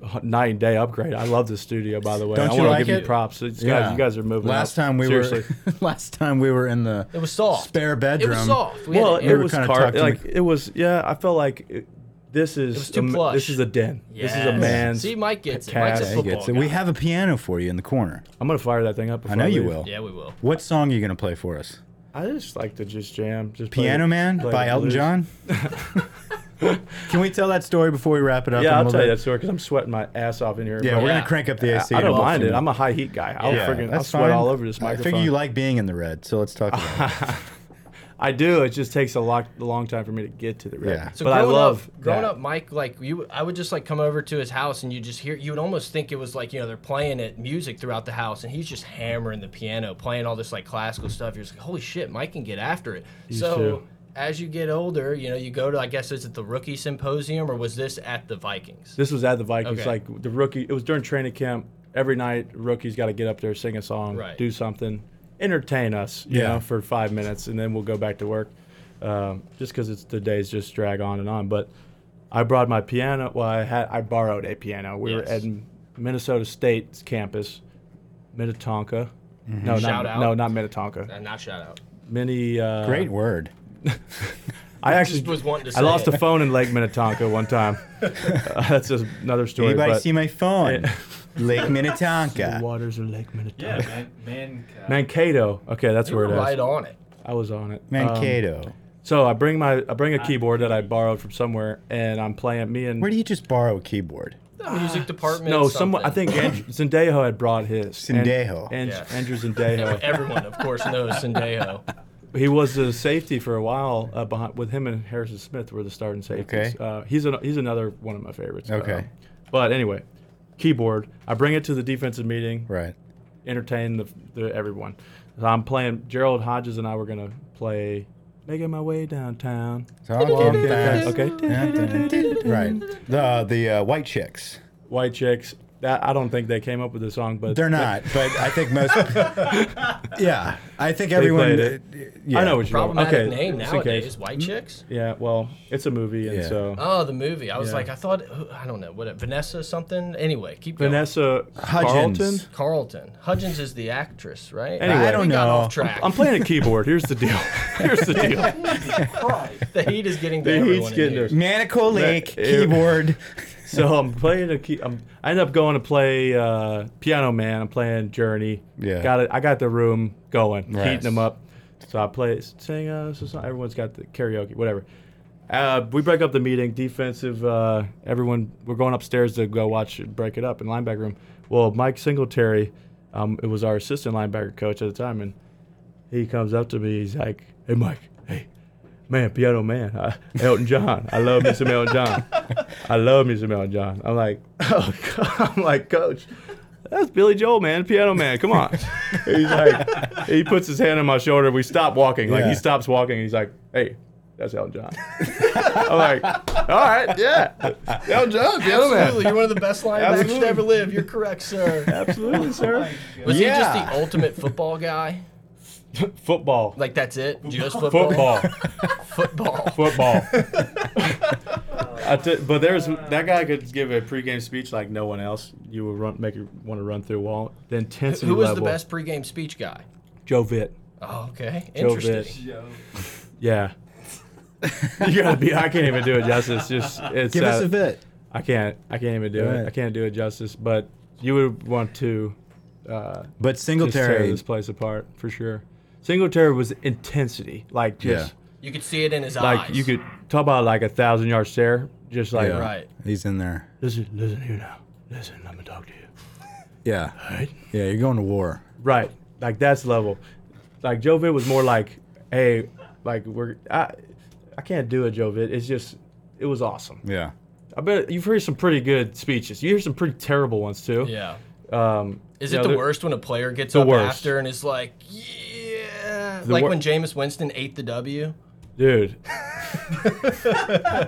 Speaker 4: h- night and day upgrade. I love this studio, by the way.
Speaker 3: Don't
Speaker 4: I
Speaker 3: you
Speaker 4: wanna
Speaker 3: like
Speaker 4: give
Speaker 3: it?
Speaker 4: you props. These
Speaker 3: Yeah.
Speaker 4: guys, you guys are moving.
Speaker 3: Last
Speaker 4: up.
Speaker 3: time we
Speaker 4: Seriously.
Speaker 3: were, last time we were in the
Speaker 2: It was soft.
Speaker 3: spare
Speaker 2: It
Speaker 3: bedroom.
Speaker 2: was soft. We
Speaker 4: well,
Speaker 2: had,
Speaker 4: it
Speaker 2: it,
Speaker 3: were
Speaker 4: was
Speaker 3: kinda
Speaker 4: car-
Speaker 3: tucked in
Speaker 4: like
Speaker 3: the-
Speaker 4: it was. Yeah, I felt like it, this is
Speaker 2: was too
Speaker 4: a m-
Speaker 2: plush.
Speaker 4: This is a den. This is
Speaker 2: Yes.
Speaker 4: a man's.
Speaker 2: see, Mike gets it.
Speaker 4: Cavs.
Speaker 2: Mike's a
Speaker 4: He
Speaker 3: He
Speaker 2: football
Speaker 3: gets it.
Speaker 2: guy.
Speaker 3: We have a piano for you in the corner.
Speaker 4: I'm gonna fire that thing up.
Speaker 3: I
Speaker 4: before
Speaker 3: know you
Speaker 4: leave.
Speaker 3: will.
Speaker 2: yeah, we will.
Speaker 3: What song are you gonna play for us?
Speaker 4: I just like to just jam. Just play-
Speaker 3: Piano Man
Speaker 4: play
Speaker 3: by
Speaker 4: the
Speaker 3: Elton
Speaker 4: blues.
Speaker 3: John. Can we tell that story before we wrap it up?
Speaker 4: Yeah,
Speaker 3: a
Speaker 4: I'll
Speaker 3: little
Speaker 4: tell you
Speaker 3: bit?
Speaker 4: that story because I'm sweating my ass off in here.
Speaker 3: Yeah,
Speaker 4: but
Speaker 3: we're
Speaker 2: Yeah.
Speaker 3: gonna crank up the AC.
Speaker 4: I
Speaker 3: in
Speaker 4: don't
Speaker 3: a little
Speaker 4: mind
Speaker 3: bit.
Speaker 4: it. I'm a high heat guy. I'll
Speaker 2: Yeah,
Speaker 4: friggin' I'll
Speaker 3: that's
Speaker 4: sweat
Speaker 3: fine.
Speaker 4: all over this
Speaker 3: I
Speaker 4: microphone.
Speaker 3: figure you like being in the red, so let's talk about it.
Speaker 4: I do. It just takes a lot, a long time for me to get to the red.
Speaker 3: Yeah.
Speaker 2: So
Speaker 4: but I
Speaker 2: growing
Speaker 4: love
Speaker 2: up, growing
Speaker 4: that.
Speaker 2: up, Mike. Like you, I would just like come over to his house, and you just hear. You would almost think it was like you know they're playing it music throughout the house, and he's just hammering the piano, playing all this like classical stuff. You're just like, holy shit, Mike can get after it. so
Speaker 4: too.
Speaker 2: as you get older, you know you go to I guess is it the rookie symposium or was this at the Vikings?
Speaker 4: This was at the Vikings.
Speaker 2: Okay.
Speaker 4: Like the rookie, it was during training camp. Every night, rookies got to get up there, sing a song,
Speaker 2: Right.
Speaker 4: do something, entertain us, you
Speaker 3: Yeah.
Speaker 4: know, for five minutes, and then we'll go back to work. Um, just because it's the days just drag on and on. But I brought my piano. Well, I had I borrowed a piano. We were
Speaker 2: Yes.
Speaker 4: at Minnesota State's campus, Minnetonka.
Speaker 3: Mm-hmm.
Speaker 4: No,
Speaker 2: Shout
Speaker 4: not,
Speaker 2: out.
Speaker 4: no, not Minnetonka.
Speaker 2: Uh, not shout out.
Speaker 4: Many uh,
Speaker 3: Great word.
Speaker 4: I actually
Speaker 2: Just was wanting to. Say
Speaker 4: I lost
Speaker 2: it.
Speaker 4: a phone in Lake Minnetonka one time. Uh, that's just another story.
Speaker 3: Anybody
Speaker 4: but-
Speaker 3: see my phone? Lake Minnetonka.
Speaker 4: waters of Lake
Speaker 5: Yeah,
Speaker 4: Minnetonka.
Speaker 5: man, man cow.
Speaker 4: Mankato. Okay, that's
Speaker 2: You
Speaker 4: where
Speaker 2: were
Speaker 4: it is.
Speaker 2: right on it.
Speaker 4: I was on it. Um,
Speaker 3: Mankato.
Speaker 4: so I bring my I bring a keyboard that I borrowed from somewhere, and I'm playing me and
Speaker 3: Where do you just borrow a keyboard?
Speaker 4: Ah,
Speaker 2: Music department.
Speaker 4: no someone I
Speaker 2: something.
Speaker 4: think Andrew, Zendejo had brought his And-
Speaker 3: Zendejo.
Speaker 4: and,
Speaker 2: Yeah.
Speaker 4: Andrew Zendejo.
Speaker 2: Everyone, of course, knows Sendejo.
Speaker 4: he was the safety for a while uh, behind with him and Harrison Smith were the starting safeties.
Speaker 3: Okay.
Speaker 4: Uh, he's an, he's another one of my favorites.
Speaker 3: Okay.
Speaker 4: Um, but anyway, keyboard. I bring it to the defensive meeting.
Speaker 3: Right.
Speaker 4: entertain the, the everyone. So I'm playing. Gerald Hodges and I were gonna play "Making My Way Downtown."
Speaker 3: Talking fast.
Speaker 4: Okay.
Speaker 3: Right. The the uh, white chicks.
Speaker 4: White chicks. That I don't think they came up with the song, but
Speaker 3: They're not, but I think most. yeah, I think
Speaker 4: They
Speaker 3: everyone. uh,
Speaker 4: played it.
Speaker 3: yeah.
Speaker 4: I know what you're talking about.
Speaker 2: Problematic
Speaker 4: Okay. Mm-hmm.
Speaker 2: name
Speaker 4: just in case.
Speaker 2: nowadays. White chicks.
Speaker 4: Yeah. Well, it's a movie, and
Speaker 3: Yeah.
Speaker 4: so
Speaker 2: Oh, the movie. I was
Speaker 4: Yeah.
Speaker 2: like, I thought, I don't know, what Vanessa something. Anyway, keep going.
Speaker 4: Vanessa
Speaker 3: Hudgens.
Speaker 4: Carlton.
Speaker 2: Carlton Hudgens is the actress, right?
Speaker 4: Anyway. I don't
Speaker 2: We got
Speaker 3: know.
Speaker 2: Off track.
Speaker 4: I'm playing a keyboard. Here's the deal. Here's the deal.
Speaker 2: the heat is getting to
Speaker 4: The
Speaker 2: everyone
Speaker 4: heat's
Speaker 2: in
Speaker 4: getting
Speaker 2: here.
Speaker 4: to-
Speaker 3: Manico Lake
Speaker 4: Ew.
Speaker 3: keyboard.
Speaker 4: So I'm playing a key. I'm, I end up going to play uh, Piano Man. I'm playing Journey.
Speaker 3: Yeah.
Speaker 4: Got it. I got the room going,
Speaker 3: Right.
Speaker 4: heating them up. So I play, sing. Uh, so, so- everyone's got the karaoke, whatever. Uh, we break up the meeting. Defensive. Uh, everyone. We're going upstairs to go watch it break it up in linebacker room. Well, Mike Singletary, um, it was our assistant linebacker coach at the time, and he comes up to me. He's like, "Hey, Mike. Hey, man, piano man. Uh, Elton John. I love me some Elton John. I love me some Elton John." I'm like, "Oh, God." I'm like, Coach, that's Billy Joel, man, piano man. Come on." he's like, he puts his hand on my shoulder. We stop walking. Like
Speaker 3: Yeah.
Speaker 4: he stops walking. He's like, "Hey." That's Elton John. I'm like, all right, yeah. Elton John, piano man.
Speaker 2: Absolutely, you're one of the best linebackers to
Speaker 4: Absolutely.
Speaker 2: ever live. You're correct, sir.
Speaker 4: Absolutely, sir.
Speaker 2: Was he just
Speaker 3: Yeah.
Speaker 2: the ultimate football guy?
Speaker 4: Football.
Speaker 2: Like that's it? Just football.
Speaker 4: Football.
Speaker 2: Football.
Speaker 4: football. I t- but there's that guy could give a pregame speech like no one else. You would run, make you want to run through a wall. The intensity
Speaker 2: Who was the
Speaker 4: level.
Speaker 2: best pregame speech guy?
Speaker 4: Joe Vitt.
Speaker 2: Oh, okay,
Speaker 4: Joe
Speaker 2: interesting.
Speaker 4: Vitt.
Speaker 5: Yo,
Speaker 4: Yeah. you gotta be. I can't even do it justice. Just it's.
Speaker 3: Give us
Speaker 4: uh,
Speaker 3: a bit.
Speaker 4: I can't. I can't even do
Speaker 3: Go
Speaker 4: it.
Speaker 3: ahead.
Speaker 4: I can't do it justice. But you would want to uh,
Speaker 3: But
Speaker 4: just tear
Speaker 3: Singletary,
Speaker 4: this place apart for sure. Singletary was intensity, like just
Speaker 3: Yeah.
Speaker 2: You could see it in his eyes.
Speaker 4: like you could talk about like a thousand yard stare, just like
Speaker 3: yeah,
Speaker 2: Right.
Speaker 3: He's in there.
Speaker 4: listen, listen here now. Listen, I'm gonna talk to you.
Speaker 3: Yeah,
Speaker 4: Right?
Speaker 3: yeah. You're going to war.
Speaker 4: Right. Like that's level. Like Joe Vitt was more like, hey, like we're I I can't do it, Joe Vitt. It's just it was awesome.
Speaker 3: Yeah.
Speaker 4: I bet you've heard some pretty good speeches. You hear some pretty terrible ones too.
Speaker 2: Yeah.
Speaker 4: Um
Speaker 2: Is
Speaker 4: you
Speaker 2: it
Speaker 4: know,
Speaker 2: the
Speaker 4: there-
Speaker 2: worst when a player gets up
Speaker 4: worst.
Speaker 2: after and is like, yeah, like
Speaker 4: wor-
Speaker 2: when Jameis Winston ate the W?
Speaker 4: Dude.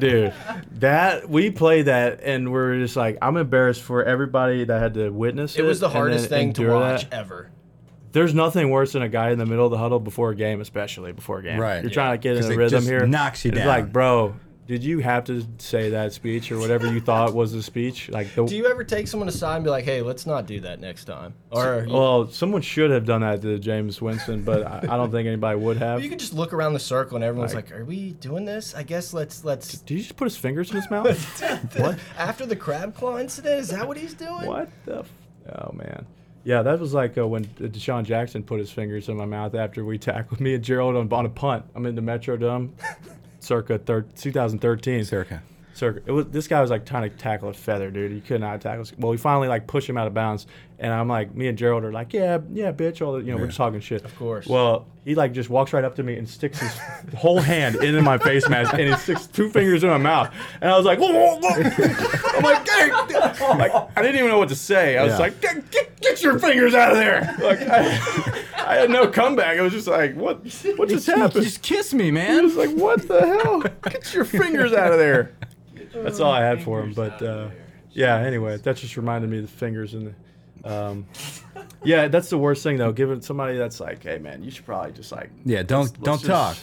Speaker 4: Dude. That we played that and we're just like I'm embarrassed for everybody that had to witness it.
Speaker 2: It was the
Speaker 4: and then
Speaker 2: hardest thing to
Speaker 4: endure
Speaker 2: watch
Speaker 4: that.
Speaker 2: ever.
Speaker 4: There's nothing worse than a guy in the middle of the huddle before a game, especially before a game.
Speaker 3: Right.
Speaker 4: You're trying to get in
Speaker 3: 'Cause
Speaker 4: the
Speaker 3: it
Speaker 4: rhythm
Speaker 3: just
Speaker 4: here.
Speaker 3: knocks you
Speaker 4: It's
Speaker 3: down.
Speaker 4: like, bro, did you have to say that speech or whatever you thought was the speech? Like the
Speaker 2: Do you ever take someone aside and be like, hey, let's not do that next time? Or you,
Speaker 4: well, someone should have done that to James Winston, but I, I don't think anybody would have.
Speaker 2: you could just look around the circle and everyone's like, are we doing this? I guess let's, let's.
Speaker 4: Did you just put his fingers in his mouth? what?
Speaker 2: After the crab claw incident, is that what he's doing?
Speaker 4: What the? F- oh man. Yeah, that was like uh, when Deshaun Jackson put his fingers in my mouth after we tackled me and Gerald on, on a punt. I'm in the Metrodome. circa thir- 2013.
Speaker 3: Circa.
Speaker 4: Circa. It was this guy was like trying to tackle a feather, dude. He could not tackle. Well, we finally like push him out of bounds, and I'm like, me and Gerald are like, yeah, yeah, bitch. All the, you know, we're just talking shit. Of
Speaker 2: course.
Speaker 4: Well, he like just walks right up to me and sticks his whole hand into my face mask, and he sticks two fingers in my mouth, and I was like, whoa, whoa, whoa. I'm like, hey, I'm like, I didn't even know what to say. I was
Speaker 3: Yeah.
Speaker 4: like, get, get, get your fingers out of there. Like, I, I had no comeback. It was just like, what, what just happened?
Speaker 3: Just kiss me,
Speaker 4: I
Speaker 3: man.
Speaker 4: was like, "What the hell? Get your fingers out of there!" That's all I had for him. But uh, yeah, anyway, that just reminded me of the fingers and the. Um, yeah, that's the worst thing though. Giving somebody that's like, "Hey man, you should probably just like
Speaker 3: Yeah, don't don't
Speaker 4: just-
Speaker 3: talk.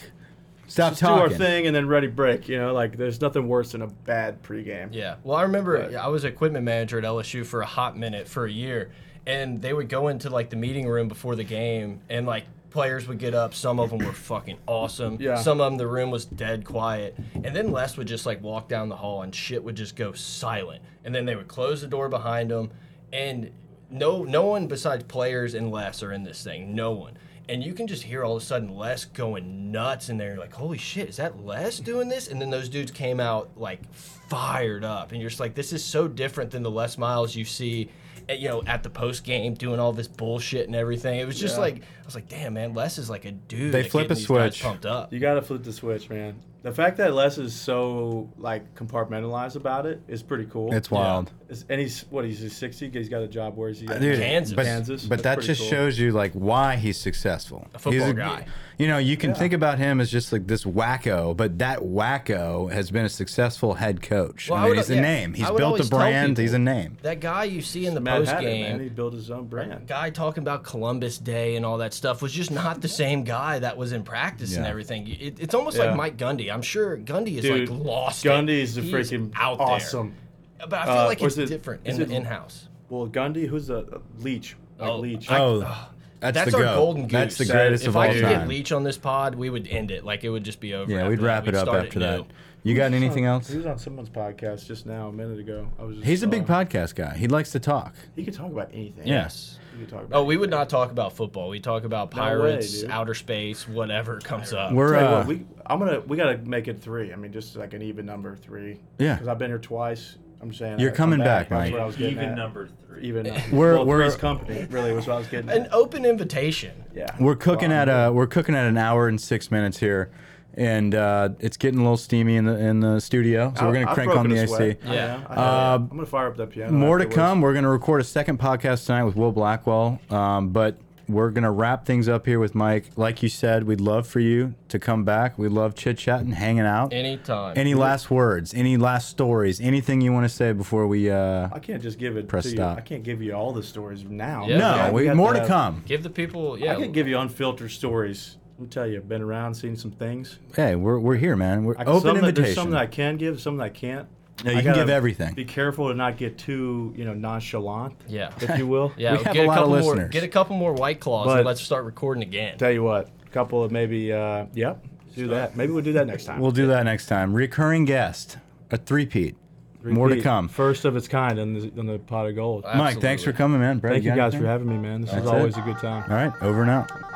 Speaker 3: Stop
Speaker 4: just do
Speaker 3: talking.
Speaker 4: our thing and then ready break." You know, like there's nothing worse than a bad pregame.
Speaker 2: Yeah. Well, I remember
Speaker 4: Right.
Speaker 2: I was equipment manager at LSU for a hot minute for a year, and they would go into like the meeting room before the game, and like players would get up. Some of them were fucking awesome.
Speaker 4: Yeah.
Speaker 2: Some of them the room was dead quiet, and then Les would just like walk down the hall and shit would just go silent, and then they would close the door behind them, and no no one besides players and Les are in this thing. No one. And you can just hear all of a sudden Les going nuts in there. You're like, holy shit, is that Les doing this? And then those dudes came out like fired up. And you're just like, this is so different than the Les Miles you see, at, you know, at the post game doing all this bullshit and everything. It was just like, I was like, damn, man, Les is like a dude.
Speaker 3: They
Speaker 2: at
Speaker 3: flip
Speaker 2: getting
Speaker 3: a
Speaker 2: these guys
Speaker 3: switch.
Speaker 2: Pumped up.
Speaker 4: You gotta flip the switch, man. The fact that Les is so like compartmentalized about it is pretty cool.
Speaker 3: It's wild.
Speaker 4: It's- and he's what he's he's 60. He's got a job. Where is he? At?
Speaker 3: Dude,
Speaker 2: Kansas.
Speaker 3: But,
Speaker 4: Kansas.
Speaker 3: but
Speaker 4: That's
Speaker 3: that
Speaker 4: pretty
Speaker 3: just
Speaker 4: cool.
Speaker 3: shows you like why he's successful. A
Speaker 2: football guy.
Speaker 3: You know, you can think about him as just like this wacko, but that wacko has been a successful head coach.
Speaker 2: Well, I
Speaker 3: I mean,
Speaker 2: would-
Speaker 3: he's a
Speaker 2: yeah,
Speaker 3: name. He's
Speaker 2: I would
Speaker 3: built a
Speaker 2: always tell
Speaker 3: brand.
Speaker 2: people-
Speaker 3: He's a name.
Speaker 2: That guy you see in the
Speaker 4: Mad
Speaker 2: post
Speaker 4: Hatter, man. He
Speaker 2: game,
Speaker 4: built his own brand.
Speaker 2: guy talking about Columbus Day and all that stuff was just not the same guy that was in practice and
Speaker 3: Yeah.
Speaker 2: everything. It, it's almost
Speaker 4: Yeah.
Speaker 2: like Mike Gundy. I'm sure Gundy is
Speaker 4: Dude,
Speaker 2: like lost. it.
Speaker 4: Gundy's a
Speaker 2: He is
Speaker 4: freaking
Speaker 2: out there.
Speaker 4: awesome.
Speaker 2: But I feel
Speaker 4: Uh,
Speaker 2: like
Speaker 4: or
Speaker 2: it's
Speaker 4: is it-
Speaker 2: different
Speaker 4: is
Speaker 2: in the
Speaker 4: it-
Speaker 2: in-house.
Speaker 4: Well, Gundy, who's a uh, leech? Like
Speaker 2: Oh,
Speaker 4: leech.
Speaker 2: I-
Speaker 3: Oh,
Speaker 2: ugh.
Speaker 3: that's,
Speaker 2: That's
Speaker 3: the
Speaker 2: our
Speaker 3: goat.
Speaker 2: golden goose.
Speaker 3: That's the greatest
Speaker 2: if
Speaker 3: of
Speaker 2: I
Speaker 3: all
Speaker 2: could get
Speaker 3: time.
Speaker 2: Leach on this pod, we would end it. Like it would just be over.
Speaker 3: yeah,
Speaker 2: after
Speaker 3: we'd
Speaker 2: that.
Speaker 3: wrap it
Speaker 2: We'd
Speaker 3: up
Speaker 2: start
Speaker 3: after
Speaker 2: it
Speaker 3: that.
Speaker 2: new.
Speaker 3: You got anything else?
Speaker 4: He was on someone's podcast just now, a minute ago. I was. Just,
Speaker 3: He's a big
Speaker 4: uh,
Speaker 3: podcast guy. He likes to talk.
Speaker 4: He could talk about anything.
Speaker 3: Yes.
Speaker 4: He could talk about.
Speaker 2: Oh, we would not talk about football. We talk about
Speaker 4: way,
Speaker 2: pirates,
Speaker 4: dude.
Speaker 2: outer space, whatever comes up.
Speaker 3: We're
Speaker 4: Tell you
Speaker 3: uh,
Speaker 4: what, we, I'm gonna. We gotta make it three. I mean, just like an even number three.
Speaker 3: Yeah.
Speaker 4: Because I've been here twice. I'm saying. I-
Speaker 3: You're
Speaker 4: I'm
Speaker 3: coming back,
Speaker 4: That's
Speaker 3: Mike.
Speaker 4: what I was getting
Speaker 5: Even
Speaker 4: at.
Speaker 5: number three.
Speaker 4: Even. number.
Speaker 3: We're-
Speaker 4: well,
Speaker 3: we're-
Speaker 4: three's company. Really, was what I was getting.
Speaker 2: An
Speaker 4: At.
Speaker 2: open invitation.
Speaker 4: Yeah.
Speaker 3: We're cooking at uh, a we're cooking at an hour and six minutes here, and uh, it's getting a little steamy in the in the studio. So we're gonna crank on the Uh, AC.
Speaker 2: Yeah.
Speaker 4: Yeah. I, am gonna fire up that piano.
Speaker 3: More to
Speaker 4: afterwards.
Speaker 3: come. We're gonna record a second podcast tonight with Will Blackwell, um, but we're gonna wrap things up here with Mike. Like you said, we'd love for you to come back. We love chit chatting, hanging out.
Speaker 2: Anytime.
Speaker 3: Any last words? Any last stories? Anything you want to say before we? Uh,
Speaker 4: I can't just give it
Speaker 3: Press
Speaker 4: to you.
Speaker 3: stop.
Speaker 4: I can't give you all the stories now.
Speaker 2: Yeah.
Speaker 3: no,
Speaker 2: Yeah,
Speaker 4: we
Speaker 3: we,
Speaker 4: got
Speaker 3: more to
Speaker 4: the-
Speaker 3: come.
Speaker 2: Give the people. Yeah.
Speaker 4: I can give you unfiltered stories. I'm tell you, been around, seen some things.
Speaker 3: Hey, we're, we're here, man. We're
Speaker 4: I,
Speaker 3: open
Speaker 4: some that-
Speaker 3: invitation.
Speaker 4: there's some that I can give, some that I can't.
Speaker 3: Yeah,
Speaker 4: I
Speaker 3: you can
Speaker 4: gotta
Speaker 3: give everything.
Speaker 4: Be careful to not get too, you know, nonchalant,
Speaker 2: Yeah.
Speaker 4: if you will.
Speaker 2: Yeah.
Speaker 3: We have
Speaker 2: get
Speaker 3: a lot of
Speaker 2: couple More,
Speaker 3: listeners.
Speaker 2: get a couple more white claws
Speaker 4: But-
Speaker 2: and let's start recording again.
Speaker 4: Tell you what, a couple of maybe, uh, yep, do that. Maybe we'll do that next time.
Speaker 3: We'll do that next time. Recurring guest, a three-peat. More to
Speaker 4: Repeat.
Speaker 3: come.
Speaker 4: First of its kind in the, in the pot of gold.
Speaker 3: Mike, thanks for
Speaker 2: Absolutely.
Speaker 3: coming, man. Brett,
Speaker 4: Thank you
Speaker 3: got
Speaker 4: guys
Speaker 3: anything?
Speaker 4: for having me, man. This is
Speaker 3: That's
Speaker 4: always
Speaker 3: it.
Speaker 4: a good time.
Speaker 3: All right, over and out.